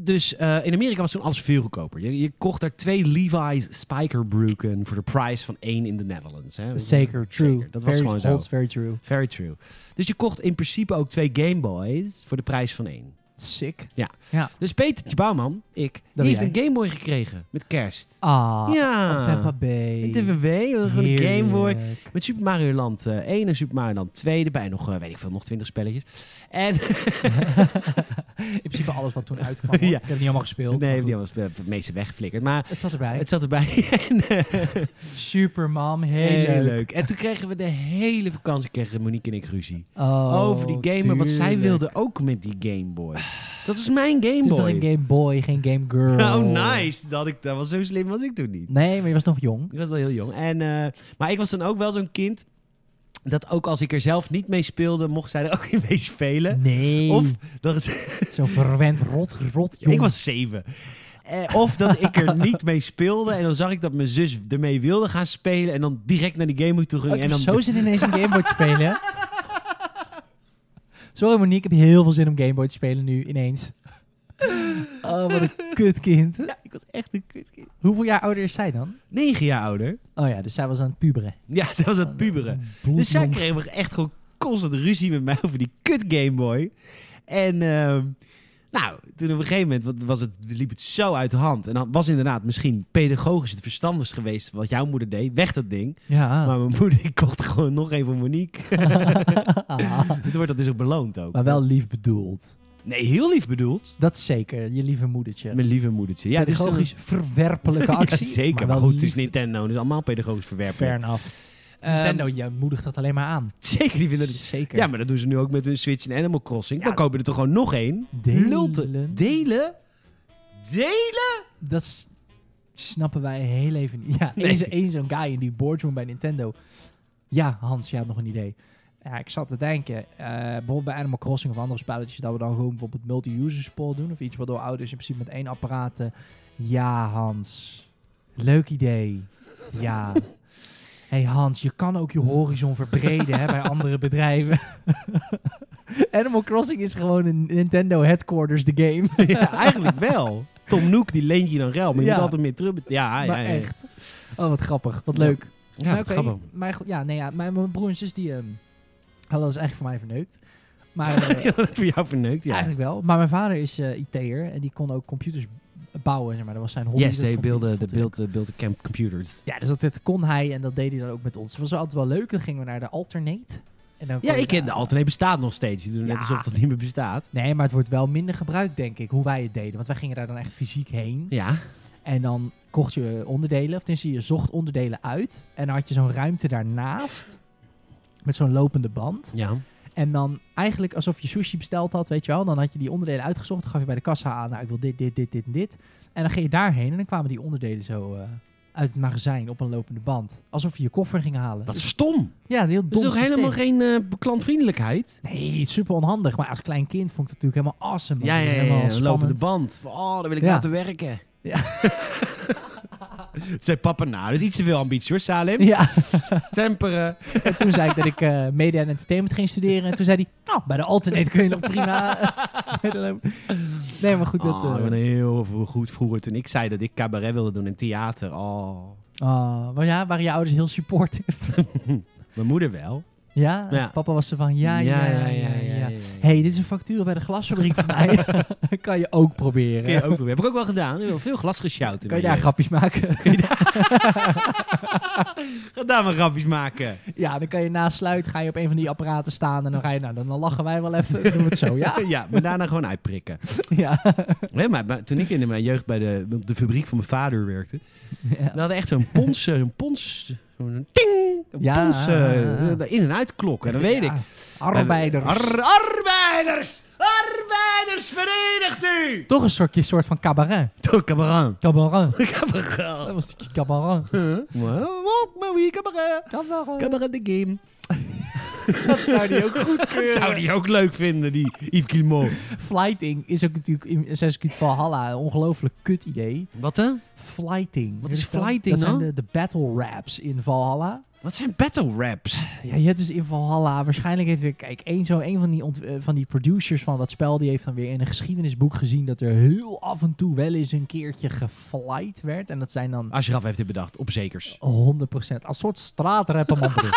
Speaker 1: dus eh, in Amerika was toen alles veel goedkoper. Je, je kocht daar twee Levi's spikerbroeken voor de prijs van één in de Netherlands. Hè?
Speaker 2: Zeker. True.
Speaker 1: Dat was
Speaker 2: Very-
Speaker 1: gewoon zo.
Speaker 2: holds very true.
Speaker 1: Very true. Dus je kocht in principe ook twee Game Boys voor de prijs van één.
Speaker 2: Sick.
Speaker 1: Dus Peter Bouwman, ik, die
Speaker 2: ben
Speaker 1: heeft
Speaker 2: jij.
Speaker 1: een Game Boy gekregen met kerst.
Speaker 2: Ah.
Speaker 1: ja.
Speaker 2: Op Tampa Bay.
Speaker 1: Met TPB, we hadden gewoon een Game Boy.
Speaker 2: Heerlijk.
Speaker 1: Met Super Mario Land eh, 1 en Super Mario Land 2 erbij. Nog, eh, weet ik veel, nog 20 spelletjes. En
Speaker 2: In principe alles wat toen uitkwam. hoor.
Speaker 1: Ja.
Speaker 2: Ik heb het niet allemaal gespeeld. maar
Speaker 1: nee, die
Speaker 2: goed.
Speaker 1: was eh, het meeste weggeflikkerd. Maar
Speaker 2: Het zat erbij.
Speaker 1: het zat erbij. En, eh,
Speaker 2: Supermam. Heel,
Speaker 1: Heel leuk.
Speaker 2: leuk.
Speaker 1: En toen kregen we de hele vakantie, kregen Monique en ik ruzie.
Speaker 2: Oh,
Speaker 1: over die game, want zij
Speaker 2: tuurlijk.
Speaker 1: wilde ook met die Game Boy. Dat is mijn Game
Speaker 2: Het is dan
Speaker 1: Boy.
Speaker 2: een Game Boy, geen Game Girl.
Speaker 1: Oh, nice. Dat, ik, dat was zo slim was ik toen niet.
Speaker 2: Nee, maar je was nog jong.
Speaker 1: Ik was al heel jong. En, eh, maar ik was dan ook wel zo'n kind, dat ook als ik er zelf niet mee speelde, mocht zij er ook in mee spelen.
Speaker 2: Nee.
Speaker 1: Of, dat is,
Speaker 2: zo'n verwend rot, rot jong.
Speaker 1: ik was zeven. Eh, of dat ik er niet mee speelde en dan zag ik dat mijn zus ermee wilde gaan spelen en dan direct naar die Game Boy toe ging.
Speaker 2: Oh, ik
Speaker 1: en
Speaker 2: heb
Speaker 1: dan
Speaker 2: zo zin in ineens een Game Boy te spelen. Sorry Monique, ik heb heel veel zin om Game Boy te spelen nu ineens. Oh, wat een kutkind.
Speaker 1: Ja, ik was echt een kutkind.
Speaker 2: Hoeveel jaar ouder is zij dan?
Speaker 1: Negen jaar ouder.
Speaker 2: Oh ja, dus zij was aan het puberen.
Speaker 1: Ja, ze was aan het
Speaker 2: Oh,
Speaker 1: puberen. Dus zij kreeg echt gewoon constant ruzie met mij over die kut Game Boy. En ehm, nou, toen op een gegeven moment wat- was het, liep het zo uit de hand. En dan was inderdaad misschien pedagogisch het verstandigst geweest wat jouw moeder deed. Weg dat ding.
Speaker 2: Ja.
Speaker 1: Maar mijn moeder die kocht er gewoon nog één voor Monique. Toen wordt dat dus ook beloond ook.
Speaker 2: maar wel lief bedoeld.
Speaker 1: Nee, heel lief bedoeld.
Speaker 2: Dat zeker, je lieve moedertje.
Speaker 1: Mijn lieve moedertje. Ja, dus dan-
Speaker 2: Pedagogisch verwerpelijke actie.
Speaker 1: Ja, zeker. Maar,
Speaker 2: wel
Speaker 1: goed, het is
Speaker 2: lief.
Speaker 1: Nintendo. Dus allemaal pedagogisch verwerpen.
Speaker 2: Fair enough.
Speaker 1: Ehm,
Speaker 2: Nintendo, je moedigt dat alleen maar aan.
Speaker 1: Zeker, die vinden het
Speaker 2: Zeker.
Speaker 1: Ja, maar dat doen ze nu ook met hun Switch en Animal Crossing.
Speaker 2: Ja.
Speaker 1: Dan kopen we er toch gewoon nog één.
Speaker 2: Delen.
Speaker 1: Lulten. Delen? Delen?
Speaker 2: dat s- snappen wij heel even niet. Ja,
Speaker 1: Nee.
Speaker 2: één zo- één zo'n guy in die boardroom bij Nintendo. Ja, Hans, je had nog een idee. Ja, ik zat te denken, eh, bijvoorbeeld bij Animal Crossing of andere spelletjes, dat we dan gewoon bijvoorbeeld multi-user support doen. Of iets waardoor ouders in principe met één apparaat. eh, ja, Hans. Leuk idee. Ja. hey Hans, je kan ook je horizon verbreden hè, bij andere bedrijven. Animal Crossing is gewoon een Nintendo headquarters, de game.
Speaker 1: ja, eigenlijk wel. Tom Nook, die leent je dan ruil, maar je
Speaker 2: Ja.
Speaker 1: moet altijd meer terug. Ja, ja,
Speaker 2: maar
Speaker 1: Ah, ja.
Speaker 2: echt. Oh, wat grappig. Wat
Speaker 1: Ja.
Speaker 2: leuk.
Speaker 1: Ja,
Speaker 2: Maar
Speaker 1: wat
Speaker 2: oké,
Speaker 1: grappig.
Speaker 2: Mijn, go- ja, nee, ja, mijn, mijn broer en zus die ehm, hadden dat eigenlijk voor mij verneukt. Maar eh,
Speaker 1: Ja, dat voor jou verneukt, ja.
Speaker 2: eigenlijk wel. Maar mijn vader is eh, IT'er en die kon ook computers b- bouwen, zeg maar. Dat was zijn hobby.
Speaker 1: Yes,
Speaker 2: dat
Speaker 1: they
Speaker 2: vond hij-
Speaker 1: build
Speaker 2: vond
Speaker 1: the,
Speaker 2: hij
Speaker 1: build, the, build the camp computers.
Speaker 2: leuk. Ja, dus dat, dat kon hij en dat deed hij dan ook met ons. Het was altijd wel leuk. Dan gingen we naar de Alternate. En dan
Speaker 1: Ja,
Speaker 2: kon je
Speaker 1: ik ken de
Speaker 2: daar-
Speaker 1: alternate bestaat nog steeds. Je doet net
Speaker 2: Ja.
Speaker 1: alsof dat niet meer bestaat.
Speaker 2: Nee, maar het wordt wel minder gebruikt, denk ik, hoe wij het deden. Want wij gingen daar dan echt fysiek heen.
Speaker 1: Ja.
Speaker 2: En dan kocht je onderdelen, of tenminste je zocht onderdelen uit. En dan had je zo'n ruimte daarnaast met zo'n lopende band.
Speaker 1: Ja.
Speaker 2: En dan eigenlijk alsof je sushi besteld had, weet je wel. Dan had je die onderdelen uitgezocht. Dan gaf je bij de kassa aan, nou ik wil dit, dit, dit, dit en dit. En dan ging je daarheen en dan kwamen die onderdelen zo eh, uit het magazijn op een lopende band. Alsof je je koffer ging halen. Dus,
Speaker 1: Dat is stom.
Speaker 2: Ja, een heel
Speaker 1: Dat
Speaker 2: dom
Speaker 1: is toch
Speaker 2: systeem.
Speaker 1: helemaal geen eh, klantvriendelijkheid?
Speaker 2: Nee, super onhandig. Maar als klein kind vond ik het natuurlijk helemaal awesome. want
Speaker 1: Ja,
Speaker 2: het
Speaker 1: ja,
Speaker 2: is
Speaker 1: ja. ja,
Speaker 2: helemaal
Speaker 1: een
Speaker 2: spannend.
Speaker 1: Lopende band. Oh, daar wil ik
Speaker 2: Ja.
Speaker 1: laten werken.
Speaker 2: Ja.
Speaker 1: Het zei papa nou, dus iets te veel ambitie hoor, Salem.
Speaker 2: Ja.
Speaker 1: Temperen.
Speaker 2: En toen zei ik dat ik eh media en entertainment ging studeren. En toen zei hij, nou, bij de alternate kun je nog prima. eh, lopen." nee, maar goed, dat...
Speaker 1: oh, ik
Speaker 2: eh
Speaker 1: ben heel vro- goed vroeger toen ik zei dat ik cabaret wilde doen in theater. Oh,
Speaker 2: ah, oh, maar ja, waren je ouders heel supportive?
Speaker 1: mijn moeder wel.
Speaker 2: Ja?
Speaker 1: Ja.
Speaker 2: Papa was er van, ja, ja, ja, ja. ja.
Speaker 1: Hey.
Speaker 2: hey, dit is een factuur bij de glasfabriek van mij. kan je ook proberen.
Speaker 1: Kun je ook doen. Heb ik ook wel gedaan. Ik heb wel veel glas gesjouwd. in
Speaker 2: eh, kan je
Speaker 1: mijn
Speaker 2: daar grapjes maken?
Speaker 1: leven. Ga daar maar grapjes maken.
Speaker 2: ja, dan kan je na sluit ga je op een van die apparaten staan en dan ga je, nou, dan, dan lachen wij wel even. Dan doen we het zo, ja?
Speaker 1: ja, maar daarna gewoon uitprikken.
Speaker 2: ja.
Speaker 1: Nee, maar, maar toen ik in mijn jeugd bij de, op de fabriek van mijn vader werkte,
Speaker 2: ja.
Speaker 1: we hadden echt zo'n pons, eh, een pons, zo'n ting, een
Speaker 2: Ja,
Speaker 1: pons,
Speaker 2: ja,
Speaker 1: eh, in- en uitklok. En dat weet ik.
Speaker 2: Ja. Arbeiders.
Speaker 1: Ar- arbeiders! Arbeiders, verenigt u!
Speaker 2: Toch een soortje, soort van cabaret.
Speaker 1: Toch, cabaran.
Speaker 2: Cabaret. Dat
Speaker 1: Cabaran.
Speaker 2: was een stukje cabaret.
Speaker 1: Walk, Maui, cabaran.
Speaker 2: Cabaret.
Speaker 1: Cabaran de game.
Speaker 2: Dat zou die ook goed
Speaker 1: Dat
Speaker 2: kunnen.
Speaker 1: zou die ook leuk vinden, die Yves Guillemot.
Speaker 2: Flighting is ook natuurlijk in Assassin's Creed Valhalla een ongelooflijk kut idee.
Speaker 1: Wat dan?
Speaker 2: Flighting.
Speaker 1: Wat is
Speaker 2: Weet je dat?
Speaker 1: flighting
Speaker 2: Dat
Speaker 1: dan?
Speaker 2: zijn de, de battle raps in Valhalla.
Speaker 1: Wat zijn battle raps?
Speaker 2: Ja, je hebt dus in Valhalla waarschijnlijk heeft weer, kijk, één zo, één van die, ont- eh, van die producers van dat spel, die heeft dan weer in een geschiedenisboek gezien dat er heel af en toe wel eens een keertje geflight werd. En dat zijn dan
Speaker 1: Ashraf heeft dit bedacht, op zekers.
Speaker 2: 100% als soort straatrapper, man. broer.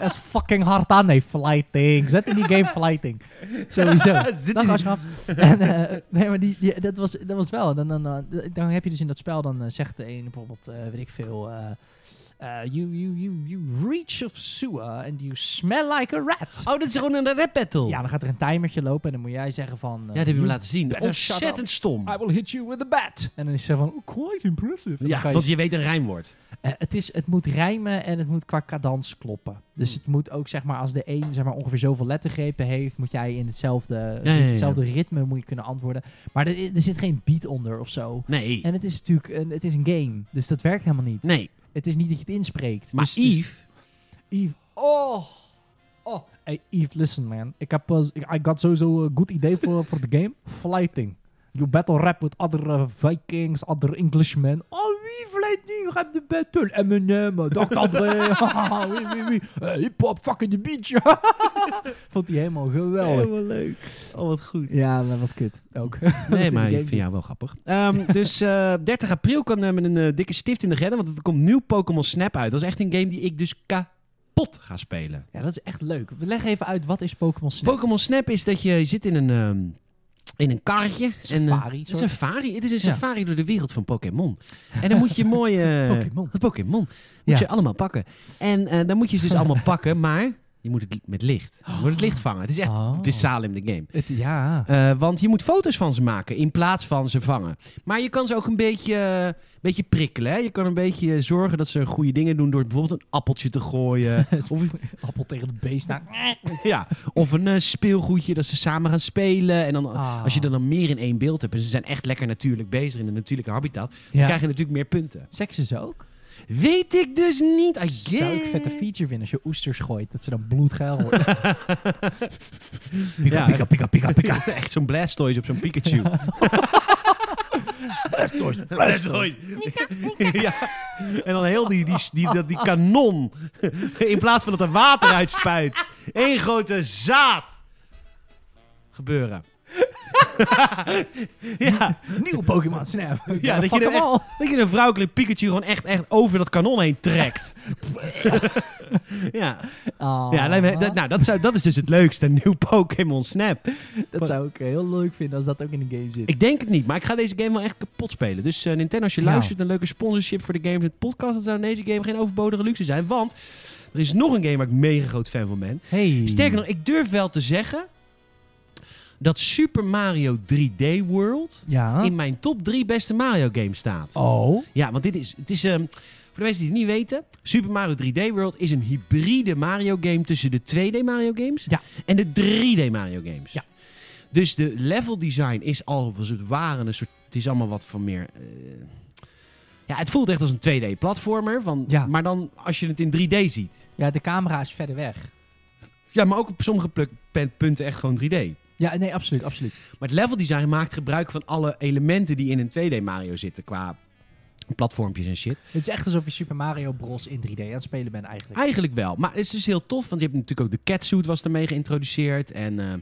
Speaker 2: Dat is fucking hard aan, nee, flighting. Zet in die game flighting. Sowieso.
Speaker 1: Zit
Speaker 2: Dag
Speaker 1: in-
Speaker 2: Ashraf. En, eh, nee, maar die, die- dat, was, dat was wel. Dan, dan, dan, dan heb je dus in dat spel, dan eh, zegt de een bijvoorbeeld, eh, weet ik veel... eh, eh, you, you, you, you reach of sewer and you smell like a rat.
Speaker 1: Oh, dit is gewoon een rap battle.
Speaker 2: Ja, dan gaat er een timertje lopen en dan moet jij zeggen van... eh,
Speaker 1: Oh. Ja, die hebben we
Speaker 2: you-
Speaker 1: laten zien.
Speaker 2: better shut Ah,
Speaker 1: Ontzettend stom.
Speaker 2: I will hit you with a bat. En dan is ze van, oh, quite impressive. En dan
Speaker 1: Ja,
Speaker 2: kan je
Speaker 1: want je weet een rijmwoord.
Speaker 2: Eh, het, is, het moet rijmen en het moet qua cadans kloppen. Dus
Speaker 1: Hmm.
Speaker 2: het moet ook, zeg maar, als de een zeg maar, ongeveer zoveel lettergrepen heeft, moet jij in hetzelfde,
Speaker 1: ja, ja.
Speaker 2: hetzelfde ritme moet je kunnen antwoorden. Maar er, er zit geen beat onder of zo.
Speaker 1: Nee,
Speaker 2: En het is natuurlijk een, het is een game, dus dat werkt helemaal niet.
Speaker 1: nee.
Speaker 2: Het is niet dat je het inspreekt.
Speaker 1: Maar
Speaker 2: Dus- dus-
Speaker 1: Yves,
Speaker 2: Yves, oh, oh. Hey, Yves, listen man. Ik heb, eh, I got sowieso een goed idee voor voor de game. Flighting. You battle rap with other eh, Vikings, other Englishmen. Oh, wie flighting? Rap de battle. Eminem, eh, Dr. Dre. Haha, wie, wie, wie. Eh, Hip-hop, fucking the beach. Vond hij Oh, helemaal geweldig.
Speaker 1: Helemaal leuk. Oh, wat goed.
Speaker 2: Ja, maar wat kut. Ook.
Speaker 1: Nee, maar ik vind jou wel grappig. Ehm, dus eh, 30 april kan eh, met een eh, dikke stift in de redden, want er komt nieuw Pokémon Snap uit. Dat is echt een game die ik dus kapot ga spelen.
Speaker 2: Ja, dat is echt leuk. We leggen even uit, wat is Pokémon Snap?
Speaker 1: Pokémon Snap is dat je zit in een, ehm, in een karretje. En, eh,
Speaker 2: Safari,
Speaker 1: een
Speaker 2: soort.
Speaker 1: safari. Het is een
Speaker 2: Ja.
Speaker 1: safari door de wereld van Pokémon. En dan moet je mooie...
Speaker 2: Pokémon.
Speaker 1: Wat Pokémon. Moet
Speaker 2: Ja.
Speaker 1: je allemaal pakken. En eh, dan moet je ze dus allemaal pakken, maar je moet het li- met licht. Je moet het licht vangen. Het is echt
Speaker 2: Oh.
Speaker 1: het is Salem de game.
Speaker 2: Het, ja.
Speaker 1: Eh, want je moet foto's van ze maken in plaats van ze vangen. Maar je kan ze ook een beetje, eh, een beetje prikkelen. Hè? Je kan een beetje zorgen dat ze goede dingen doen door bijvoorbeeld een appeltje te gooien.
Speaker 2: Of appel tegen de beest aan.
Speaker 1: ja. Of een eh, speelgoedje dat ze samen gaan spelen. En dan, eh,
Speaker 2: Ah.
Speaker 1: als je dan, dan meer in één beeld hebt en ze zijn echt lekker natuurlijk bezig in een natuurlijke habitat, dan
Speaker 2: Ja.
Speaker 1: krijg je natuurlijk meer punten.
Speaker 2: Seksen ze ook?
Speaker 1: Weet ik dus niet. I
Speaker 2: Zou ik
Speaker 1: guess.
Speaker 2: vette feature vinden als je oesters gooit, dat ze dan bloedgeil worden.
Speaker 1: Ja, echt-
Speaker 2: pika, pika,
Speaker 1: Echt zo'n Blastoise op zo'n Pikachu. Blastoise, Blastoise. ja. En dan heel die, die, die, dat die kanon. In plaats van dat er water uitspuit. Eén grote zaad. Gebeuren. ja,
Speaker 2: Nieuw Pokémon Snap.
Speaker 1: ja dat, je er echt, dat je een vrouwelijk Pikachu gewoon echt, echt over dat kanon heen trekt. ja, ja lijkt
Speaker 2: Ah,
Speaker 1: me- dat, nou, dat, zou, dat is dus het leukste. Een nieuw Pokémon Snap.
Speaker 2: dat zou ik eh, heel leuk vinden als dat ook in een game zit.
Speaker 1: nou, Ik denk het niet, maar ik ga deze game wel echt kapot spelen. Dus eh, Nintendo, als je
Speaker 2: Ja.
Speaker 1: luistert, een leuke sponsorship voor de Games met Podcast. Dat zou in deze game geen overbodige luxe zijn. Want er is nog een game waar ik mega groot fan van ben.
Speaker 2: hey.
Speaker 1: Sterker nog, ik durf wel te zeggen dat Super Mario 3D World
Speaker 2: Ja.
Speaker 1: in mijn top 3 beste Mario games staat.
Speaker 2: Oh.
Speaker 1: Ja, want dit is. Het is ehm, voor de mensen die het niet weten, Super Mario 3D World is een hybride Mario game tussen de 2D Mario games
Speaker 2: Ja.
Speaker 1: en de 3D Mario games.
Speaker 2: Ja.
Speaker 1: Dus de level design is al als het ware een soort. Het is allemaal wat van meer. eh, ja, het voelt echt als een 2D platformer. Van,
Speaker 2: Ja.
Speaker 1: Maar dan als je het in 3D ziet.
Speaker 2: Ja, de camera is verder weg.
Speaker 1: Ja, maar ook op sommige pluk- pen- punten echt gewoon 3D.
Speaker 2: Ja, nee, absoluut, absoluut.
Speaker 1: Maar het level design maakt gebruik van alle elementen die in een 2D Mario zitten. Qua platformpjes en shit.
Speaker 2: Het is echt alsof je Super Mario Bros. in 3D aan het spelen bent eigenlijk.
Speaker 1: Eigenlijk wel. Maar het is dus heel tof, want je hebt natuurlijk ook de catsuit was daarmee geïntroduceerd. En eh,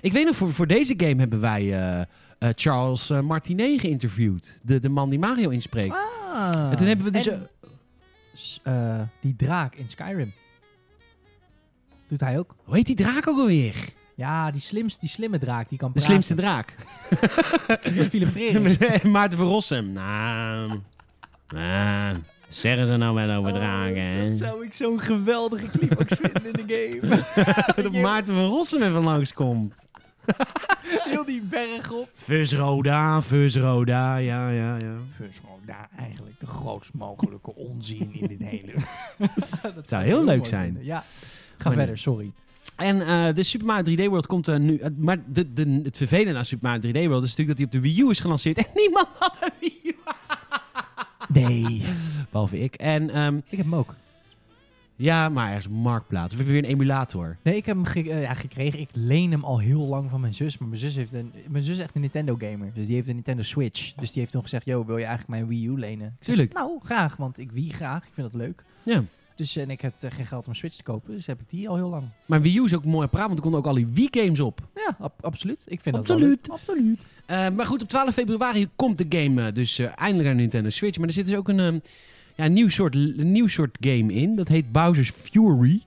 Speaker 1: ik weet nog, voor, voor deze game hebben wij eh, eh, Charles eh, Martinet geïnterviewd. De, de man die Mario inspreekt.
Speaker 2: Ah.
Speaker 1: en toen dus hebben we dus...
Speaker 2: En,
Speaker 1: eh,
Speaker 2: s- eh, die draak in Skyrim. Doet hij ook.
Speaker 1: Hoe heet die draak ook alweer?
Speaker 2: Ja, die, slims, die slimme draak, die kan
Speaker 1: De
Speaker 2: praten.
Speaker 1: slimste draak.
Speaker 2: Dat is Philip Frerings.
Speaker 1: Maarten van Rossum. Nou, nou, zeggen ze nou wel over draken,
Speaker 2: Oh,
Speaker 1: hè?
Speaker 2: Dat zou ik zo'n geweldige climax vinden in de game.
Speaker 1: Dat Maarten van Rossum even langskomt.
Speaker 2: Heel die berg op.
Speaker 1: Fusroda, Fusroda, ja, ja, ja.
Speaker 2: gewoon daar eigenlijk de grootst mogelijke onzin in dit hele... dat
Speaker 1: zou heel
Speaker 2: ik
Speaker 1: leuk
Speaker 2: mooi
Speaker 1: zijn.
Speaker 2: vinden. Ja, ga
Speaker 1: Maar
Speaker 2: verder, sorry.
Speaker 1: En eh, de Super Mario 3D World komt eh, nu... eh, maar de, de, het vervelende aan Super Mario 3D World is natuurlijk dat hij op de Wii U is gelanceerd. En niemand had een Wii U.
Speaker 2: Nee.
Speaker 1: Behalve ik. En ehm,
Speaker 2: Ik heb hem ook.
Speaker 1: ja, maar ergens op Marktplaats. We hebben weer een emulator.
Speaker 2: Nee, ik heb hem ge- eh, ja, gekregen. Ik leen hem al heel lang van mijn zus. Maar mijn zus, heeft een, mijn zus is echt een Nintendo gamer. Dus die heeft een Nintendo Switch. Dus die heeft toen gezegd, yo, wil je eigenlijk mijn Wii U lenen? Ik zeg,
Speaker 1: Tuurlijk.
Speaker 2: nou, graag, want ik Wii graag. Ik vind dat leuk.
Speaker 1: Ja.
Speaker 2: Dus eh, en ik had eh, geen geld om een Switch te kopen. Dus heb ik die al heel lang.
Speaker 1: Maar Wii U is ook mooi praat, want er konden ook al die Wii-games op.
Speaker 2: Ja, ab- absoluut. Ik vind
Speaker 1: Absoluut.
Speaker 2: dat wel leuk. Absoluut.
Speaker 1: Eh, maar goed, op 12 februari komt de game eh, dus eh, eindelijk naar Nintendo Switch. Maar er zit dus ook een, ehm, ja, een nieuw, soort, een nieuw soort game in. Dat heet Bowser's Fury.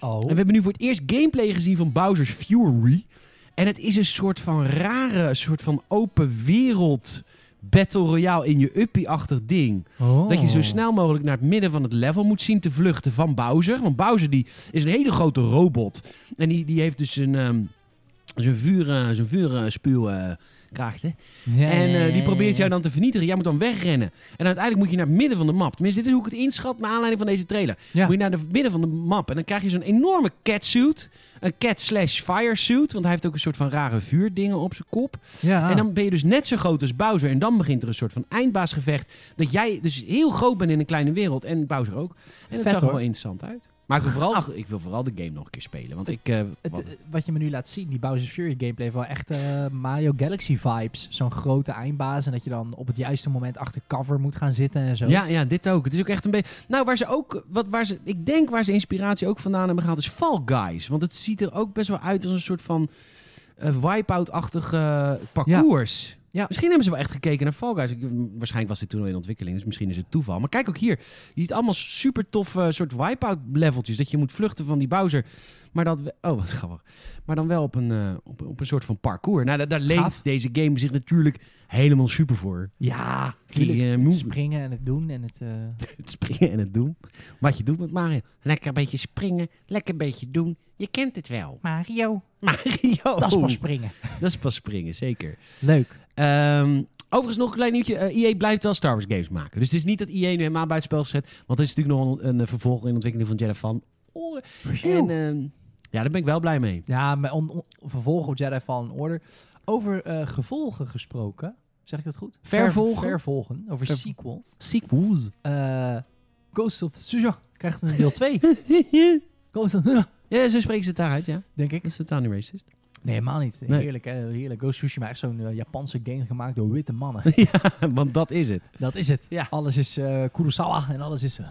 Speaker 2: Oh.
Speaker 1: En we hebben nu voor het eerst gameplay gezien van Bowser's Fury. En het is een soort van rare, soort van open wereld battle royale in je uppie-achtig ding.
Speaker 2: Oh.
Speaker 1: Dat je zo snel mogelijk naar het midden van het level moet zien te vluchten van Bowser. Want Bowser die is een hele grote robot. En die, die heeft dus een, ehm zijn vuur, eh, zijn vuurspuwkrachten. en eh, die probeert jou dan te vernietigen. Jij moet dan wegrennen. En uiteindelijk moet je naar het midden van de map. Tenminste, dit is hoe ik het inschat naar aanleiding van deze trailer.
Speaker 2: Ja.
Speaker 1: Moet je naar het midden van de map. En dan krijg je zo'n enorme catsuit. Een cat slash firesuit. Want hij heeft ook een soort van rare vuurdingen op zijn kop.
Speaker 2: Ja.
Speaker 1: En dan ben je dus net zo groot als Bowser. En dan begint er een soort van eindbaasgevecht. Dat jij dus heel groot bent in een kleine wereld. En Bowser ook. En
Speaker 2: Vet,
Speaker 1: dat zag er
Speaker 2: hoor.
Speaker 1: wel interessant uit. Maar ik wil, vooral, ik wil vooral de game nog een keer spelen. Want ik... eh,
Speaker 2: Het,
Speaker 1: wat-
Speaker 2: eh, wat je me nu laat zien, die Bowser Fury gameplay, heeft wel echt eh, Mario Galaxy vibes. Zo'n grote eindbaas en dat je dan op het juiste moment achter cover moet gaan zitten en zo.
Speaker 1: ja, ja, dit ook. Het is ook echt een beetje... Nou, waar ze ook... Wat, waar ze, ik denk waar ze inspiratie ook vandaan hebben gehaald is Fall Guys. Want het ziet er ook best wel uit als een soort van... eh wipeout-achtig eh, parcours.
Speaker 2: Ja.
Speaker 1: Misschien hebben ze wel echt gekeken naar Fall Guys. Ik- mm, Waarschijnlijk was dit toen al in ontwikkeling, dus misschien is het toeval. Maar kijk ook hier. Je ziet allemaal super toffe eh, soort wipeout leveltjes. Dat je moet vluchten van die Bowser. Maar dat... we- Oh, wat grappig. Maar dan wel op een, eh, op, op een soort van parcours. Nou, daar, daar leent
Speaker 2: Gaaf.
Speaker 1: deze game zich natuurlijk helemaal super voor.
Speaker 2: ja
Speaker 1: Die, eh,
Speaker 2: tuurlijk. Het
Speaker 1: move-
Speaker 2: springen en het doen en het... eh,
Speaker 1: Het springen en het doen. Wat je doet met Mario. Lekker een beetje springen, lekker een beetje doen. Je kent het wel.
Speaker 2: Mario,
Speaker 1: Mario.
Speaker 2: dat is pas springen.
Speaker 1: Dat is pas springen, zeker.
Speaker 2: Leuk.
Speaker 1: Ehm, overigens nog een klein nieuwtje. Eh, EA blijft wel Star Wars games maken. Dus het is niet dat EA nu helemaal buiten spel gezet. Want er is natuurlijk nog een, een, eh, vervolg in de ontwikkeling van Jedi van. Orde. En ehm, ja, daar ben ik wel blij mee.
Speaker 2: Ja, maar on, on- vervolgen op Jedi Fallen Order. Over eh, gevolgen gesproken, zeg ik dat goed? Ver-
Speaker 1: Vervolgen?
Speaker 2: vervolgen, over
Speaker 1: Ver-
Speaker 2: sequels.
Speaker 1: Sequels.
Speaker 2: Eh, Ghost of Tsushima krijgt een deel 2. Ghost of Tsushima,
Speaker 1: ja, zo spreken ze het daaruit, ja.
Speaker 2: denk ik.
Speaker 1: Is totaal niet racist.
Speaker 2: Nee, helemaal niet.
Speaker 1: Nee.
Speaker 2: Heerlijk, hè? heerlijk. Ghost of Tsushima, echt zo'n eh, Japanse game gemaakt door witte mannen.
Speaker 1: ja, want dat is het.
Speaker 2: Dat is het.
Speaker 1: Ja.
Speaker 2: Alles is eh Kurosawa en alles is... eh,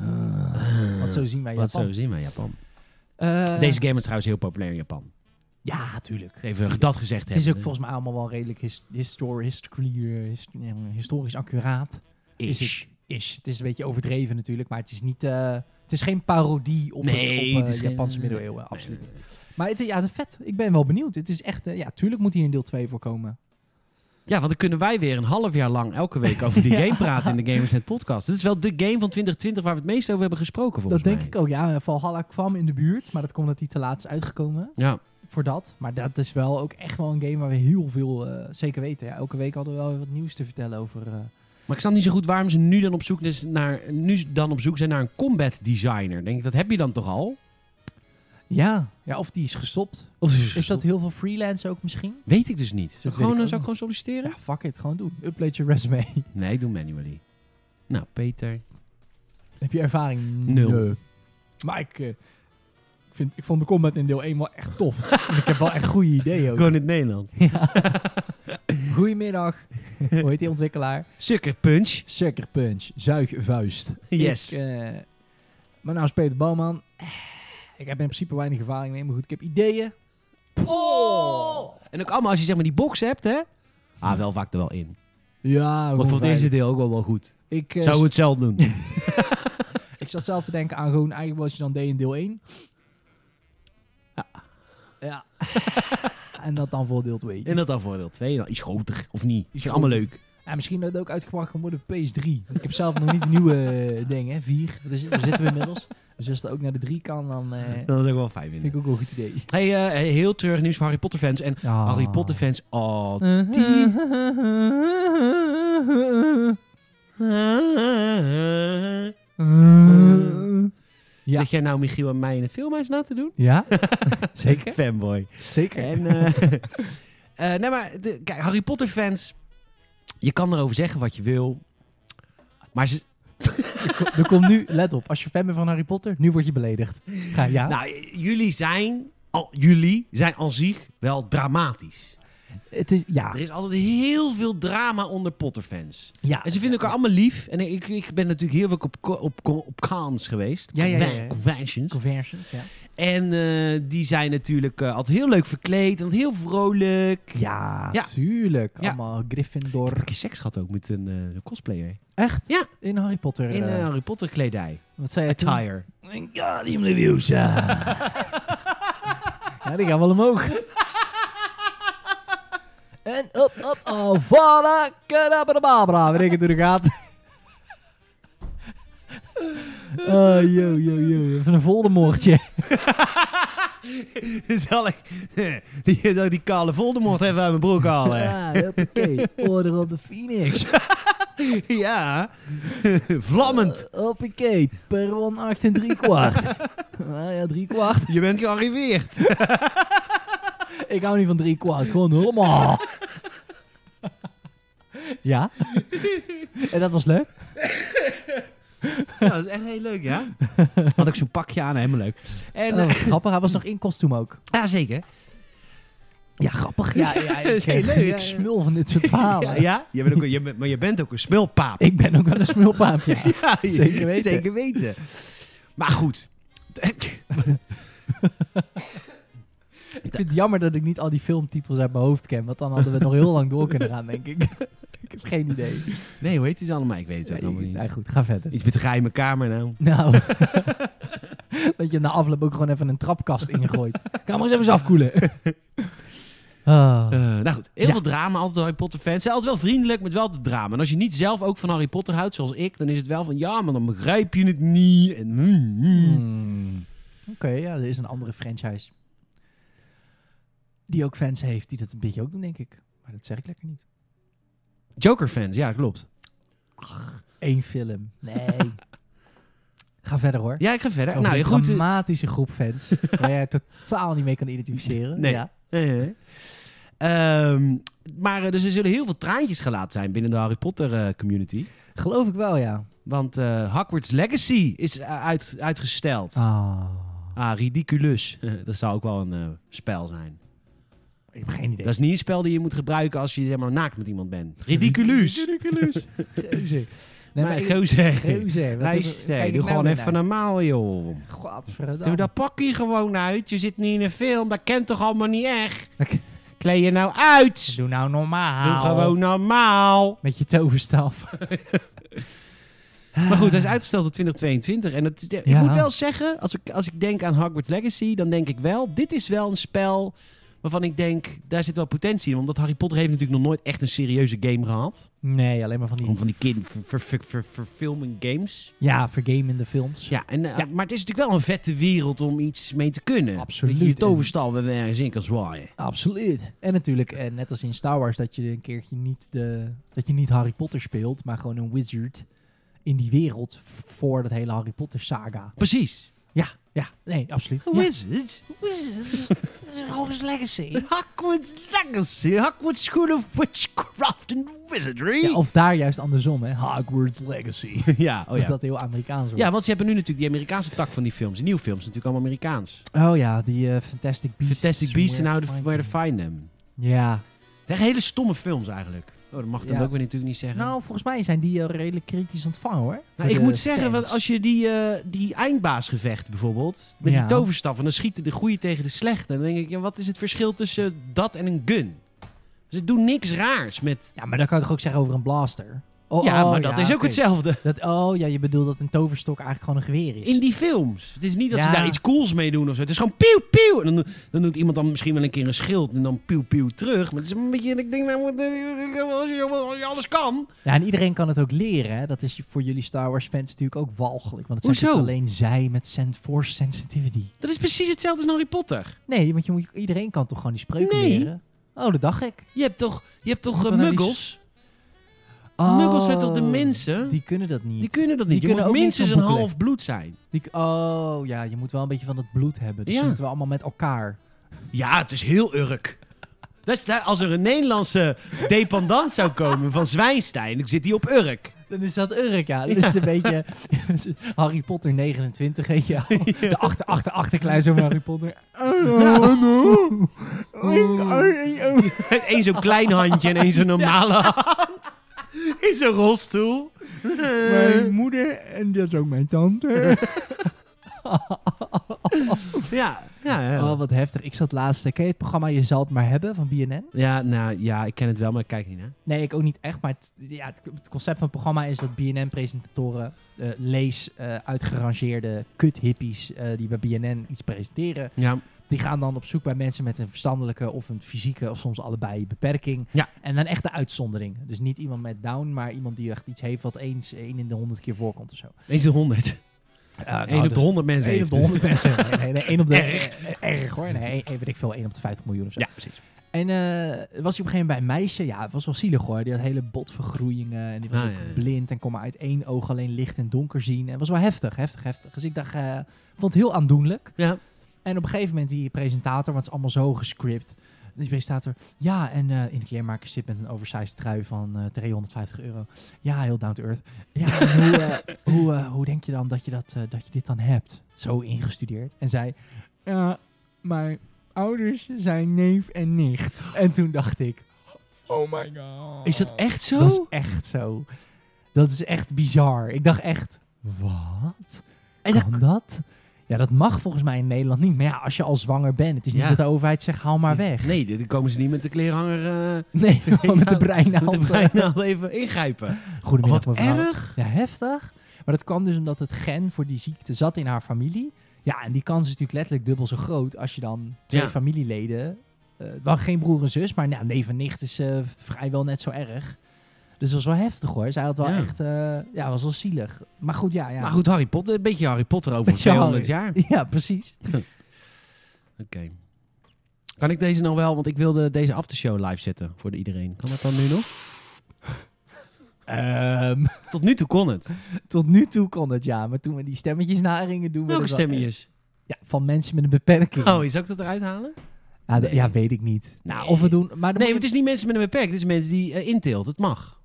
Speaker 2: wat zo zien wij
Speaker 1: Ah. Wat
Speaker 2: Japan.
Speaker 1: zo zien wij Japan.
Speaker 2: Eh,
Speaker 1: Deze game is trouwens heel populair in Japan.
Speaker 2: Ja, tuurlijk.
Speaker 1: Even dat gezegd
Speaker 2: Het
Speaker 1: hebben.
Speaker 2: is ook volgens mij allemaal wel redelijk his- histor- historie- hist- nee, eh, historisch accuraat. Is het, is. het is een beetje overdreven natuurlijk, maar het is niet... eh, het is geen parodie op
Speaker 1: Nee,
Speaker 2: het, op, eh,
Speaker 1: het is geen-
Speaker 2: Japanse
Speaker 1: nee,
Speaker 2: middeleeuwen. absoluut
Speaker 1: Nee,
Speaker 2: niet.
Speaker 1: nee, nee.
Speaker 2: Maar het, ja, het is vet. Ik ben wel benieuwd. Het is echt... eh, ja, tuurlijk moet hier een deel 2 voor komen.
Speaker 1: Ja, want dan kunnen wij weer een half jaar lang elke week over die
Speaker 2: Ja.
Speaker 1: game praten in de Gamers Net podcast. Dit is wel de game van 2020 waar we het meest over hebben gesproken volgens
Speaker 2: Dat denk
Speaker 1: mij.
Speaker 2: ik ook. Ja, Valhalla kwam in de buurt, maar dat komt dat die te laat is uitgekomen
Speaker 1: Ja,
Speaker 2: voor dat. Maar dat is wel ook echt wel een game waar we heel veel eh, zeker weten. Ja, elke week hadden we wel weer wat nieuws te vertellen over... eh,
Speaker 1: maar ik snap niet zo goed waarom ze nu dan op zoek, is naar, nu dan op zoek zijn naar een combat designer. Denk ik, dat heb je dan toch al?
Speaker 2: Ja. ja, of die is gestopt.
Speaker 1: Of
Speaker 2: Is dat heel veel freelance ook misschien?
Speaker 1: Weet ik dus niet. Zou
Speaker 2: weet
Speaker 1: ik, gewoon,
Speaker 2: ik ook
Speaker 1: zou ik gewoon
Speaker 2: Ja,
Speaker 1: solliciteren?
Speaker 2: fuck it. Gewoon doen. Upload je resume.
Speaker 1: Nee, ik doe manually. Nou, Peter.
Speaker 2: Heb je ervaring?
Speaker 1: Nul.
Speaker 2: Nee. Maar ik, eh, ik vind, ik vond de combat in deel 1 wel echt tof. En ik heb wel echt goede ideeën ook.
Speaker 1: Gewoon in het Nederlands.
Speaker 2: Ja. Goedemiddag. Hoe heet die ontwikkelaar?
Speaker 1: Sucker Punch.
Speaker 2: Sucker Punch. Zuigvuist.
Speaker 1: Yes.
Speaker 2: Ik, eh, mijn naam is Peter Bouwman. Eh, Ik heb in principe weinig ervaring mee, maar goed, ik heb ideeën. Oh!
Speaker 1: En ook allemaal als je zeg maar die box hebt, hè? Ah, wel vaak er wel in.
Speaker 2: Ja,
Speaker 1: Maar ik vond
Speaker 2: gewoon
Speaker 1: deze
Speaker 2: veilig.
Speaker 1: deel ook wel wel goed.
Speaker 2: Ik, eh,
Speaker 1: Zou we het zelf doen?
Speaker 2: ik zat zelf te denken aan gewoon eigenlijk wat je dan deed in deel 1.
Speaker 1: Ja.
Speaker 2: Ja. en dat dan voor deel 2.
Speaker 1: En dat dan voordeel 2, dan iets groter, of niet? Is
Speaker 2: groter.
Speaker 1: allemaal leuk.
Speaker 2: En misschien dat het ook uitgebracht kan worden op PS3. Want ik heb zelf nog niet de nieuwe eh, ding, hè. 4. Daar zit- daar zitten we inmiddels. Dus als dat ook naar de 3 kan, dan eh,
Speaker 1: Dat is ook wel fijn
Speaker 2: vind ik
Speaker 1: vinden.
Speaker 2: ook Ah. wel een goed idee.
Speaker 1: Hey, eh, hey, heel terug nieuws voor Harry Potter fans. En Harry Potter fans, oh.
Speaker 2: Eh, Eh. Ja.
Speaker 1: Zit jij nou Michiel en mij in het filmhuis na te doen?
Speaker 2: Ja, zeker.
Speaker 1: Fanboy.
Speaker 2: Zeker.
Speaker 1: En, eh, eh, nee, maar de- kijk, Harry Potter fans, je kan erover zeggen wat je wil. Maar ze,
Speaker 2: er komt nu, let op, als je fan bent van Harry Potter, nu word je beledigd. Ga, ja?
Speaker 1: nou, eh, jullie zijn, al, jullie zijn aan zich wel dramatisch.
Speaker 2: het is, ja.
Speaker 1: Er is altijd heel veel drama onder Potter fans.
Speaker 2: ja.
Speaker 1: En ze vinden elkaar allemaal lief. En ik, ik ben natuurlijk heel veel op, co- op, co- op cons geweest.
Speaker 2: Ja, ja, ja, ja.
Speaker 1: Conventions.
Speaker 2: Conversions, ja.
Speaker 1: En eh, die zijn natuurlijk eh, altijd heel leuk verkleed. En heel vrolijk.
Speaker 2: Ja,
Speaker 1: Ja.
Speaker 2: tuurlijk.
Speaker 1: Ja.
Speaker 2: Allemaal
Speaker 1: Ik heb
Speaker 2: Gryffindor.
Speaker 1: een keer seks gehad ook met een, eh, een cosplayer.
Speaker 2: Echt?
Speaker 1: Ja.
Speaker 2: In Harry Potter.
Speaker 1: In eh,
Speaker 2: eh,
Speaker 1: Harry Potter kledij.
Speaker 2: wat zei je toen?
Speaker 1: Attire.
Speaker 2: Wingardium Leviosa. ja, die gaan wel omhoog. en op, op, Avada Kedabra. We denken door de gaten. Oh, yo, yo, yo. Even een Voldemortje.
Speaker 1: Zal ik die, zal ik die kale Voldemort even uit mijn broek halen?
Speaker 2: Ja, hoppakee. Order of the Phoenix.
Speaker 1: ja. Vlammend.
Speaker 2: Hoppakee. Perron 8 en 3 kwart. Nou ja, 3 kwart.
Speaker 1: Je bent gearriveerd.
Speaker 2: Ik hou niet van drie kwart, gewoon helemaal. ja? en dat was leuk?
Speaker 1: Ja, dat is echt heel leuk, ja. Had ik zo'n pakje aan, helemaal leuk. En,
Speaker 2: En,
Speaker 1: eh,
Speaker 2: Oh, grappig, hij was nog in kostuum ook.
Speaker 1: ja, zeker.
Speaker 2: Ja, grappig. Ja, ja
Speaker 1: Dat
Speaker 2: ik,
Speaker 1: is heel
Speaker 2: ik,
Speaker 1: leuk,
Speaker 2: ik
Speaker 1: ja, ja.
Speaker 2: smul van dit soort verhalen.
Speaker 1: Ja, ja? Je bent ook, een- je bent- maar je bent ook een smulpaap.
Speaker 2: Ik ben ook wel een smulpaapje. ja.
Speaker 1: Ja,
Speaker 2: Zeker weten.
Speaker 1: Zeker weten. Maar goed.
Speaker 2: Ik vind het jammer dat ik niet al die filmtitels uit mijn hoofd ken, want dan hadden we nog heel lang door kunnen gaan, denk ik. ik heb geen idee.
Speaker 1: Nee, hoe heet die ze allemaal? Ik weet het ook
Speaker 2: Ja,
Speaker 1: allemaal
Speaker 2: ik- nou,
Speaker 1: niet.
Speaker 2: goed, ga verder.
Speaker 1: Iets met de geheime kamer nou.
Speaker 2: Nou, dat je na afloop ook gewoon even een trapkast ingooit. Ik Ga maar eens even eens afkoelen. Ah.
Speaker 1: Eh, nou goed, heel
Speaker 2: Ja.
Speaker 1: veel drama altijd door Harry Potter fans. Ze zijn altijd wel vriendelijk, maar wel de drama. En als je niet zelf ook van Harry Potter houdt, zoals ik, dan is het wel van... Ja, maar dan begrijp je het niet. En, mm, mm.
Speaker 2: Hmm. Oké, ja, er is een andere franchise. Die ook fans heeft, die dat een beetje ook doen, denk ik. Maar dat zeg ik lekker niet.
Speaker 1: Joker fans, ja, klopt.
Speaker 2: Eén film. Nee. Ga verder hoor.
Speaker 1: Ja, ik ga verder.
Speaker 2: Over
Speaker 1: nou,
Speaker 2: een
Speaker 1: goed. eh,
Speaker 2: dramatische groep fans. waar jij totaal niet mee kan identificeren.
Speaker 1: Nee.
Speaker 2: Ja.
Speaker 1: eh, eh. Ehm, maar eh, dus er zullen heel veel traantjes gelaten zijn binnen de Harry Potter eh, community.
Speaker 2: Geloof ik wel, ja.
Speaker 1: Want eh Hogwarts Legacy is eh, uit, uitgesteld. Ah, ridiculus. dat zou ook wel een eh, spel zijn.
Speaker 2: Ik heb geen idee.
Speaker 1: Dat is niet een spel die je moet gebruiken als je zeg maar, naakt met iemand bent. Ridiculus.
Speaker 2: Ridiculous. Geuze. Nee, Hm. maar
Speaker 1: maar
Speaker 2: ik-
Speaker 1: gozer,
Speaker 2: Geuze. wat hebben-
Speaker 1: luister,
Speaker 2: kijk
Speaker 1: doe
Speaker 2: ik nou
Speaker 1: gewoon
Speaker 2: weer
Speaker 1: even
Speaker 2: naar?
Speaker 1: normaal, joh.
Speaker 2: Godverdamme.
Speaker 1: Doe dat pakje gewoon uit. Je zit niet in een film. Dat kent toch allemaal niet echt?
Speaker 2: Oké.
Speaker 1: Kleed je nou uit.
Speaker 2: Doe nou normaal.
Speaker 1: Doe gewoon normaal.
Speaker 2: Met je toverstaf.
Speaker 1: Maar goed, hij is uitgesteld tot 2022. En het, ik
Speaker 2: Ah. Ja.
Speaker 1: moet wel zeggen, als ik, als ik denk aan Hogwarts Legacy, dan denk ik wel, dit is wel een spel waarvan ik denk, daar zit wel potentie in. Omdat Harry Potter heeft natuurlijk nog nooit echt een serieuze game gehad.
Speaker 2: Nee, alleen maar van die...
Speaker 1: Om van die kind ver, ver, ver- verfilming games.
Speaker 2: Ja, vergamende films.
Speaker 1: Ja, en, eh,
Speaker 2: Ja.
Speaker 1: maar het is natuurlijk wel een vette wereld om iets mee te kunnen.
Speaker 2: Absoluut.
Speaker 1: Dat je je toverstal weer ergens in kan zwaaien.
Speaker 2: Absoluut. En natuurlijk, eh, net als in Star Wars, dat je een keertje niet, de, dat je niet Harry Potter speelt, maar gewoon een wizard in die wereld v- voor dat hele Harry Potter saga.
Speaker 1: Precies.
Speaker 2: Ja, ja, nee, absoluut.
Speaker 1: Hoe
Speaker 2: Ja.
Speaker 1: is het?
Speaker 3: Wizards? This is Hogwarts Legacy.
Speaker 1: Hogwarts Legacy, Hogwarts School of Witchcraft and Wizardry.
Speaker 2: Ja, oh, of daar juist andersom, hè? Hogwarts Legacy.
Speaker 1: ja, oh
Speaker 2: Dat dat heel Amerikaans wordt.
Speaker 1: Ja, want ze hebben nu natuurlijk die Amerikaanse tak van die films. Die nieuwe films natuurlijk allemaal Amerikaans.
Speaker 2: Oh ja, die eh, Fantastic Beasts. nou
Speaker 1: Fantastic Beasts en How
Speaker 2: Where to
Speaker 1: to
Speaker 2: Find
Speaker 1: Where to
Speaker 2: Them.
Speaker 1: Find Them.
Speaker 2: Ja.
Speaker 1: Het zijn hele stomme films eigenlijk. Oh, dat mag ik dan
Speaker 2: Ja.
Speaker 1: ook weer natuurlijk niet zeggen.
Speaker 2: Nou, volgens mij zijn die eh, redelijk kritisch ontvangen, hoor.
Speaker 1: Nou,
Speaker 2: Door
Speaker 1: ik
Speaker 2: de
Speaker 1: moet zeggen, want
Speaker 2: fans.
Speaker 1: als je die, eh, die eindbaasgevecht bijvoorbeeld, met
Speaker 2: Ja.
Speaker 1: die toverstaf, en dan schieten de goeie tegen de slechte. En dan denk ik, ja, wat is het verschil tussen dat en een gun? Ze doen Dus niks raars met...
Speaker 2: Ja, maar dan kan je toch ook zeggen over een blaster? Oh,
Speaker 1: ja,
Speaker 2: oh,
Speaker 1: maar dat is ook
Speaker 2: oké.
Speaker 1: hetzelfde.
Speaker 2: Dat, oh ja, je bedoelt dat een toverstok eigenlijk gewoon een geweer is.
Speaker 1: In die films. Het is niet dat ze
Speaker 2: Ja.
Speaker 1: daar iets cools mee doen of zo. Het is gewoon pieuw, pieuw. En dan, dan doet iemand dan misschien wel een keer een schild en dan pieuw, pieuw terug. Maar het is een beetje, ik denk, nou, wat- als je, als je alles kan.
Speaker 2: Ja, en iedereen kan het ook leren. Hè? Dat is voor jullie Star Wars fans natuurlijk ook walgelijk. Want het zijn
Speaker 1: Hoezo?
Speaker 2: natuurlijk alleen zij met sen- force sensitivity.
Speaker 1: Dat is precies hetzelfde als Harry Potter.
Speaker 2: Nee, want je moet, iedereen kan toch gewoon die spreuken
Speaker 1: Nee.
Speaker 2: leren? Oh, dat dacht ik.
Speaker 1: Je hebt toch, je hebt toch
Speaker 2: Wat
Speaker 1: eh,
Speaker 2: dan nou die
Speaker 1: muggels?
Speaker 2: Oh,
Speaker 1: Muggels zijn toch de mensen? Die,
Speaker 2: Die kunnen dat niet.
Speaker 1: kunnen dat niet. je moet
Speaker 2: ook
Speaker 1: minstens
Speaker 2: zo'n
Speaker 1: een
Speaker 2: boekelijk.
Speaker 1: half bloed zijn.
Speaker 2: Die, oh ja, je moet wel een beetje van dat bloed hebben. Dus
Speaker 1: Ja.
Speaker 2: ze zitten we allemaal met elkaar.
Speaker 1: Ja, het is heel Urk. Dat is, daar- als er een Nederlandse dependant zou komen van Zwijnstein, dan zit die op Urk.
Speaker 2: Dan is dat Urk, ja. Dan is het een beetje Harry Potter 29, weet je wel. De achter, achter, achterkluis van Harry Potter.
Speaker 1: Met één zo'n klein handje en één zo'n normale hand. In zo'n rolstoel.
Speaker 2: Mijn moeder en dat is ook mijn tante.
Speaker 1: Ja, ja, ja.
Speaker 2: Oh, wat heftig. Ik zat laatst... Ken je het programma Je zal het maar hebben van BNN?
Speaker 1: Ja, nou ja, ik ken het wel, maar ik kijk niet naar.
Speaker 2: Nee, ik ook niet echt. Maar het, ja, het, het concept van het programma is dat BNN-presentatoren... eh, lees eh, uitgerangeerde kuthippies eh, die bij BNN iets presenteren.
Speaker 1: Ja.
Speaker 2: Die gaan dan op zoek bij mensen met een verstandelijke of een fysieke of soms allebei beperking.
Speaker 1: Ja.
Speaker 2: En dan echt de uitzondering. Dus niet iemand met down, maar iemand die echt iets heeft wat eens één in de honderd keer voorkomt of zo.
Speaker 1: Eens de honderd.
Speaker 2: Eén
Speaker 1: Eén nou, dus op de honderd mensen.
Speaker 2: Eén nou, dus op
Speaker 1: heeft
Speaker 2: de
Speaker 1: het.
Speaker 2: honderd mensen. Nee, nee, nee, één op de...
Speaker 1: Erg.
Speaker 2: eh, Erg hoor. Nee, eh, weet ik veel. Één op de 50 miljoen of zo.
Speaker 1: Ja, precies.
Speaker 2: En eh, was hij op een gegeven moment bij een meisje. Ja, het was wel zielig hoor. Die had hele botvergroeien En die was
Speaker 1: Ah,
Speaker 2: ook
Speaker 1: ja, ja.
Speaker 2: blind en kon maar uit één oog alleen licht en donker zien. En het was wel heftig, heftig, heftig. Dus ik dacht, eh, vond het heel aandoenlijk.
Speaker 1: Ja.
Speaker 2: En op een gegeven moment die presentator, want het is allemaal zo gescript. Die presentator, ja, en eh, in de kleermaker zit met een oversized trui van eh 350 euro. Ja, heel down to earth. Ja, en hoe, eh, hoe, eh, hoe denk je dan dat je, dat, eh, dat je dit dan hebt? Zo ingestudeerd. En zij, ja, mijn ouders zijn neef en nicht. En toen dacht ik, oh my god.
Speaker 1: Is dat echt zo?
Speaker 2: Dat is echt zo. Dat is echt bizar. Ik dacht echt, wat?
Speaker 1: En dat-
Speaker 2: kan dat? Ja, dat mag volgens mij in Nederland niet. Maar ja, als je al zwanger bent, het is niet
Speaker 1: Ja.
Speaker 2: dat de overheid zegt, haal maar weg.
Speaker 1: Nee, dan komen ze niet met de kleerhanger eh,
Speaker 2: Nee, gewoon met de breinaald.
Speaker 1: met de breinaald even ingrijpen. Oh,
Speaker 2: Goedemiddag,
Speaker 1: Wat
Speaker 2: mevrouw.
Speaker 1: erg.
Speaker 2: Ja, heftig. Maar dat kwam dus omdat het gen voor die ziekte zat in haar familie. Ja, en die kans is natuurlijk letterlijk dubbel zo groot als je dan twee
Speaker 1: Ja.
Speaker 2: familieleden... eh, wel geen broer en zus, maar nou, neef en nicht is eh, vrijwel net zo erg. Dus dat was wel heftig hoor. Zij had wel
Speaker 1: Ja.
Speaker 2: echt... eh, ja, was wel zielig. Maar goed, ja. ja.
Speaker 1: Maar goed, Harry Potter, een beetje Harry Potter over
Speaker 2: Beetje
Speaker 1: 200 jaar. Oké.
Speaker 2: Ja, precies.
Speaker 1: Kan ik deze nou wel, want ik wilde deze aftershow live zetten voor iedereen. Kan dat dan nu nog?
Speaker 2: Ehm,
Speaker 1: Tot nu toe kon het.
Speaker 2: tot nu toe kon het, ja. Maar toen we die stemmetjes naringen doen... we
Speaker 1: Welke
Speaker 2: er wel-
Speaker 1: stemmetjes?
Speaker 2: Ja, van mensen met een beperking.
Speaker 1: Oh, zou ik dat eruit halen?
Speaker 2: ja, de-
Speaker 1: nee.
Speaker 2: ja, weet ik niet.
Speaker 1: Nee.
Speaker 2: Nou, of we doen... Maar dan
Speaker 1: Nee,
Speaker 2: moet
Speaker 1: maar het
Speaker 2: je-
Speaker 1: is niet mensen met een beperking. Het is mensen die eh, inteelt. Het mag.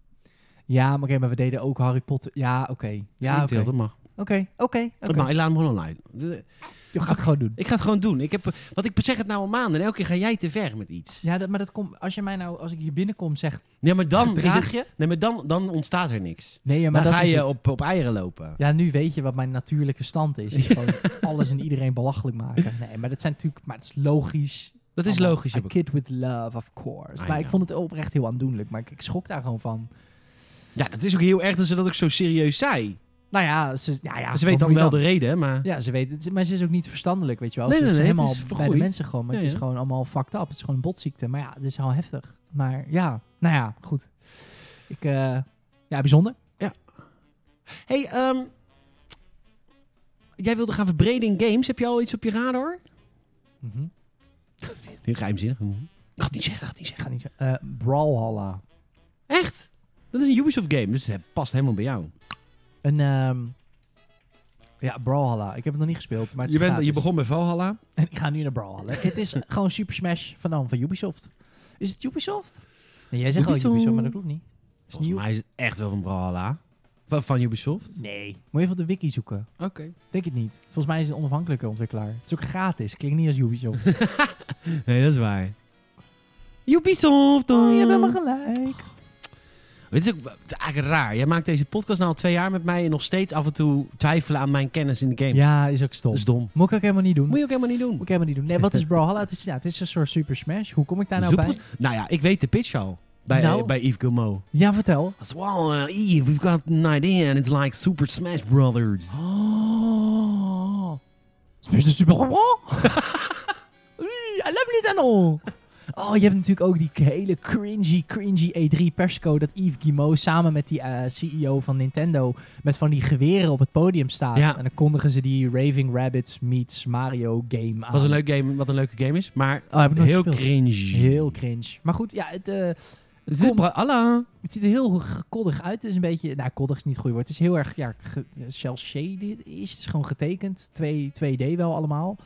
Speaker 2: Ja, maar oké, maar we deden ook Harry Potter. Ja, oké. Ja,
Speaker 1: Ja,
Speaker 2: oké.
Speaker 1: inteelt, dat mag.
Speaker 2: Oké, oké,
Speaker 1: Dat mag. Ik laat hem gewoon online. De-
Speaker 2: Je gaat het gewoon doen.
Speaker 1: Ik ga het gewoon doen. Ik heb, wat ik zeg het nou al maanden. En elke keer ga jij te ver met iets.
Speaker 2: Ja, dat, maar dat komt... Als je mij nou... Als ik hier binnenkom zeg...
Speaker 1: Nee, maar dan, is
Speaker 2: gedraag
Speaker 1: het,
Speaker 2: je?
Speaker 1: nee, maar dan, dan ontstaat er niks.
Speaker 2: Nee, ja, maar
Speaker 1: Maar dan
Speaker 2: dat
Speaker 1: ga
Speaker 2: is
Speaker 1: je
Speaker 2: het.
Speaker 1: op, op eieren lopen.
Speaker 2: Ja, nu weet je wat mijn natuurlijke stand is. is gewoon alles en iedereen belachelijk maken. Nee, maar dat zijn natuurlijk... Maar het is logisch.
Speaker 1: Dat is
Speaker 2: Allemaal,
Speaker 1: logisch. Ah,
Speaker 2: A
Speaker 1: heb ik-
Speaker 2: kid with love, of course.
Speaker 1: I
Speaker 2: maar ik
Speaker 1: know.
Speaker 2: vond het oprecht heel aandoenlijk. Maar ik, ik schrok daar gewoon van.
Speaker 1: Ja, het is ook heel erg dat ze dat ook zo serieus zei. Dus
Speaker 2: Nou ja, ze, ja, ja,
Speaker 1: ze
Speaker 2: wat
Speaker 1: weet dan
Speaker 2: moet je
Speaker 1: wel de reden, maar...
Speaker 2: Ja, ze weet het, maar ze is ook niet verstandelijk, weet je wel.
Speaker 1: Nee,
Speaker 2: ze
Speaker 1: nee,
Speaker 2: is
Speaker 1: nee, het
Speaker 2: helemaal
Speaker 1: is
Speaker 2: bij de
Speaker 1: vergroeid.
Speaker 2: mensen gewoon, maar
Speaker 1: Ja,
Speaker 2: het is
Speaker 1: ja.
Speaker 2: gewoon allemaal fucked up. Het is gewoon een botziekte. Maar ja, het is wel heftig. Maar ja, nou ja, goed. Ik, eh, ja, bijzonder.
Speaker 1: hey, ehm, jij wilde gaan verbreden in games. Heb je al iets op je radar?
Speaker 2: Mhm.
Speaker 1: Heel geheimzinnig. Mhm. Ik ga het niet zeggen, ik ga het niet
Speaker 2: Ik
Speaker 1: zeggen.
Speaker 2: ga niet zeggen. eh, Brawlhalla.
Speaker 1: Echt? Dat is een Ubisoft game, dus het past helemaal bij jou.
Speaker 2: Een, ehm, ja, Brawlhalla. Ik heb het nog niet gespeeld, maar het
Speaker 1: Je,
Speaker 2: is
Speaker 1: bent,
Speaker 2: gratis.
Speaker 1: je begon met Valhalla.
Speaker 2: En ik ga nu naar Brawlhalla. het is gewoon Super Smash van, dan van Ubisoft. Is het Ubisoft? Nee, jij zegt al
Speaker 1: Ubisoft.
Speaker 2: Ubisoft, maar dat klopt niet. Is het
Speaker 1: Volgens
Speaker 2: niet
Speaker 1: mij is het echt wel van Valhalla. Van, van Ubisoft.
Speaker 2: Ub- Nee. Moet je even op de wiki zoeken.
Speaker 1: Oké.
Speaker 2: Denk het niet. Volgens mij is het een onafhankelijke ontwikkelaar. Het is ook gratis. Klinkt niet als Ubisoft.
Speaker 1: Nee, dat is waar. Ubisoft dan.
Speaker 2: Oh, je bent maar gelijk.
Speaker 1: Het is ook het is eigenlijk raar. Jij maakt deze podcast nou al twee jaar met mij en nog steeds af en toe twijfelen aan mijn kennis in de games.
Speaker 2: Ja, is ook
Speaker 1: Dat
Speaker 2: stom.
Speaker 1: is dom.
Speaker 2: Moet ik ook helemaal niet doen.
Speaker 1: Moet
Speaker 2: Moet
Speaker 1: je ook helemaal niet doen.
Speaker 2: ik helemaal niet doen. Nee, wat is Brawlhalla? Het is, ja, het is een soort Super Smash. Hoe kom ik daar nou
Speaker 1: Super-
Speaker 2: bij?
Speaker 1: Nou ja, ik weet de pitch al. bij,
Speaker 2: Nou.
Speaker 1: eh, bij Yves Guillemot.
Speaker 2: Ja, vertel.
Speaker 1: As well, uh, Eve, we've got an idea and it's like Super Smash Brothers.
Speaker 2: Oh. Smash de Super Robot? I love Nintendo! Oh, je hebt natuurlijk ook die hele cringy, cringy E3 persco dat Yves Guillemot samen met die eh, CEO van Nintendo met van die geweren op het podium staat.
Speaker 1: Ja.
Speaker 2: En dan kondigen ze die Raving Rabbits meets Mario game aan.
Speaker 1: Was een leuk game, wat een leuke game is, maar
Speaker 2: Oh, heb ik nooit
Speaker 1: heel
Speaker 2: gespeeld.
Speaker 1: cringe.
Speaker 2: Heel cringe. Maar goed, ja, het, eh,
Speaker 1: Het
Speaker 2: komt-
Speaker 1: Alla.
Speaker 2: het ziet er heel g- koddig uit. Het is een beetje... Nou, koddig is niet het goede woord. Het is heel erg... Ja, ge- shell shaded is. Het is gewoon getekend. 2, 2D wel allemaal.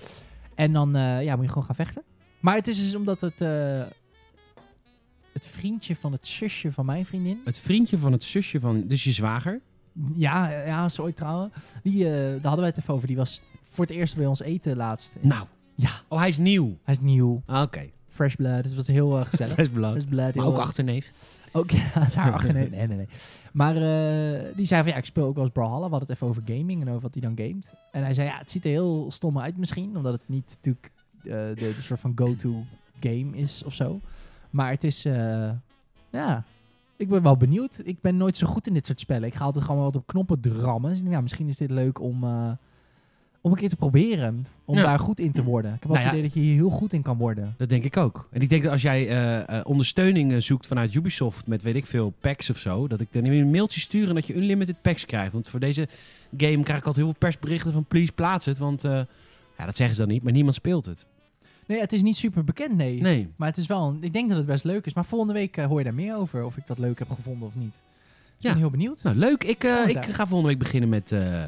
Speaker 2: En dan eh, ja, moet je gewoon gaan vechten. Maar het is dus omdat het... eh, het vriendje van het zusje van mijn vriendin...
Speaker 1: Het vriendje van het zusje van, dus je zwager.
Speaker 2: Ja, eh, ja, sorry trouwen. Die, eh, daar hadden wij het even over. Die was voor het eerst bij ons eten laatst.
Speaker 1: Nou.
Speaker 2: Ja.
Speaker 1: Oh, hij is nieuw.
Speaker 2: Hij is nieuw.
Speaker 1: Ah, Oké.
Speaker 2: Fresh blood. Dus het was heel eh, gezellig.
Speaker 1: Best belangrijk.
Speaker 2: Fresh blood.
Speaker 1: Maar
Speaker 2: heel- eh,
Speaker 1: ook achterneef.
Speaker 2: Ook ja, het is haar achterneef. Nee, nee, nee. Maar eh, die zei van ja, ik speel ook wel eens Brawlhalla. We hadden het even over gaming en over wat hij dan gamet. En hij zei ja, het ziet er heel stom uit misschien. Omdat het niet natuurlijk eh, de, de soort van go-to game is of zo. Maar het is, eh, ja, ik ben wel benieuwd. Ik ben nooit zo goed in dit soort spellen. Ik ga altijd gewoon wat op knoppen drammen. Dus ik denk, nou, misschien is dit leuk om, eh, om een keer te proberen. Om
Speaker 1: Ja.
Speaker 2: daar goed in te worden. Ik heb
Speaker 1: Nou
Speaker 2: altijd
Speaker 1: ja.
Speaker 2: het idee dat je hier heel goed in kan worden.
Speaker 1: Dat denk ik ook. En ik denk dat als jij eh, eh, ondersteuning eh, zoekt vanuit Ubisoft met weet ik veel packs of zo, dat ik dan een mailtje stuur en dat je unlimited packs krijgt. Want voor deze game krijg ik altijd heel veel persberichten van please plaats het, want eh, ja, dat zeggen ze dan niet, maar niemand speelt het.
Speaker 2: Nee, het is niet super bekend, nee.
Speaker 1: Nee.
Speaker 2: Maar het is wel, een- ik denk dat het best leuk is. Maar volgende week eh, hoor je daar meer over. Of ik dat leuk heb gevonden of niet. Dus Ik
Speaker 1: Ja.
Speaker 2: ben heel benieuwd.
Speaker 1: Nou, leuk. Ik, eh,
Speaker 2: Gaan we
Speaker 1: ik
Speaker 2: daar.
Speaker 1: ga volgende week beginnen met, eh,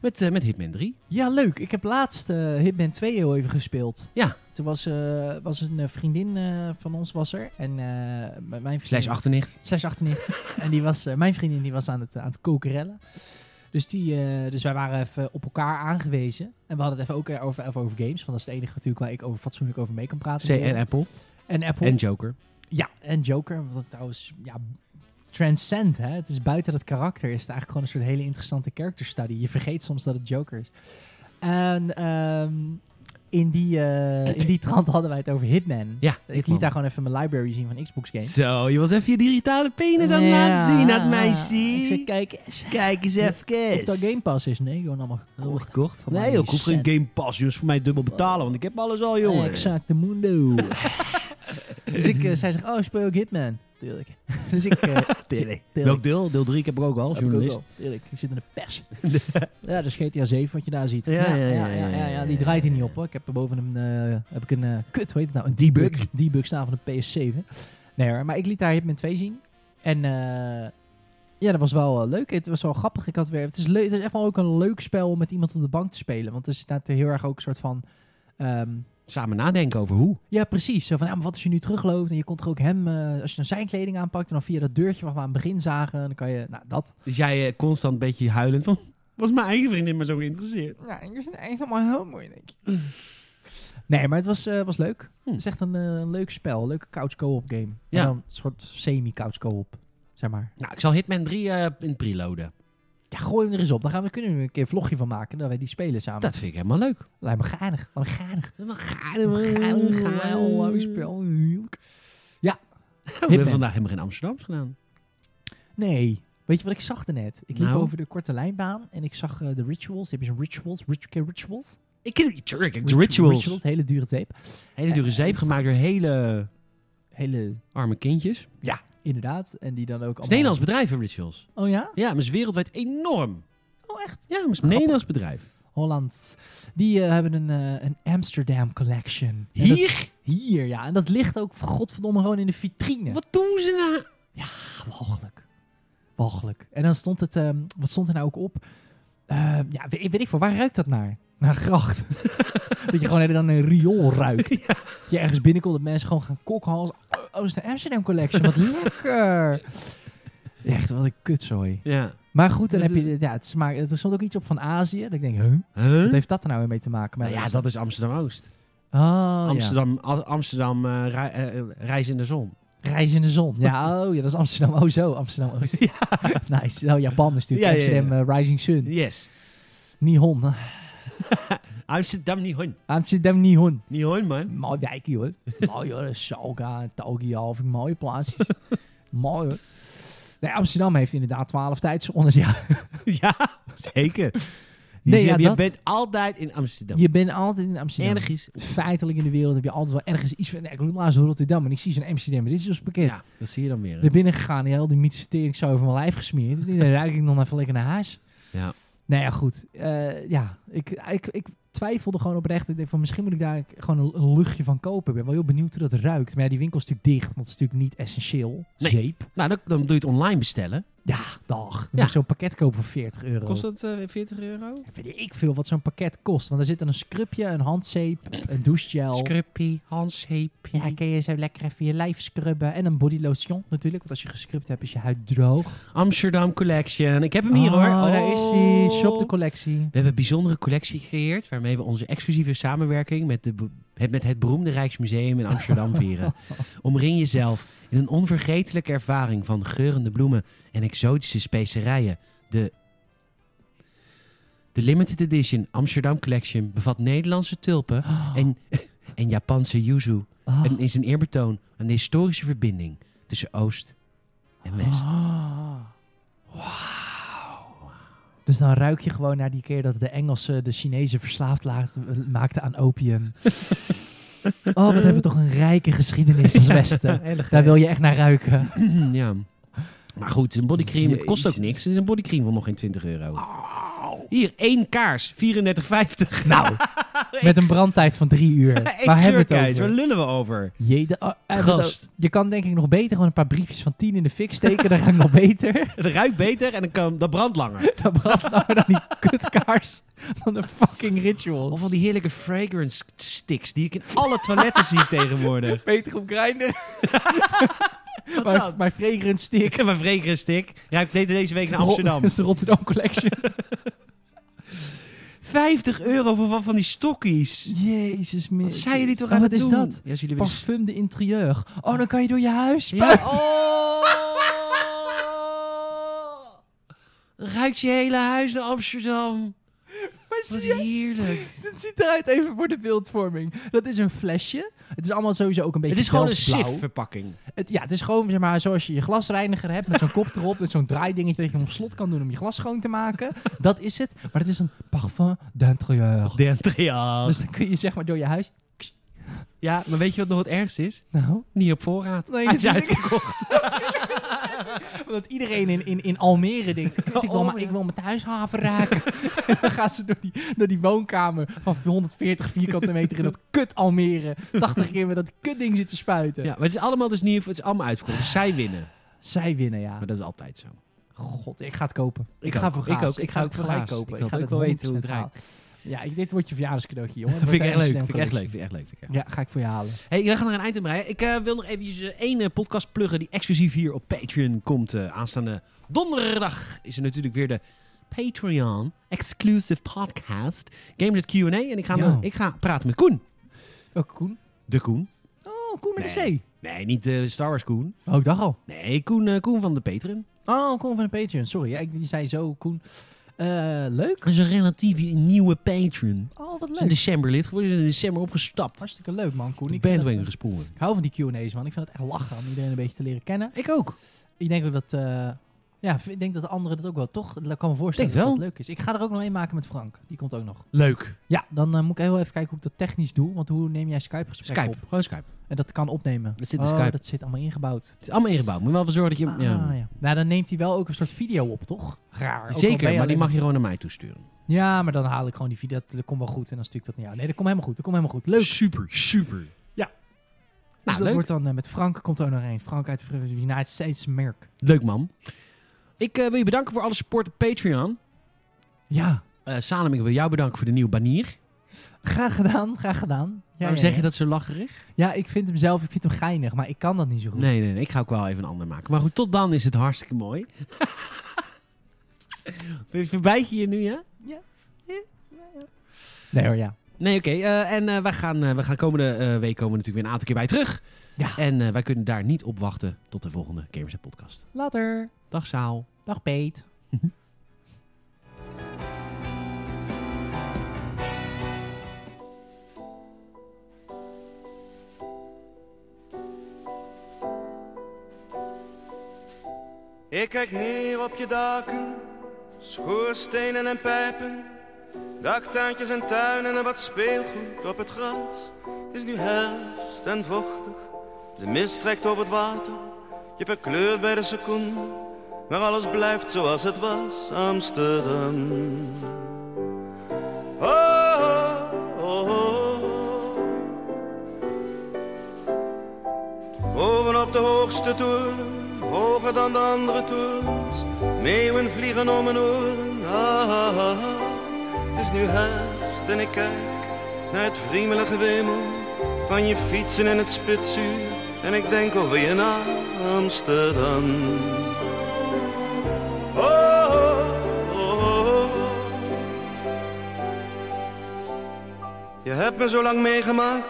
Speaker 1: met, eh, met Hitman 3.
Speaker 2: Ja, leuk. Ik heb laatst eh, Hitman 2 heel even gespeeld.
Speaker 1: Ja.
Speaker 2: Toen was, eh, was een eh, vriendin eh, van ons was er. En eh, m- mijn
Speaker 1: Slash
Speaker 2: vriendin...
Speaker 1: achternicht.
Speaker 2: Slash 98. en die was, eh, mijn vriendin die was aan het, aan het kokerellen. Dus, die, eh, dus wij waren even op elkaar aangewezen. En we hadden het even ook eh, over, even over games. Want dat is het enige natuurlijk waar ik over, fatsoenlijk over mee kan praten.
Speaker 1: C en Apple.
Speaker 2: En Apple.
Speaker 1: En Joker.
Speaker 2: Ja, en Joker, wat trouwens, ja, transcend, hè. Het is buiten dat karakter, is het eigenlijk gewoon een soort hele interessante character study. Je vergeet soms dat het Joker is. En ehm, in, die, eh, in die trant hadden wij het over Hitman.
Speaker 1: Ja,
Speaker 2: Ik liet daar gewoon even mijn library zien van Xbox games.
Speaker 1: Zo, je was even je digitale penis aan het laten zien aan het meisje.
Speaker 2: Ik zei, kijk eens.
Speaker 1: Kijk eens
Speaker 2: Of dat Game Pass is. Nee, gewoon allemaal
Speaker 1: Allemaal
Speaker 2: gekocht.
Speaker 1: gekocht.
Speaker 2: Van mij die cent.
Speaker 1: Game Pass, jongens, voor mij dubbel betalen, want ik heb alles al,
Speaker 2: Exact, de mundo. dus ik eh, zei, zeg, oh, speel ook Hitman. Tuurlijk. dus ik... eh,
Speaker 1: Tuurlijk.
Speaker 2: tuurlijk.
Speaker 1: deel? Deel 3, ik heb er ook al,
Speaker 2: Heb ik ook wel. Eerlijk, ik zit in de pers. ja, dat is GTA 7 wat je daar ziet.
Speaker 1: Ja, ja, ja, ja, ja, ja.
Speaker 2: die draait hier niet op hoor. Ik heb er boven een, eh, heb ik een eh, kut, hoe heet het nou? Een
Speaker 1: Debug.
Speaker 2: debug. Debug staan van een PS7. Nee hoor, maar ik liet daar Hitman 2 zien. En eh, ja, dat was wel eh, leuk. Het was wel grappig. Ik had weer, het is, leuk, het is echt wel ook een leuk spel om met iemand op de bank te spelen. Want er staat heel erg ook een soort van... ehm,
Speaker 1: Samen nadenken over hoe.
Speaker 2: ja, precies. Zo van, ja, maar wat als je nu terugloopt en je kon toch ook hem... eh, als je dan zijn kleding aanpakt en dan via dat deurtje waar we aan het begin zagen... dan kan je... Nou, dat.
Speaker 1: Dus jij eh, constant een beetje huilend van, was mijn eigen vriendin maar zo geïnteresseerd.
Speaker 2: Ja, ik vind het echt allemaal heel mooi, denk ik. Nee, maar het was, eh, was leuk.
Speaker 1: Hm.
Speaker 2: Het is echt een eh, leuk spel. Leuke couch co-op game. Maar
Speaker 1: Ja.
Speaker 2: dan een soort semi-couch co-op, zeg maar.
Speaker 1: Nou, ik zal Hitman 3 eh, in preloaden.
Speaker 2: Ja, gooi hem er eens op. Dan gaan we, kunnen we er een keer een vlogje van maken. Dat wij die spelen samen.
Speaker 1: Dat vind ik helemaal leuk.
Speaker 2: Lijkt me geinig. Lijkt me geinig.
Speaker 1: Gaal,
Speaker 2: Geinig,
Speaker 1: Oh,
Speaker 2: geinig, leuk spel. Heerlijk.
Speaker 1: We hebben
Speaker 2: Hitman.
Speaker 1: vandaag helemaal geen Amsterdams gedaan.
Speaker 2: Nee. Weet je wat ik zag daarnet? Ik liep
Speaker 1: Nou?
Speaker 2: over de korte lijnbaan en ik zag eh, de rituals. Die hebben zo'n rituals. Rit- ken je rituals?
Speaker 1: Ik ken Turk, ik
Speaker 2: Rit-
Speaker 1: rituals.
Speaker 2: Rituals, hele dure tape.
Speaker 1: Hele dure zeep gemaakt door hele
Speaker 2: Hele,
Speaker 1: arme kindjes. Het
Speaker 2: inderdaad. En die dan ook allemaal...
Speaker 1: is een Nederlands bedrijf, hè, Rituals.
Speaker 2: Oh ja?
Speaker 1: Ja, maar is wereldwijd enorm.
Speaker 2: Oh echt?
Speaker 1: Ja, maar is een Nederlands bedrijf.
Speaker 2: Hollands. Die eh, hebben een, eh, een Amsterdam collection. En dat-
Speaker 1: Hier?
Speaker 2: hier, ja. En dat ligt ook, godverdomme, gewoon in de vitrine.
Speaker 1: Wat doen ze nou?
Speaker 2: Ah, walgelijk. Walgelijk. En dan stond het, ehm, wat stond er nou ook op? Ehm, ja, weet, weet ik voor, waar ruikt dat naar? Naar gracht. dat je gewoon helemaal dan een riool ruikt. Dat je ergens binnenkomt dat mensen gewoon gaan kokhalzen. Oh, oh, dat is de Amsterdam collection. Wat lekker. Echt, wat een kutzooi.
Speaker 1: Ja.
Speaker 2: Maar goed, dan heb je... dit- Ja, het smaakt, er stond ook iets op van Azië. Dat ik denk, huh? Wat heeft dat er nou weer mee te maken? Maar
Speaker 1: Nou ja, dat is Amsterdam-Oost.
Speaker 2: Oh, ja.
Speaker 1: Amsterdam, Al- Amsterdam eh, rei- eh, eh, reis in de zon.
Speaker 2: Reis in de zon. Ja, oh ja, dat is Amsterdam. Oh zo, Amsterdam Oost. nice. Nou, Japan is natuurlijk
Speaker 1: Ja, ja, ja.
Speaker 2: Amsterdam eh, Rising Sun.
Speaker 1: Yes.
Speaker 2: Nihon.
Speaker 1: Amsterdam niet hon.
Speaker 2: Amsterdam niet hon.
Speaker 1: Niet hon, man.
Speaker 2: Mooi dijkje hoor. Mooi hoor. Schalke, Talgia, of mooie plaatsjes. Mooi hoor. Nee, Amsterdam heeft inderdaad 12 tijdzones. Ja.
Speaker 1: ja, zeker. Je,
Speaker 2: Nee,
Speaker 1: zegt,
Speaker 2: ja,
Speaker 1: je
Speaker 2: dat-
Speaker 1: bent altijd in Amsterdam.
Speaker 2: Je bent altijd in Amsterdam.
Speaker 1: Ergens.
Speaker 2: Feitelijk in de wereld heb je altijd wel ergens iets van... Nee, ik loop laatst door Rotterdam en ik zie zo'n Amsterdam. Dit is ons pakket.
Speaker 1: Ja, dat zie je dan weer. hè.
Speaker 2: naar binnen gegaan, heel die mythische tering zo over mijn lijf gesmeerd. En dan ruik ik nog even lekker naar huis.
Speaker 1: Ja.
Speaker 2: Nou ja, goed. Eh, ja, ik, ik, ik twijfelde gewoon oprecht. Ik denk van misschien moet ik daar gewoon een, een luchtje van kopen. Ik ben wel heel benieuwd hoe dat ruikt. Maar ja, die winkel is natuurlijk dicht, want het is natuurlijk niet essentieel.
Speaker 1: Nee.
Speaker 2: Zeep.
Speaker 1: Nou, dan, dan doe je het online bestellen.
Speaker 2: Ja, dag. Dan
Speaker 1: Ja.
Speaker 2: moet ik zo'n pakket kopen voor 40 euro.
Speaker 1: Kost dat eh, 40 euro?
Speaker 2: Ja, Weet ik veel wat zo'n pakket kost. Want er zit dan een scrubje, een handzeep, een douchegel.
Speaker 1: Scruppy, handzeepje.
Speaker 2: ja, kun je zo lekker even je lijf scrubben. En een body lotion natuurlijk. Want als je gescrubt hebt, is je huid droog.
Speaker 1: Amsterdam Collection. Ik heb hem hier hoor.
Speaker 2: Oh, daar is hij. Shop
Speaker 1: collectie.
Speaker 2: de collectie.
Speaker 1: We hebben een bijzondere collectie gecreëerd waarmee we onze exclusieve samenwerking met, de, be- het- met het beroemde Rijksmuseum in Amsterdam vieren. Omring jezelf in een onvergetelijke ervaring van geurende bloemen en exotische specerijen. De, de limited edition Amsterdam Collection bevat Nederlandse tulpen en, en Japanse yuzu
Speaker 2: Ah.
Speaker 1: en is een eerbetoon aan de historische verbinding tussen Oost en West.
Speaker 2: Ah. Wauw. Dus dan ruik je gewoon naar die keer dat de Engelsen de Chinezen verslaafd laat- maakten aan opium. oh, wat hebben we toch een rijke geschiedenis als Westen. Daar wil je echt naar ruiken.
Speaker 1: Mhm, ja. Maar goed, een bodycream, het kost ook
Speaker 2: Jezus.
Speaker 1: niks. Het is een bodycream van nog geen 20 euro. Hier, één kaars, 34,50.
Speaker 2: Nou, met een brandtijd van drie uur. Waar hebben we het
Speaker 1: kleurkaars, Waar
Speaker 2: over?
Speaker 1: lullen we over?
Speaker 2: Jede, oh, eh, wat
Speaker 1: Gast.
Speaker 2: ook- je kan denk ik nog beter gewoon een paar briefjes van tien in de fik steken. Dan ga ik nog beter.
Speaker 1: Het ruikt beter en dan kan, dat brandt langer.
Speaker 2: Dan brandt nou dan die kutkaars van de fucking rituals.
Speaker 1: Of al die heerlijke fragrance sticks die ik in alle toiletten zie tegenwoordig.
Speaker 2: Peter op Grindr.
Speaker 1: dan?
Speaker 2: Mijn fragrance stick.
Speaker 1: Ik heb een fragrance stick. Ruikt deed deze week naar Amsterdam.
Speaker 2: Dat is de Rotterdam Collection.
Speaker 1: 50 euro voor wat van die stokkies.
Speaker 2: Jezus, man.
Speaker 1: Nou, Wat zijn jullie toch
Speaker 2: Oh,
Speaker 1: aan
Speaker 2: Wat
Speaker 1: het
Speaker 2: is
Speaker 1: doen?
Speaker 2: dat?
Speaker 1: Ja, jullie weer...
Speaker 2: Parfum de interieur. Oh, dan kan je door je huis
Speaker 1: Ja,
Speaker 2: spuiten.
Speaker 1: oh! Ruikt je hele huis naar Amsterdam.
Speaker 2: Maar
Speaker 1: Wat
Speaker 2: zie je,
Speaker 1: heerlijk.
Speaker 2: het ziet eruit even voor de beeldvorming. Dat is een flesje. Het is allemaal sowieso ook een beetje
Speaker 1: Het is gewoon een
Speaker 2: Delfts-blauw.
Speaker 1: SIF-verpakking.
Speaker 2: Het, ja, het is gewoon zeg maar, zoals je je glasreiniger hebt met zo'n kop erop. Met zo'n draaidingetje dat je hem op slot kan doen om je glas schoon te maken. Dat is het. Maar het is een parfum d'interieur. Dus dan kun je zeg maar door je huis...
Speaker 1: Ja, maar weet je wat nog het ergste is?
Speaker 2: Nou,
Speaker 1: Niet op voorraad.
Speaker 2: Nee,
Speaker 1: Hij is
Speaker 2: natuurlijk.
Speaker 1: uitverkocht.
Speaker 2: Want iedereen in, in, in Almere denkt, "Kut, ik, wil,
Speaker 1: Oh,
Speaker 2: maar,
Speaker 1: ja.
Speaker 2: ik wil mijn thuishaven raken. en dan gaan ze door die, door die woonkamer van 140 vierkante meter in dat kut Almere. 80 keer met dat kutding zitten spuiten.
Speaker 1: Ja, maar het is allemaal dus niet, het is allemaal uitverkocht. Dus zij winnen.
Speaker 2: Zij winnen, ja.
Speaker 1: Maar dat is altijd zo.
Speaker 2: God, ik ga het kopen. Ik,
Speaker 1: Ik
Speaker 2: ga
Speaker 1: ook.
Speaker 2: voor
Speaker 1: Ik
Speaker 2: gaas.
Speaker 1: ook. Ik ga
Speaker 2: het
Speaker 1: ook voor gaas. Ik wil
Speaker 2: ga
Speaker 1: ook
Speaker 2: het
Speaker 1: wel weten hoe het
Speaker 2: 100% halen. Ja, ik- dit wordt je verjaardagscadeautje, jongen.
Speaker 1: Vind ik
Speaker 2: Wordt
Speaker 1: echt leuk.
Speaker 2: een
Speaker 1: Vind ik echt leuk.
Speaker 2: collectie.
Speaker 1: Vind ik echt leuk. Vind ik echt leuk.
Speaker 2: Ja, ga ik voor je halen.
Speaker 1: Hey, we gaan naar een eind aan breien. Ik eh, wil nog eventjes eh, één eh, podcast pluggen die exclusief hier op Patreon komt. eh, aanstaande donderdag is er natuurlijk weer de Patreon Exclusive Podcast. Games at Q&A. En ik ga, me-
Speaker 2: Ja.
Speaker 1: ik ga praten met Koen.
Speaker 2: Ook Koen.
Speaker 1: De Koen.
Speaker 2: Oh, Koen met
Speaker 1: Nee.
Speaker 2: de
Speaker 1: Nee, niet de Star Wars Koen.
Speaker 2: C. Oh, ik dacht al.
Speaker 1: Nee, Koen, eh, Koen van de Patreon.
Speaker 2: Oh, Koen van de Patreon. Sorry, ja, ik die zei zo, Koen. Eh, leuk.
Speaker 1: Dat is een relatief nieuwe Patreon.
Speaker 2: Oh, wat
Speaker 1: Is in
Speaker 2: leuk.
Speaker 1: december lid geworden, is in december opgestapt.
Speaker 2: Hartstikke leuk, man, Koen.
Speaker 1: De
Speaker 2: Ik vind dat,
Speaker 1: bandwagon
Speaker 2: eh,
Speaker 1: gesprongen.
Speaker 2: Ik hou van die Q&A's, man. Ik vind het echt lachen om iedereen een beetje te leren kennen.
Speaker 1: Ik ook.
Speaker 2: Ik denk ook dat... eh, ja, ik denk dat de anderen dat ook wel, toch? Ik kan me voorstellen
Speaker 1: Denk
Speaker 2: dat
Speaker 1: wel.
Speaker 2: dat leuk is. Ik ga er ook nog een maken met Frank. Die komt ook nog.
Speaker 1: Leuk.
Speaker 2: Ja, dan eh, moet ik heel even kijken hoe ik dat technisch doe. Want hoe neem jij Skype-gesprek
Speaker 1: Skype,
Speaker 2: op?
Speaker 1: gewoon Skype.
Speaker 2: En dat kan opnemen.
Speaker 1: Dat zit in
Speaker 2: Oh,
Speaker 1: Skype.
Speaker 2: dat zit allemaal ingebouwd.
Speaker 1: Het is allemaal ingebouwd. Moet je wel voor zorgen dat je...
Speaker 2: Ah,
Speaker 1: ja.
Speaker 2: ja. Nou, dan neemt hij wel ook een soort video op, toch? Raar. ook al ben
Speaker 1: Zeker,
Speaker 2: je
Speaker 1: maar die
Speaker 2: alleen
Speaker 1: mag je gewoon naar mij toesturen.
Speaker 2: Ja, maar dan haal ik gewoon die video. Dat, dat komt wel goed. En dan stuur ik dat naar jou. Nee, dat komt helemaal goed. Dat komt helemaal goed. Leuk.
Speaker 1: Super, super.
Speaker 2: Ja.
Speaker 1: Nou,
Speaker 2: dus dat
Speaker 1: leuk.
Speaker 2: wordt dan eh, met Frank. Komt er ook nog een. Frank uit de United States merk.
Speaker 1: leuk man. Ik eh, wil je bedanken voor alle support op Patreon.
Speaker 2: Ja.
Speaker 1: Eh Salem, ik wil jou bedanken voor de nieuwe banier.
Speaker 2: Graag gedaan, graag gedaan. Ja,
Speaker 1: Waarom
Speaker 2: ja,
Speaker 1: zeg
Speaker 2: ja.
Speaker 1: je dat zo lacherig?
Speaker 2: Ja, ik vind hem zelf, ik vind hem geinig, maar ik kan dat niet zo goed.
Speaker 1: Nee, nee, nee, ik ga ook wel even een ander maken. Maar goed, tot dan is het hartstikke mooi. Verbijt je je nu, ja?
Speaker 2: Nee hoor, ja.
Speaker 1: Nee, oké. eh, en eh, wij gaan, eh, wij gaan komende eh, week komen we natuurlijk weer een aantal keer bij terug.
Speaker 2: Ja.
Speaker 1: En eh, wij kunnen daar niet op wachten tot de volgende Gamers en Podcast.
Speaker 2: Later.
Speaker 1: Dag Saal.
Speaker 2: Dag Peet.
Speaker 4: Ik kijk neer op je daken, schoorstenen en pijpen, daktuintjes en tuinen en wat speelgoed op het gras. Het is nu herfst en vochtig, de mist trekt over het water, je verkleurt bij de seconde, maar alles blijft zoals het was, Amsterdam. Oh, oh, oh, oh. Bovenop de hoogste toren, hoger dan de andere torens, meeuwen vliegen om mijn oren. Ah, ah, ah. Het is nu herfst en ik kijk naar het vriemelige wemel van je fietsen in het spitsuur. En ik denk over je na, Amsterdam. Oh, oh, oh, oh. Je hebt me zo lang meegemaakt,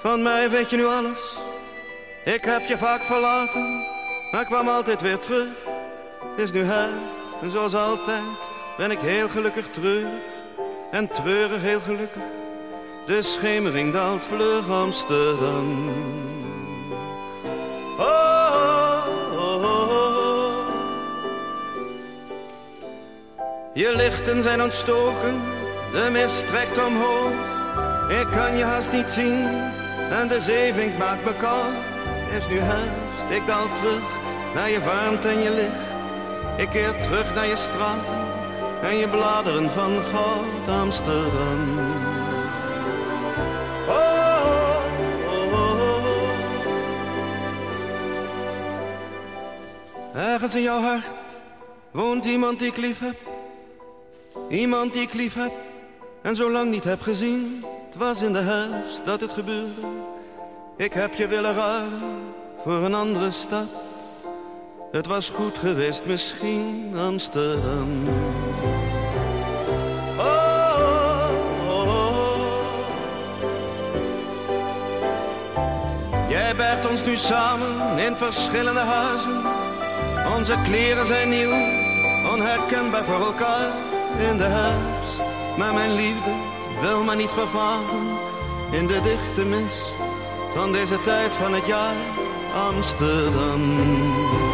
Speaker 4: van mij weet je nu alles. Ik heb je vaak verlaten, maar kwam altijd weer terug. Het is nu her, en zoals altijd ben ik heel gelukkig treurig. En treurig heel gelukkig, de schemering daalt vlug Amsterdam. Oh, oh, oh, oh, oh. Je lichten zijn ontstoken, de mist trekt omhoog. Ik kan je haast niet zien en de zeevink maakt me koud. Is nu herfst, ik daal terug naar je warmte en je licht. Ik keer terug naar je straten en je bladeren van goud Amsterdam. Oh, oh, oh, oh. Ergens in jouw hart woont iemand die ik lief heb. Iemand die ik lief heb en zo lang niet heb gezien. Het was in de herfst dat het gebeurde. Ik heb je willen ruilen voor een andere stad. Het was goed geweest, misschien Amsterdam. Oh, oh, oh, oh. Jij bergt ons nu samen in verschillende huizen. Onze kleren zijn nieuw, onherkenbaar voor elkaar in de herfst. Maar mijn liefde wil maar niet vervagen in de dichte mist van deze tijd van het jaar Amsterdam. Oh, Oh.